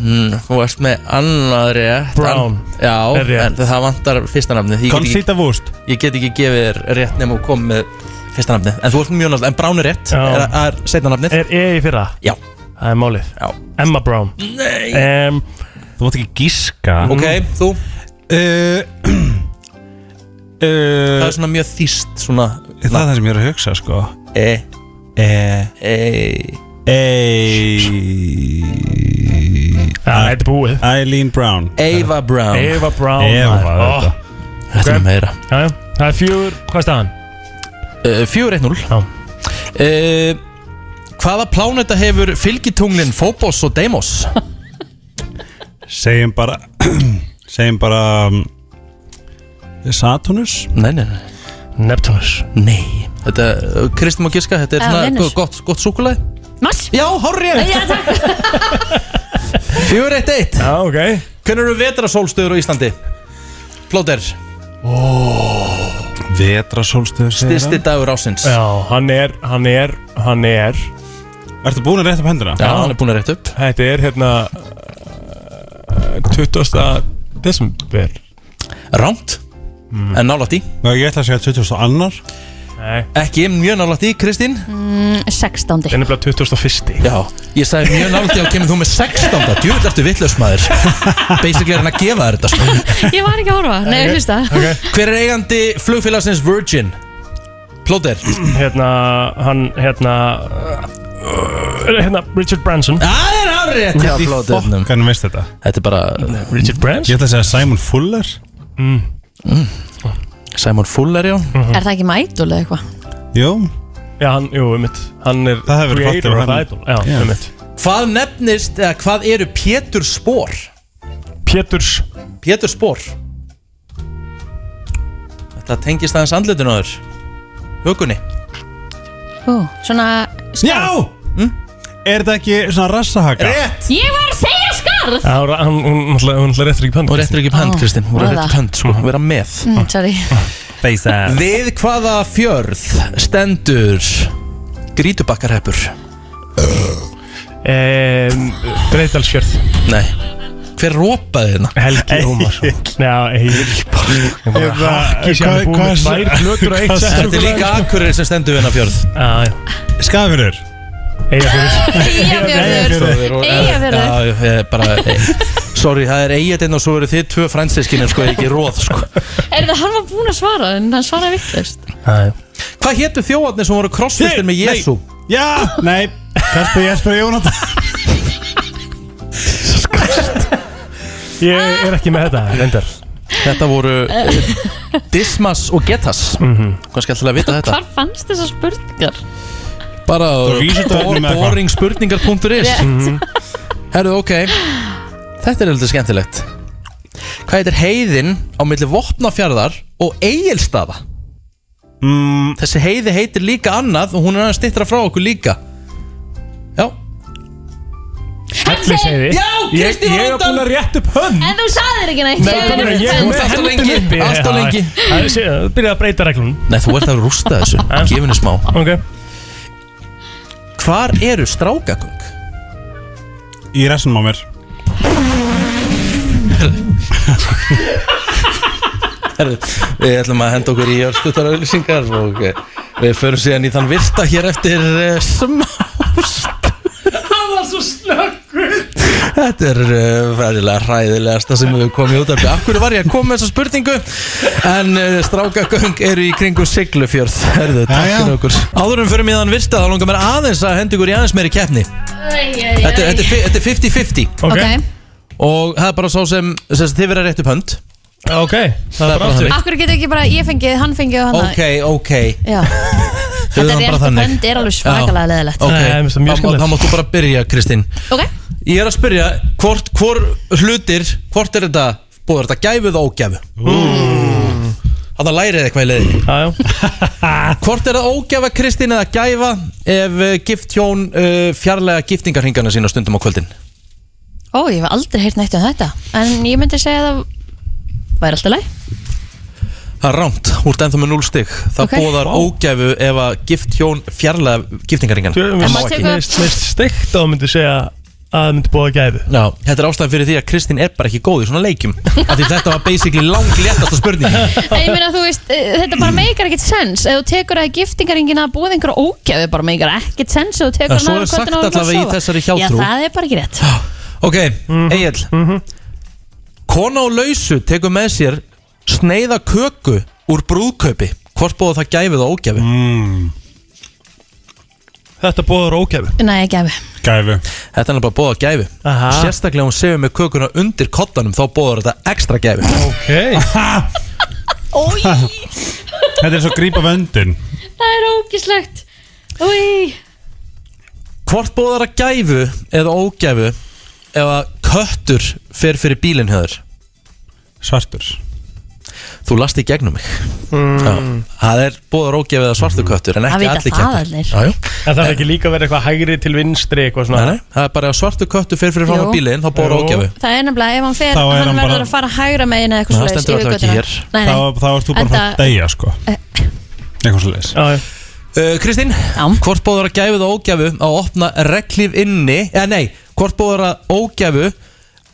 S1: mm, Þú ert með annað rétt
S3: Brown.
S1: Já,
S3: Er rétt.
S1: en það vantar fyrsta nafni Ég get ekki,
S8: Conchita Wurst
S1: ég get ekki gefið þér rétt nema að koma með fyrsta nafni En þú ert mjög náttúrulega, en Brown er rétt
S3: Já. Eh.
S1: Er, er setna nafnið
S3: Er ég í fyrra?
S1: Já.
S3: Það er málið
S1: Já.
S3: Emma Brown
S1: Nei
S3: um,
S8: Þú mátt ekki gíska
S1: Ok,
S3: Mm.
S1: þú,
S8: [CLEARS THROAT] uh,
S1: það
S3: Eh.
S8: uh,
S1: er svona mjög þýst svona
S8: Það er það sem ég er að hugsa sko
S1: e,
S8: e,
S3: Eh.
S1: e,
S8: e,
S3: Það er búið
S8: Eileen Brown
S1: Eva Brown
S3: Eva Brown
S8: Eva,
S3: maður.
S8: þetta.
S3: Ó,
S1: Þetta er meira Eh,
S3: Já, já, það er fjúr, hvað er staðan?
S1: uh, 4-1-0
S3: Já.
S1: uh, Hvaða pláneta hefur fylgitunglin Phobos og Deimos?
S8: Segjum bara [CLEARS THROAT] Segjum bara um, Saturnus
S1: Nei, nei, nei
S3: Neptunus
S1: Nei Þetta, uh, Kristi má giska, þetta er
S2: Eða
S1: svona
S2: Venus.
S1: gott, gott, gott súkulæði
S2: Mars
S1: Já, horrið
S2: Já, takk
S1: 4-1-1
S3: Já, ok
S1: Hvernig eru vetrasólstöður á Íslandi? Plóter,
S8: Vetrasólstöður segir
S1: styrsti dagur ásins
S3: Já, hann er, hann er, hann er
S8: það Ertu búin að rétta upp hendina?
S1: Já, hann er búin að rétt upp
S3: Þetta er hérna uh, 20. desember
S1: Rámt, en nálætt í
S8: Já, ég ætla að segja 2002
S3: Nei,
S1: Ekki mjög nálætt í, Kristín
S2: 16.
S3: þetta er nefnilega 2001
S1: Mm. Já, ég sagði mjög nálægt í og kemur þú með 16. Djúvill ertu vitlaus [LAUGHS] maður Basically er hann að gefa þér þetta sko.
S2: Ég var ekki að horfa, nei, ég hlusta
S1: Hver er eigandi flugfélagsins Virgin? Plóter
S3: Hérna, hann, hérna uh, Hérna, Richard Branson
S1: Það er árið hjá Plóternum
S8: Hvernig veist þetta?
S1: Þetta er bara
S3: Richard Branson?
S8: Ég ætla að segja Simon Fuller
S1: Simon Fuller, já
S2: Er það ekki mætul eða eitthvað?
S8: Jó
S3: Já, hann, jú, um mitt Hann er
S8: Það hefur verið
S3: creator
S8: flott ef
S3: of
S8: hann-
S3: Idol Já,
S8: Já.
S3: um mitt
S1: Hvað nefnist, eða hvað eru Pétur Spór?
S3: Péturs
S1: Pétur Spór Þetta tengist aðeins andlutinu á þér Hugunni
S2: Ó, svona
S8: Já! Er þetta ekki svona rassahaka?
S1: Rétt
S2: Ég var að segja skarð
S3: Já, hún, hún, hún, hún, hún ætla réttir ekki pönd
S1: Og réttir ekki upp hönd,
S2: Ó,
S1: Kristinn Þú
S2: var
S1: réttir upp
S2: það?
S1: hönd, sko, vera með
S2: mm, Sorry
S8: Face ass
S1: Við hvaða fjörð stendur Grítubakkarheppur?
S3: um, Breiðdalsfjörð
S1: Nei Hver rópaði hérna?
S3: Helgi Ómarsson Já, Egil Hakki sem er
S8: Hvað-
S3: búið
S8: hvað-
S3: með tvær plötur og eitt
S8: hvað-
S3: sett
S1: Þetta er líka akkurir sem stendur við hérna fjörð
S3: Já, já
S8: Skafurur
S2: [LAUGHS]
S3: Eyjafjörður
S2: Eyjafjörður Eyjafjörður
S1: Já, ég er bara eh, Sorry, það er eigið einn og svo eru þið tvö fransiskinir sko, ekki róð sko.
S2: Er það hann var búinn að svara en hann svaraði vittlust
S1: Hvað hétu þjóðarnir sem voru krossfistir með Jésu? [LAUGHS]
S8: Já, nei Kasper Jesper Jónatan
S3: Ég er ekki með þetta Vendar
S1: Þetta voru eh, Dismas og Getas Hvað skal til að vita þetta?
S2: Hvar fannst þessar spurningar?
S1: Bara
S8: Það er vísindavefnum eða hvað?
S1: boringspurningar.is
S2: Rétt
S1: Mhm. Herðu, ok Þetta er heldur skemmtilegt Hvað heitir heiðin á milli Vopnafjarðar og Egilstaða?
S8: mm,
S1: Þessi heiði heitir líka annað og hún er aðeins stittra frá okkur líka Já,
S3: Helliseiði
S1: Já, Kristín var
S3: Ég er búin
S1: undan.
S3: að rétt upp hönd
S2: En þú sagðir ekki neitt
S3: Ég er búin að- ég
S1: Þú
S3: er með
S1: ert alltaf
S3: höndina
S1: lengi,
S3: uppi.
S1: alltaf
S3: Já,
S1: lengi.
S3: já, já, sé- uh, Byrjaði að breyta reglunum
S1: nei þú ert að rústa þessu Gefinni smá
S3: Ok
S1: Hvar eru strákagöng?
S8: Í rassinum á mér
S1: Herðu, við ætlum að henda okkur í örstutarauðlýsingar og eh, við förum síðan í þann virta hér eftir uh, smást Þetta er uh, verðilega hræðilegasta sem við komum í útarpi Af hverju var ég að koma með þessa spurningu En uh, strákagöng eru í kringum siglufjörð Herðu,
S8: já.
S1: takkin okkur Áðurum fyrir mig þann virta þá langar mér aðeins að henda ykkur í aðeins meiri keppni Þetta er- þetta er fi- þetta er 50-50
S3: Ok
S2: Ok,
S1: Og það er bara sá sem, sem sagt, þið verða rétt upp hönd
S3: Ok Það er bara aftur
S2: akkur getur ekki bara ég fengið, hann fengið og hann
S1: Ok, ok
S2: Já,
S1: höfum
S2: þetta
S1: það
S2: er
S1: bara
S2: rétt
S1: þannig.
S2: bend er alveg svakalega leðilegt
S1: Ok,
S3: Nei, mér finnst það mjög
S1: þá-
S3: skemmtilegt.
S1: þá máttu bara byrja Kristín
S2: Ok,
S1: Ég er að spyrja, hvort, hvor hlutir, hvort er þetta, búið er þetta gæfu eða ógæfu?
S2: Mm.
S1: Þannig að lærið eitthvað í leiðinni
S2: [LAUGHS]
S3: Já, já
S1: Hvort er það ógæfa Kristín eða gæfa ef uh, gift hjón uh, fjarlæga giftingarhingana sína stundum á kvöldin?
S2: ó ég hef aldrei heyrt neitt um þetta En ég myndi segja að það væri alltaf leið
S1: Það er rámt, úr ennþá með 0 stig Það
S2: Ok.
S1: okay. bóðar ógæfu ef að gift hjón fjarlæga giftingarhingana
S3: Mér
S2: maður tekur-
S3: finnst- mér finnst steikt á að myndi segja að það myndi búa að gæfu
S1: Já, þetta er ástæðan fyrir því að Kristín er bara ekki góð í svona leikjum Af Því þetta var basically langléttasta
S2: [LAUGHS]
S1: spurningin
S2: Nei, Ég meina, þú veist, eh, þetta bara meikar ekkert sens Ef þú tekur að giftingaringina að búið einhverja ógæfi bara meikar ekkert sens Ef þú tekur
S1: En svo
S2: hana
S1: er
S2: um kvöldin
S1: sagt
S2: áður en þú
S1: allavega í
S2: sofa.
S1: þessari
S2: Já,
S1: hjátrú.
S2: það er bara ekki rétt
S1: Ok,
S3: Mhm.
S1: Egil Kona á lausu tekur með sér sneiða köku úr brúðkaupi Hvort búið það gæfið og ógæfi?
S3: Mm. Þetta búaður ógæfu
S2: Nei, gæfi
S8: Gæfu
S1: Þetta er bara búið að gæfi
S3: Aha.
S1: Sérstaklega hún sefur með kökuna undir kottanum þá búið þetta ekstra gæfi
S3: Ok
S8: Þetta er svo grípa vöndin
S2: Það er ógislegt Új,
S1: Hvort bóðar að gæfu eða ógæfu ef að köttur fer fyrir bílinn höður?
S8: Svartur
S1: Þú last í gegnum mig mm. Það er bóðar ógæfu eða svartur köttur en
S2: Það
S1: ekki
S2: vita
S1: allir
S2: það
S1: kettir.
S2: allir.
S1: Já, já.
S3: En það er ekki líka verið eitthvað hægri til vinstri eitthvað svona
S1: Nei, nei, það er bara að svartur köttur fer fyrir fram
S2: Jú.
S1: á bílinn þá bóðar
S3: Jú.
S1: ógæfu
S2: það er nefnilega ef hann fer,
S8: Þá er
S2: hann
S8: hann
S2: verður
S8: bara-
S2: að fara hægra megin eða eitthvað
S1: Það
S2: svoleiðis
S1: stendur
S2: yfir
S1: alltaf ekki
S2: götuna.
S1: hér.
S2: Nei,
S8: Þá,
S2: nei,
S8: þá erst þú bara að fara
S2: Enda-
S8: að deyja sko Eitthvað svo leiðis
S3: Já, já.
S1: Uh, Kristín, hvort bóður að gæfu það ógæfu að opna reglíf inni eða nei, hvort bóður að ógæfu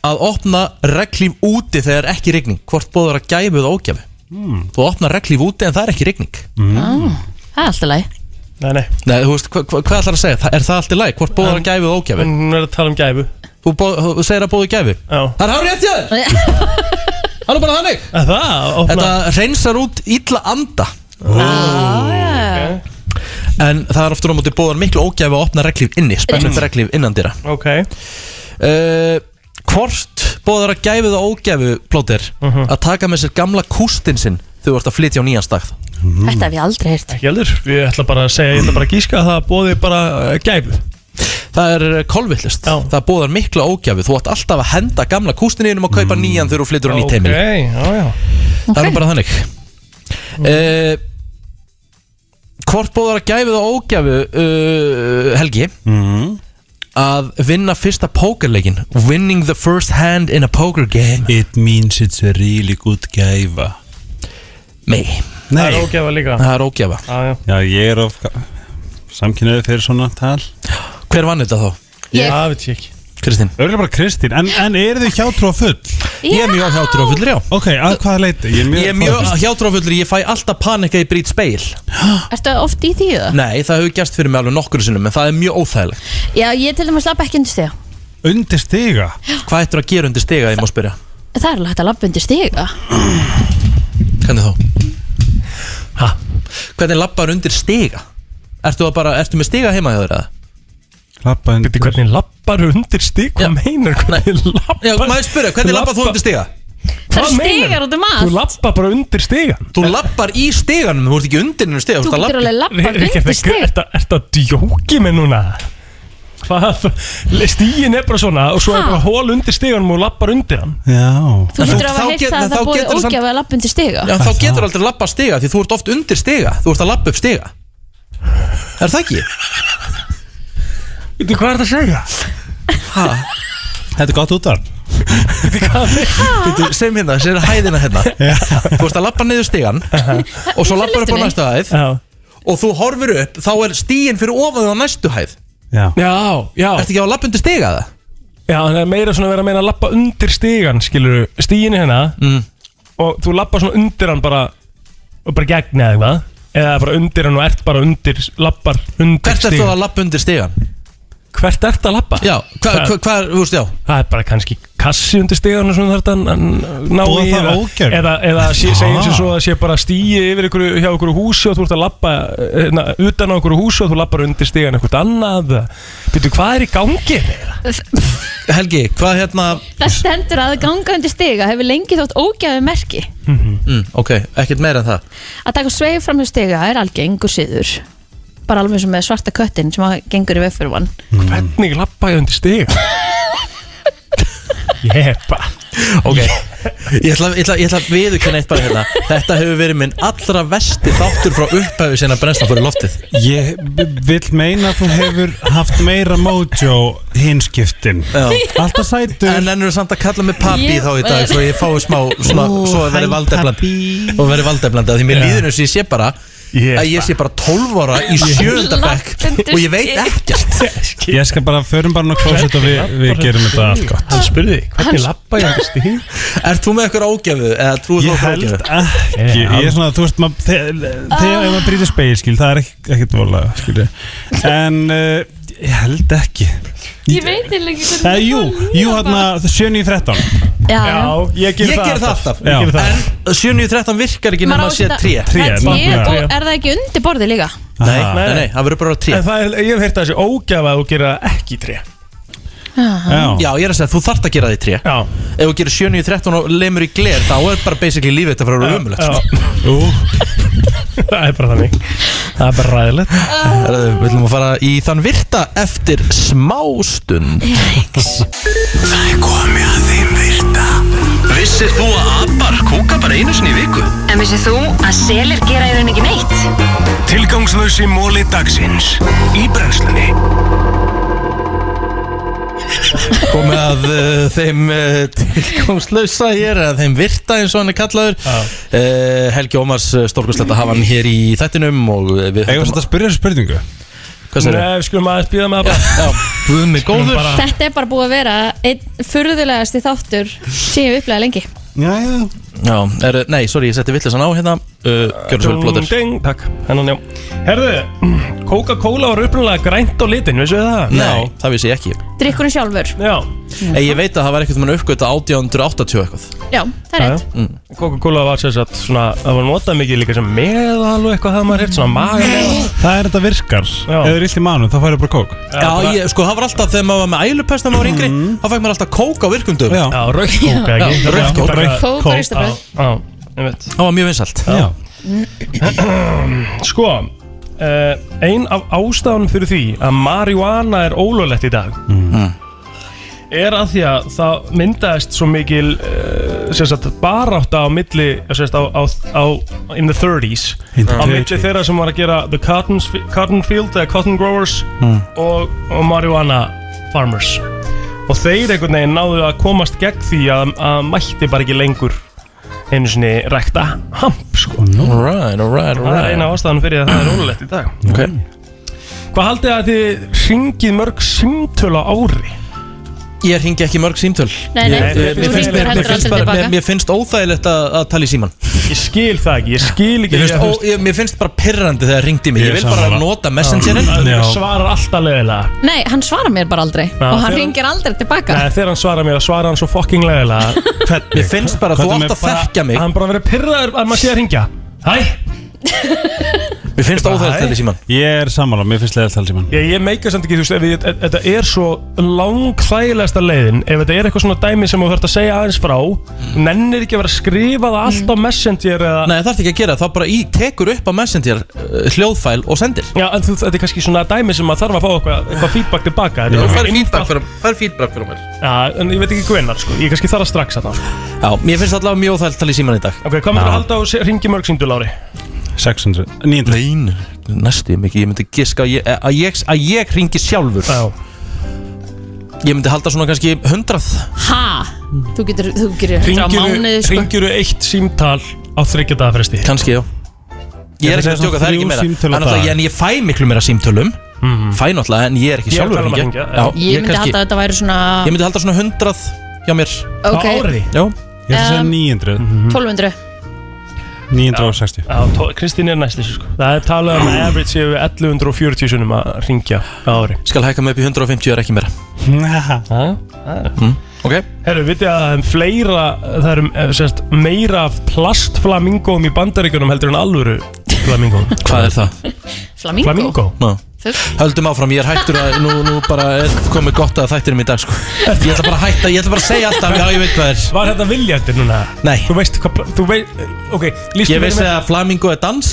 S1: að opna reglíf úti þegar ekki rigning, hvort bóður að gæfu það ógæfu þú opnar reglíf úti en það er ekki rigning
S2: það er alltaf læg
S3: Nei, nei,
S1: nei, þú veist, hva, hva, hvað ætlar að segja, Þa, er það allt í lagi hvort bóður að gæfu það ógæfu
S3: en hún er að tala um gæfu
S1: þú, bóð, þú segir að bóðu gæfu
S3: Já
S1: það er hárið eftir þér það er bara þannig
S3: En Það, opna
S1: þetta reynsar út illa anda
S2: Já,
S1: en það er oftur á móti bóðar miklu ógæfu að opna reglíf inni, spennum reglíf innan dýra
S3: Ok
S1: uh, Hvort bóðar að gæfu það ógæfu plóter
S3: Mhm.
S1: að taka með sér gamla kústinn sinn þegar þú ert að flytja á nýjan stað Mm.
S2: Þetta hef ég aldrei heyrt
S3: Ekki heldur Ég ætla bara að segja, ég ætla bara að gíska að það bóði bara eh, gæfu
S1: Það er eh, kolvillist,
S3: Já.
S1: það bóðar mikla ógæfu þú átt alltaf að henda gamla kústinn innum og kaupa nýjan þegar þú flyttur á nýtt heimil
S3: Mm. Ok, já, já
S1: Það er nú bara þannig
S3: Mm.
S1: uh, Hvort bóðar að gæfu það ógæfu uh, Helgi
S3: Mhm.
S1: að vinna fyrsta pókerleikin winning the first hand in a poker game
S8: It means it's a really good gæfa
S1: mei,
S3: Það er ógefa líka
S1: það er ógæfa
S3: Já, já
S8: Já, ég er of samkynnaði fyrir svona tal
S1: Hver vann þetta þá,
S2: Ég-
S3: Já, veit ég ekki
S1: Kristín?
S8: Örgulega bara Kristín, en, en eru þið hjátrú á full?
S1: Ég er mjög hjátrú á fullur, já
S8: Ok, að hvaða leiti? Ég er mjög,
S1: Ég er mjög hjátrú á fullur, ég fæ alltaf panika í brýt speil
S2: Ertu oft í því það?
S1: Nei, það hefur gerst fyrir mig alveg nokkur sinnum En það er mjög óþægilegt
S2: Já, ég til dæmis lappa ekki undir stiga
S8: undir stiga
S1: Hvað ættir að gera undir stiga, ég má spyrja
S2: Það er alveg hægt að lappa undir stiga
S1: Hvernig þá? Ha? Hvernig labbar undir stiga? Ertu, að bara, ertu með stiga heima hjá þér eða?
S8: Lappa undir
S3: Veitir hvernig lappar undir stík
S1: Já.
S3: Hvað meinar hvernig lappar
S1: Já, maður spyrja, hvernig labbar þú undir stiga?
S2: Það
S3: Hvað
S2: er stigar
S3: meinar?
S2: út um
S3: Þú
S2: allt
S3: lappar bara undir stigan
S1: Þú labbar í stiganum, þú ert ekki undir ennum stiga
S2: Þú
S1: ert að labba-
S2: getur alveg lappa
S3: Er
S2: undir stig
S3: þetta djóki með núna? Hvað? Stígin er bara svona og svo er
S2: Ha?
S3: bara hól undir stiganum og lappar undir hann
S8: Já
S2: Þú
S1: En
S2: getur
S1: þú-
S2: alveg
S1: þá
S2: heyrt
S1: get-
S2: það að
S1: þá
S2: það bóði
S1: getur samt-
S2: ógjafa að lappa undir stiga
S1: Já, þá getur aldrei labba stiga því þú ert oft undir stiga Þú ert að labba upp stiga Er það ekki?
S3: Veitir hvað er það að segja?
S8: Þetta er gott útvarp
S3: Veitir hvað er það?
S1: Býtu, segjum hérna, segjum hæðina hérna Þú ert að labba niður stigan Og svo labbar upp á
S2: lyftunni.
S1: næstu hæð
S3: Já,
S1: Og þú horfir upp, þá er stíin fyrir ofan á næstu hæð
S8: Já
S3: já, já
S1: Ertu ekki að labba undir stiga það?
S3: Já, það er meira svona að vera að meina að lappa undir stigan skilur þú, stígin er hérna
S1: Mm.
S3: og þú lappar svona undir hann bara og bara gegn eða eitthvað eða bara undir hann og ert bara undir lappar undir
S1: Hvert ertu
S3: stigan
S1: að labba undir stigan?
S3: Hvert ert að lappa?
S1: Já, hvað,
S3: Það-
S1: hva, hva, þú veist, já
S3: Það er bara kannski kassi undir stíðan og svona þarf þetta að n- ná
S8: Boða
S3: í
S8: það
S3: eða-
S8: ógæfu?
S3: Eða, eða sé, segjum sér svo að sé bara stíi yfir ykkur, hjá ykkur húsi og þú ert að labba eh, na, utan á ykkur húsi og þú lappar undir stíðan eitthvað annað Býtu, hvað er í gangi?
S1: Helgi, hvað hérna,
S2: [LAUGHS] Það stendur að ganga undir stiga hefur lengi þótt ógjafi merki
S1: mm, ok, ekkert meira en það
S2: Að taka sveif fram hjá stiga er algengur siður Bara alveg sem með svarta köttin sem að gengur í vefur hann
S3: Hvernig lappa ég undir stíðan? [LAUGHS] Ég er bara
S1: Ok, ég ætla, ég ætla, ég ætla að viðurkenna eitt bara hérna Þetta hefur verið minn allra vesti þáttur frá upphæfi sinna brennslan fyrir loftið
S8: Ég b- vill meina að þú hefur haft meira mojo hinskiptin
S1: Já.
S8: Alltaf sætur
S1: En ennur samt að kalla mig pappi
S2: Ég-
S1: þá í dag Svo ég fái smá, smá svo að verði valdeflandi Og verði valdeflandi Því mér líður eins og ég sé bara
S3: Ég-
S1: Að ég sé bara 12 ára í sjöndabæk
S2: Lappendur
S1: Og ég veit
S2: stig.
S1: ekkert
S8: Ég skal bara, förum bara nú klóset og við, við gerum þetta allt gott
S3: Hann spurði, hvernig lappa ég undir stíðan?
S1: Ert þú með eitthvað ágjöfu? Eða trúið þú
S8: Ég
S1: okkur
S8: held
S1: ágjöfu? Eh,
S8: ekki Ég er svona, þú veist, mað, þe þegar ef maður brýtir speil, skil, það er ekki- ekkert volega, skil En uh, ég held ekki
S2: Ég veit eiginlega ekki
S1: Eh,
S8: Það er jú, jú hérna, hann
S1: hérna-
S8: að 7 í 13
S2: Já,
S3: Já,
S2: já
S3: ég
S1: Ég
S3: ger það
S1: ger það alltaf
S8: Já.
S3: Ég ger það.
S1: En 7.13 virkar ekki nema
S2: Maður á
S1: að sé
S2: þetta-
S1: tré
S8: Tré,
S2: Það er tré
S8: nákvæmlega.
S2: og er það ekki undir borði líka?
S1: Nei,
S8: Aha.
S1: nei, nei, það verður bara tré
S3: En það er, ég hef heyrt að þessi ógjafa að þú gera ekki í tré
S1: Já,
S8: Já,
S1: ég er að segja, þú þart að gera því tré
S3: Já,
S1: Ef þú gerir 7.13 og lemur í gler sko.
S3: [LAUGHS]
S1: Þá er bara basically lífið þetta frá
S3: já.
S1: umulegt
S8: ú,
S3: Það er bara þannig Það er bara ræðilegt
S1: Herðu, Við ætlum að fara í þann virta eftir smástund
S7: Það er komið að þeim virta Vissir þú að abar kúka bara einu sinni í viku?
S10: En vissið þú að selir gera í rauninni ekki neitt?
S7: Tilgangslösi móli dagsins Í brennslunni
S1: Komið að uh, þeim uh, tilkomslausa hér að þeim virta eins og hann er kallaður uh, Helgi Ómars stórkustlega hafa hann hér í þættinum og uh, við
S8: Eða þetta spyrja þessu spurningu
S1: Hvað sér
S3: Nei, við skulum aðeins býða [LAUGHS] með það bara
S1: Já, Guðmi góður
S3: bara-
S2: Þetta er bara búið að vera einn furðulegasti þáttur sem ég hef upplegað lengi
S8: Já, já
S1: Já, er, nei, sorry, ég setti villið sann á hérna uh, Gjörðu svo vel,
S3: Dung,
S1: blóður
S3: ding, Takk, hennan já Herðu, Coca-Cola var upprunalega grænt á litin, vissu það?
S1: Nei, það vissi ég ekki
S2: Drykkurinn sjálfur
S3: Já,
S1: Ei, Ég veit að það var ekkert mann uppgöta 1880 eitthvað
S2: Já, það er
S3: já, já.
S2: rétt
S3: Coca-Cola var sem sagt svona, það var notað mikið líka sem meðal og eitthvað hafði maður hitt, svona maga
S8: Það er þetta virkar
S3: Já.
S8: Ef það er illt í manu þá færðu bara kók
S1: Já, ég, sko, það var alltaf þegar maður var með ælupest þegar maður var yngri, þá fæk maður alltaf kók á virkundum
S8: Já,
S3: Já, raukt kóka,
S1: Já,
S3: ekki?
S1: rautt kók,
S3: Bara-
S8: rautt.
S2: Kók
S8: Kók,
S2: og ristabröð
S3: Já, ég veit
S1: Það var mjög vinsælt
S8: já.
S3: [CLEARS THROAT] Sko, uh, ein af ástafanum fyrir því að marihuana er ólöglegt í dag
S1: Mm.
S3: er að því að það myndaðist svo mikil uh, sagt, barátta á milli sagt, á, á, á, in the 30s
S8: In the
S3: á milli
S8: 30s.
S3: þeirra sem var að gera the cotton, cotton field eða cotton growers og, og marihuana farmers og þeir einhvern veginn náðu að komast gegn því að, að mætti bara ekki lengur einu sinni rekta hamp sko
S1: Alright, alright,
S3: Það er eina
S1: alright
S3: ástæðan fyrir að það er ólulegt í dag
S1: Ok,
S3: Hvað haldið að þið hringið mörg símtöl á ári?
S1: ég ringi ekki mörg símtöl
S2: Nei, nei,
S3: Ég-
S1: Mér
S2: þú
S3: Þú
S1: finnst,
S2: hringir
S1: mér, mér,
S2: heldur
S1: finnst
S2: aldrei
S1: bara, mér,
S2: tilbaka
S1: mér finnst óþægilegt að, að tala í síman
S3: Ég skil það ekki, ég skil ekki
S1: mér finnst,
S3: ég-
S1: ó, ég, mér finnst bara pirrandi þegar ringdi mig Ég
S8: Ég
S1: vil bara
S8: sammála.
S1: nota messengerin
S3: Það
S8: Já.
S3: svarar alltaf leðilega
S2: Nei, hann svarar mér bara aldrei og hann
S3: þegar-
S2: ringir aldrei tilbaka
S3: Þegar hann svarar mér, svarar hann svo fucking leðilega
S1: Mér finnst bara að þú
S8: Hvað
S1: átt
S8: er með
S1: að þekkja mig
S3: Hann bara verið pyrraður að maður sé að ringja Hæ?
S1: Mér finnst óþægilegt að tala í síman
S8: Ég er sammála, mér finnst leiðalt haldi mann
S3: Ég, ég meika samt ekki, þú veist, ef ég- e- þetta er svo langþægilegasta leiðin Ef þetta er eitthvað svona dæmi sem þú þarfst að segja aðeins frá Nennir ekki að vera að skrifa það allt á Messenger eða
S1: Mm. Nei, það þarf ekki að gera, þá bara í tekur upp á messenger uh, hljóðfæl og sendir
S3: Já, en þú, þetta er kannski svona dæmi sem maður þarf að fá eitthvað, eitthvað feedback tilbaka Þetta er bara einfalt-
S1: fær feedback fyrir mér
S3: Já, en ég veit ekki hvenar, sko. Ég kannski þarf að strax að það.
S1: Já, mér finnst allavega mjög óþægilegt að tala í síman í dag
S3: Ok, hvað með að halda á se- ringi mörg síndu, Lári?
S8: 600 900
S1: Nein, næstu ég mikið, ég myndi giska að ég, eh, að ég, að ég ringi sjálfur
S3: Já.
S1: Ég myndi halda svona kannski 100
S2: Ha? Þú getur, þú getur hundra á mánuði sko.
S3: Ringiru eitt símtal á þryggjadaðafresti?
S1: Kannski, já Ég
S8: Ég
S1: er ekki
S8: ætla
S1: að
S8: að segja
S1: stjóka,
S8: svona
S1: það er ekki
S8: þrjú
S1: meira
S8: símtöl á
S1: En, alltaf,
S8: dag. Mhm.
S1: en ég fæ miklu meira símtölum Fæ náttúrulega, en ég er ekki
S3: Ég er
S1: sjálfur
S3: að tala um að hringja,
S1: Já,
S3: já.
S2: Ég myndi halda að þetta væri svona
S1: Ég myndi halda svona 100 hjá mér
S2: Ok,
S3: Á ári? Mhm.
S1: Já,
S8: Ég ætla að segja
S2: Um,
S8: 900
S1: Mhm.
S2: 1200
S8: 960
S3: Já, tó- Kristín er næst þessu, sko. Það er talað um að average séu 1140 sunnum að ringja á ári.
S1: skal hækka mig upp í 150 er ekki meira
S8: Næ,
S1: Ok,
S3: Herru, vitið að það er fleira, það er um, eh, sem sagt, meira af plastflamingóm í bandaríkunum heldur en alvöru flamingóm.
S1: hvað er það?
S2: Flamingo, Flamingo.
S3: Flamingó?
S1: Ná.
S2: Fugl.
S1: Höldum áfram, ég er hættur að Nú, nú bara er komið gott að þættinum í dag sko. Ég ætla bara að hætta, ég ætla bara að segja alltaf Já, ég veit hvað er
S3: Var þetta viljandi núna?
S1: Nei.
S3: Þú veist hvað, pla- þú veist, ok, lístu
S1: Ég
S3: fyrir
S1: vissi
S3: mér,
S1: að flamingo er dans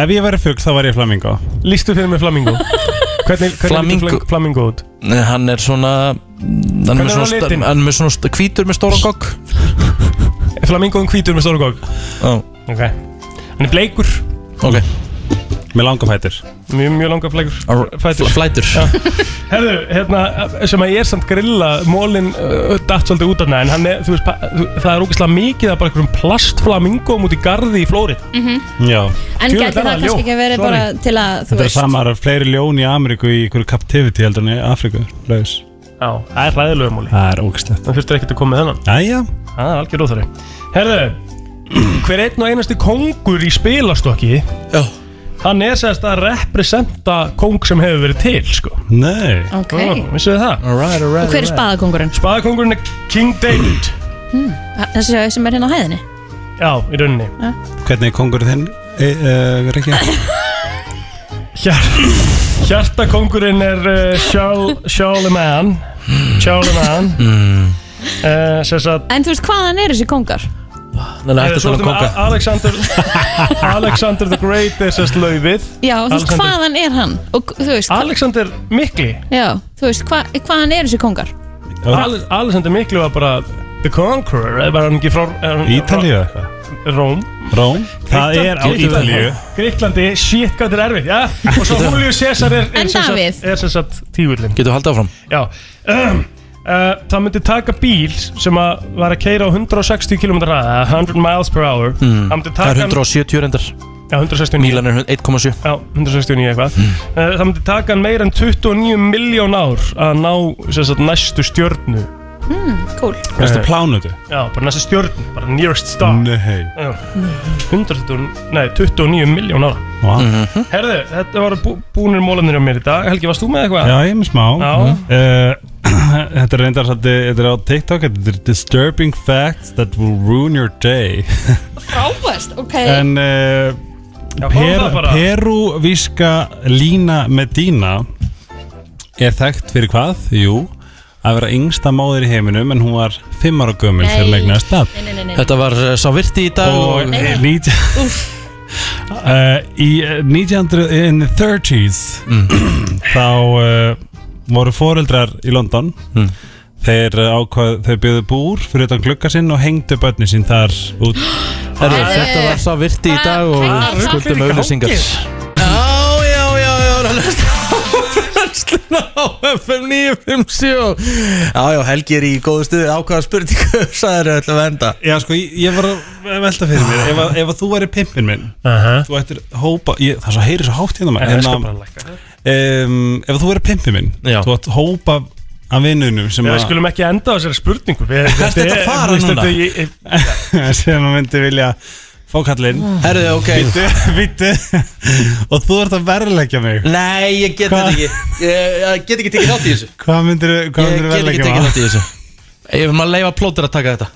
S8: Ef ég væri fugg þá væri ég flamingo
S3: lístu fyrir mér flamingo. Hvernig, hvernig
S1: Flamingo.
S3: lítur flam- flamingo út?
S1: Nei, Hann er svona Hann er með
S3: Hvernig er
S1: svona,
S3: hann á
S1: sta-
S3: litinn?
S1: hann er með svona sta- hvítur með stóra gogg
S3: Er Flamingoðum hvítur með stóru góg?
S1: Já,
S3: Ok. Hann er bleikur,
S1: Ok,
S8: Með langa fætur
S3: mjög, mjög langar bleikur.
S1: flætur,
S3: Fætur.
S1: flætur.
S3: Herðu, hérna, sem að ég er samt grilla, mólinn uh, datt svolítið út af hana, en hann er, þú veist, pa- þú, það er ógeðslega mikið að bara einhverjum plastflamingoðum út í garði í Flórit.
S8: Já
S2: En gæti
S3: Djöfull, er
S2: það
S3: það
S2: kannski
S3: ljón.
S2: ekki verið
S3: Sorry.
S2: bara til að þú
S8: Þetta er
S2: veist
S8: sama, það er fleiri ljón í Ameríku í ykkur captivity heldur en í Afríku laus.
S3: Já, það er ræðilega móli.
S8: Það er ógæslegt
S3: Það þurftir ekkert að koma með þennan.
S8: Jæja,
S3: Það er algjör óþari. Herðu, hver einn og einasti kongur í spilastokki,
S1: Já.
S3: hann er sérst að representa kong sem hefur verið til, sko.
S8: nei
S2: Ok,
S3: Mm, Vissuð þið það?
S1: Alright, alright
S2: og hver er spaðakongurinn?
S3: Spaðakongurinn er King David. [CLEARS THROAT]
S2: Þessi sem er hérna á hæðinni
S3: Já, í rauninni.
S8: Hvernig er kongur þinn, e, e, Rikki?
S3: Hjar, hjartakongurinn er uh, Charl- Charlemagne Charlemagne mm. uh, Sess að
S2: En þú veist hvaðan er þessi kongar?
S1: Þannig að
S3: Heyrðu,
S1: hættu
S3: eh, svo
S1: að tala um
S3: ertu með
S1: konga
S3: A- Alexander Alexander the Great er sérst laufið
S2: Já, þú veist,
S3: Alexander-
S2: hvaðan er hann? Og, þú veist, hva-
S3: Alexander Mikli
S2: já, þú veist, hva, hvaðan eru þessi kongar?
S3: Ale- Alexander Mikli var bara The Conqueror, eða var hann ekki frá er hann-
S8: Ítalíu eða eitthvað?
S3: frá- Róm
S8: Róm? Það er á Ítalíu
S3: Greiklandi, shit hvað þetta er erfið já. Og svo Julio César er, er,
S2: En
S3: sem sagt-
S2: Davíð?
S3: er sem sagt tígullin
S1: Getur haldið áfram
S3: Já [CLEARS THROAT] um, uh, Það myndi taka bíl sem að var að keira á 160 km hraða 100 miles per hour
S1: Mm.
S3: Það
S1: Það er
S3: myndi taka hann-
S1: 170 reyndar
S3: Já, 169
S1: Mílan er 1,7
S3: Já, 169 eitthvað uh, Það myndi taka hann meira en 29 miljón ár að ná sem sagt, næstu stjörnu
S2: Hmm, cool.
S8: Næstu plánutu
S3: Já, bara næstu stjörnu, bara nearest star
S8: Nei
S3: Já. 120, nei, 29 miljón ára
S8: Vá.
S3: Herðu, þetta var bú, búnir mólanir á mér í dag Helgi, varst þú með eitthvað?
S8: Já, ég er með smá
S3: Já.
S8: Eh, [COUGHS] Þetta er reyndar svolítið Þetta er á TikTok Þetta er disturbing facts that will ruin your day
S2: Frábæst, ok.
S8: En uh,
S3: Já, fáum
S8: per,
S3: það bara.
S8: Perúvíska Lína Medina er þekkt fyrir hvað? Jú, að vera yngsta móðir í heiminum en hún var 5 ára gömul þegar hún eignast það
S2: Nei, nei, nei, nei.
S1: Þetta var eh, sá virti í dag
S8: og
S1: og
S2: Nei, nei.
S8: nítj- [LAUGHS] Eh, í eh, 1900 in the 30s [CLEARS THROAT] þá uh, voru foreldrar í London
S1: Mm.
S8: þeir eh, ákvað, þeir byggðu búr fyrir utan glugga sinn og hengdu börni sín þar út
S1: Herru, Þetta var sá virti í dag
S2: Hvað
S1: og
S2: er
S1: skuldum auðlýsingar Já, já, já, já, það er að hlusta á brennsluna á FM 957 Já, já, Helgi er í góðu stuði ákvaða spurningu [LAUGHS] sagður öll að venda
S8: Já sko, ég, ég var að velta fyrir mér ef, að- ef að þú væri pimpin minn
S3: Aha.
S8: þú ættir hópa, ég, það er svo heyri svo hátt hérna maður,
S3: En,
S8: hérna,
S3: en, en,
S8: um, ef þú væri pimpin minn
S1: Já.
S8: þú ættir hópa af vinnunum sem,
S3: Já, við
S8: að-
S3: skulum ekki enda á þessari spurningu Við-
S8: Hvert er þetta að fara
S3: þú veist,
S8: núna?
S3: þetta- ég- ég-
S8: [LAUGHS] sem að myndi vilja fá kallinn
S1: Herru, ok
S8: Vítu, vítu Og þú ert að verðleggja mig
S1: Nei, ég get
S8: Hva?
S1: þetta ekki Ég, ég get ekki tekið þátt í þessu
S8: Hvað myndir, hvað
S1: Ég
S8: myndir
S1: get ekki
S8: verðleggja
S1: tekið
S8: mig?
S1: þátt í þessu Ég vil maður leifa plótur að taka þetta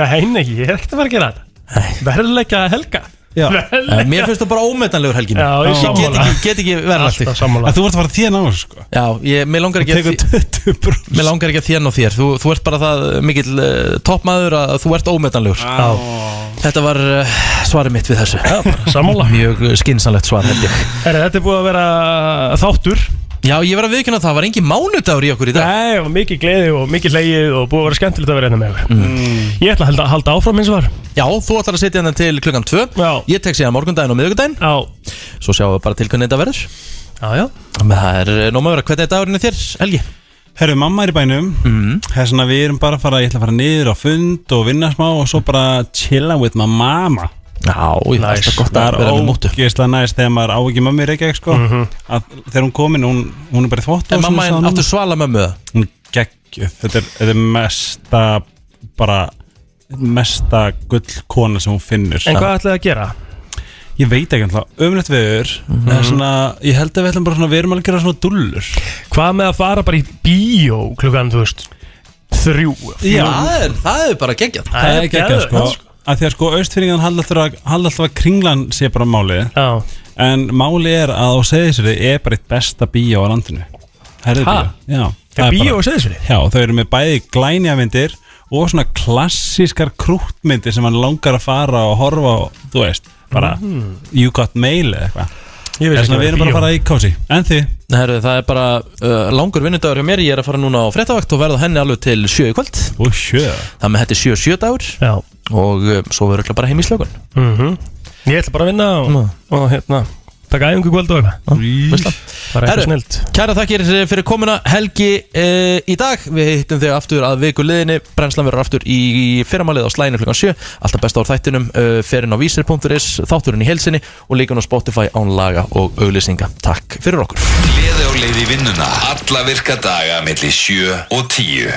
S3: Nei, nei, ég er ekkert að fara að gera þetta Verðleggja helga
S8: Já.
S1: En
S3: Verðleggja
S1: Mér finnst það bara ómetanlegur helgin
S3: Já, ég
S1: Ég get
S3: sammála.
S1: ekki, get ekki verðlagt
S3: Alltaf
S1: þig
S3: sammála
S8: Að þú ert að fara þín á þessu sko
S1: Já, ég, mér langar ekki að
S8: Tekur
S1: þi-
S8: 20 brús
S1: Mér langar ekki að þérna og þér Þú, þú ert bara það mikill uh, toppmaður að þú ert ómetanlegur Þetta var uh, svarið mitt við þessu
S3: Já, bara Sammála
S1: Mjög skinsanlegt svar held ég
S3: Herra, Þetta er búið að vera þáttur
S1: Já, ég verð að viðkynna það, það var engin mánudagur í okkur í dag
S3: Nei, og mikið gleði og mikið leið og búið að vera skemmtilegt að vera hérna með okkur Ég ætla að halda, halda áfram eins og var
S1: Já, þú ætlar að setja hennar til klukkan 2
S3: Já.
S1: Ég tek síðan morgundaginn og miðvikudaginn
S3: Já,
S1: Svo sjáum við bara til hvernig þetta verður
S3: já, já
S1: Með það er eh, nóg að vera, hvernig er dagurinn í þér, Helgi?
S8: Herru, mamma er í bænum
S1: Mhm.
S8: Það er svona, við erum bara að fara Ég ætla að fara niður á fund og vinna smá Og svo bara chilla with my mama
S1: Já, ég
S3: Nice.
S1: veist það gott
S8: Það
S1: að vera
S8: er
S1: með móttu
S8: ógeðslega næst Þegar maður á ekki mamma í Reykjavík sko
S3: Mhm.
S8: að Þegar hún komin, hún, hún er bara í þvótt
S1: En mamma einn áttu
S3: sko.
S1: svala mömmu það
S8: Hún geggjöf Þetta er, þetta er mesta Bara mesta gullkona sem hún finnur
S3: En hvað ætlaði að gera?
S8: Ég veit ekki alltaf, ömlegt veður
S3: Mhm.
S8: mm -hmm. svona, Ég held að við ætlum bara svona Við erum alveg að gera svona dullur
S3: Hvað með að fara bara í bíó klukkan, þú veist Þrjú
S8: Já.
S1: Það er, það er bara geggjað
S3: Það er
S8: ekki
S3: geðveikt,
S8: sko að Því að sko austfyrringan halda alltaf að, halda alltaf að kringlan sé bara málið
S3: Já,
S8: En málið er að á seðisverið er bara eitt besta bíó á landinu Herðu
S3: Ha?
S8: bíó Já,
S3: það er bíó
S8: bara,
S3: og seðisverið
S8: Já, þau eru með bæði glænjamyndir Og svona klassískar krúttmyndir Sem hann langar að fara og horfa á Þú veist, bara You got mail eða eitthvað
S3: Ég
S8: Þess vegna Við erum bara að fara í kósi En þið
S1: Herru, það er bara uh, langur vinnudagur hjá mér Ég er að fara núna á fréttavakt og verða henni alveg til sjö í kvöld
S8: Og sjö
S1: Það með þetta er sjö sjö dagur
S3: Já
S1: Og um, svo verður öll bara heim í slökun
S3: mhm. Ég ætla bara að vinna
S1: Mm.
S3: og, og hérna Takk æfingu kvöld og eitthvað
S1: Veistla.
S3: Bara
S1: Herru.
S3: eitthvað snilt
S1: Kæra þakkir eh, fyrir komuna Helgi uh, í dag Við hittum þig aftur að viku liðinni Brennslan verður aftur í fyrramalið á slæðinu klukkan 7 Alltaf besta úr þættinum uh, Ferinn á vísir.is, þátturinn í helsinni Og líka á Spotify án laga og auglýsinga Takk fyrir okkur
S11: Gleði og leiði vinnuna Alla virka daga melli 7 og 10